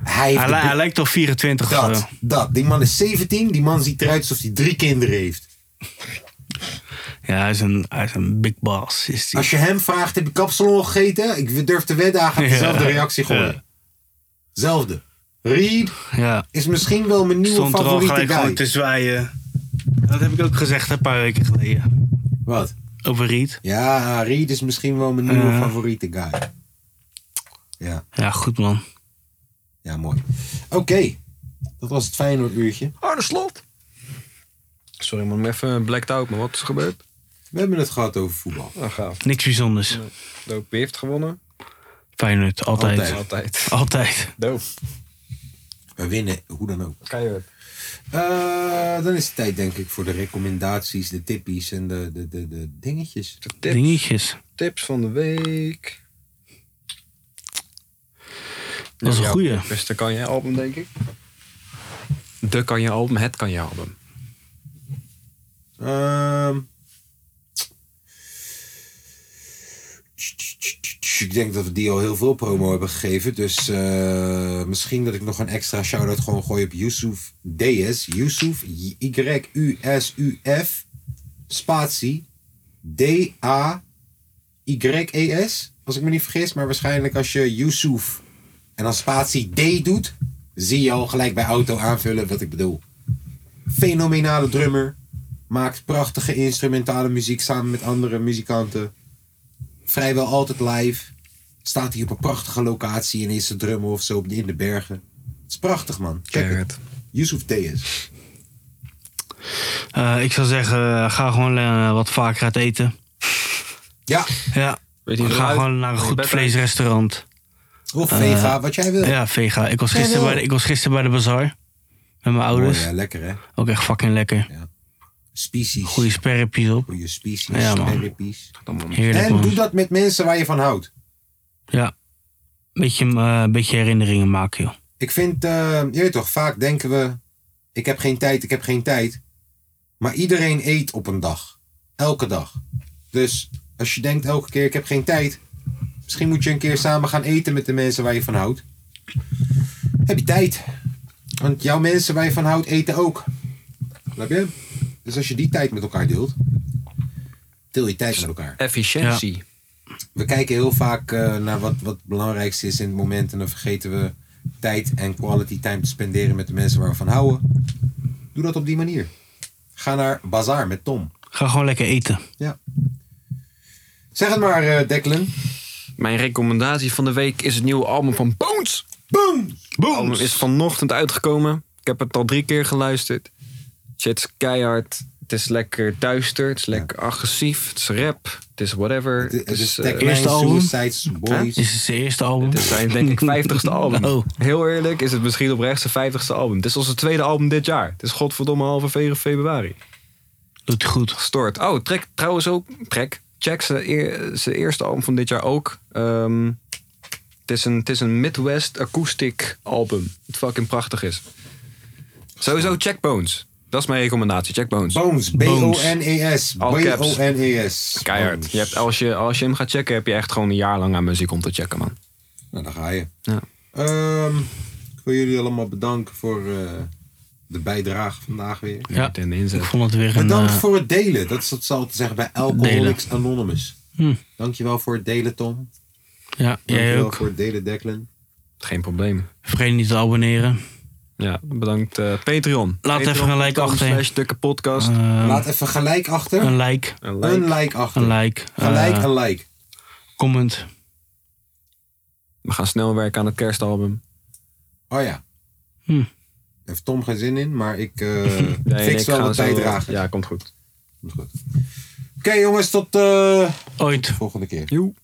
Hij heeft
Hij,
de
li-
bo-
hij lijkt eh, al 24 of
dat,
zo.
dat. Die man is 17. Die man ziet eruit alsof hij drie kinderen heeft.
Ja, hij is een, hij is een big boss. Is hij.
Als je hem vraagt, heb je kapsalon gegeten? Ik durf te wedden, hij gaat
Ja.
dezelfde reactie gooien.
Ja.
Zelfde. Reed
Ja.
is misschien wel mijn nieuwe
Stond er al
favoriete
gelijk
guy.
gewoon te zwaaien. Dat heb ik ook gezegd een paar weken geleden.
Wat?
Over Riet.
Ja, Reed is misschien wel mijn nieuwe
Ja.
favoriete guy. Ja,
Ja, goed man.
ja mooi. Oké, dat was het Feyenoord uurtje.
Arne Slot. Sorry man, ik ben even blacked out, maar wat is er gebeurd?
We hebben het gehad over voetbal.
Nou, gaaf.
Niks bijzonders.
Doop, wie heeft gewonnen?
Feyenoord, altijd.
Altijd.
Altijd.
Altijd. Doop.
We winnen, hoe dan ook.
Keihard.
Eh, dan is het tijd, denk ik, voor de recommendaties, de tippies en de, de, de, de dingetjes.
Tips,
Dingetjes.
tips van de week.
Dat is een
Ja,
goeie.
Beste kan je album, denk ik. De kan je album, het kan je album.
Ehm. ik denk dat we die al heel veel promo hebben gegeven. Dus eh, misschien dat ik nog een extra shout-out gewoon gooi op Yusuf DS. Yusuf, Y-U-S-U-F, spatie, D-A-Y-E-S. E Als ik me niet vergis. Maar waarschijnlijk als je Yusuf en dan spatie D doet, zie je al gelijk bij auto aanvullen wat ik bedoel. Fenomenale drummer. Maakt prachtige instrumentale muziek samen met andere muzikanten. Vrijwel altijd live. Staat hij op een prachtige locatie en is te drummen of zo op de- in de bergen. Het is prachtig, man. Check het.
Keihard.
Yusuf Theus.
Eh, ik zou zeggen, eh, ga gewoon eh, wat vaker uit eten.
Ja,
Ja.
Weet je,
ga
eruit,
gewoon naar een
je
goed
bed
vleesrestaurant.
of vega, wat jij wil.
Ja, vega. Ik was
Ja,
gisteren
wel.
bij de, ik was gisteren bij de bazaar. Met mijn
Mooi,
ouders.
hè? lekker hè.
Ook echt fucking lekker.
Species.
Goede
Goeie,
sperrepjes op.
species,
Ja, man.
therapies.
Heerlijk
En doe
man.
dat met mensen waar je van houdt.
Ja. Beetje, eh, beetje herinneringen maken joh.
Ik vind, eh, je weet toch, vaak denken we... Ik heb geen tijd, ik heb geen tijd. Maar iedereen eet op een dag. Elke dag. Dus als je denkt elke keer, ik heb geen tijd... Misschien moet je een keer samen gaan eten met de mensen waar je van houdt. Heb je tijd. Want jouw mensen waar je van houdt eten ook. Snap je? Dus als je die tijd met elkaar deelt... Deel je tijd met elkaar.
Efficiëntie.
we kijken heel vaak eh, naar wat, wat het belangrijkste is in het moment. En dan vergeten we tijd en quality time te spenderen met de mensen waar we van houden. Doe dat op die manier. Ga naar Bazaar met Tom.
Ga gewoon lekker eten.
Zeg het maar, eh Declan.
Mijn recommendatie van de week is het nieuwe album van Bones.
Boom!
Het album is vanochtend uitgekomen. Ik heb het al drie keer geluisterd. Shit is keihard. Het is lekker duister. Het is lekker agressief. Het is rap. Het is whatever.
Het het is
eh,
Declan,
eerste album.
Suicide Boys.
Dit is zijn eerste album.
Dit is zijn, denk ik, vijftigste album.
Oh.
Heel eerlijk is het misschien oprecht zijn vijftigste album. Dit is onze tweede album dit jaar. Het is godverdomme halve ve- februari.
Doet hij goed.
Gestoord. Oh, trek trouwens ook. Trek. Check zijn, eer- zijn eerste album van dit jaar ook. Ehm, het, is een, het is een Midwest acoustic album. Het fucking prachtig is. Sowieso Checkbones. Dat is mijn recommendatie. Checkbones.
Bones. B-O-N-E-S.
All caps.
B-O-N-E-S.
Keihard.
E Bones.
Je hebt, als, je, als je hem gaat checken, heb je echt gewoon een jaar lang aan muziek om te checken, man.
Nou, daar ga je.
Ja.
Ehm, ik wil jullie allemaal bedanken voor eh, de bijdrage vandaag weer.
Ja.
En de inzet.
Ik vond het weer een...
Bedankt
eh,
voor het delen. Dat is wat ze altijd zeggen bij Alcoholics Anonymous. Dankjewel voor het delen, Tom.
ja, Hm. jij
Dankjewel
ook.
voor het delen, Declan.
Geen probleem.
Vergeet niet te abonneren.
Ja, bedankt eh, Patreon.
Laat even
Patreon.com
een like achter. Eh.
slash dikke podcast.
Laat even gelijk achter.
Een like.
Een like.
Een like achter.
Een like.
Gelijk
eh,
een like.
comment.
We gaan snel werken aan het kerstalbum.
Oh ja.
Hm.
Heeft Tom geen zin in, maar ik eh,
Nee, en
fix
ik ga
wel de
zo- eh,
bijdrage.
Ja, komt goed.
Goed. Oké jongens, tot eh
Ooit.
volgende keer.
Joe.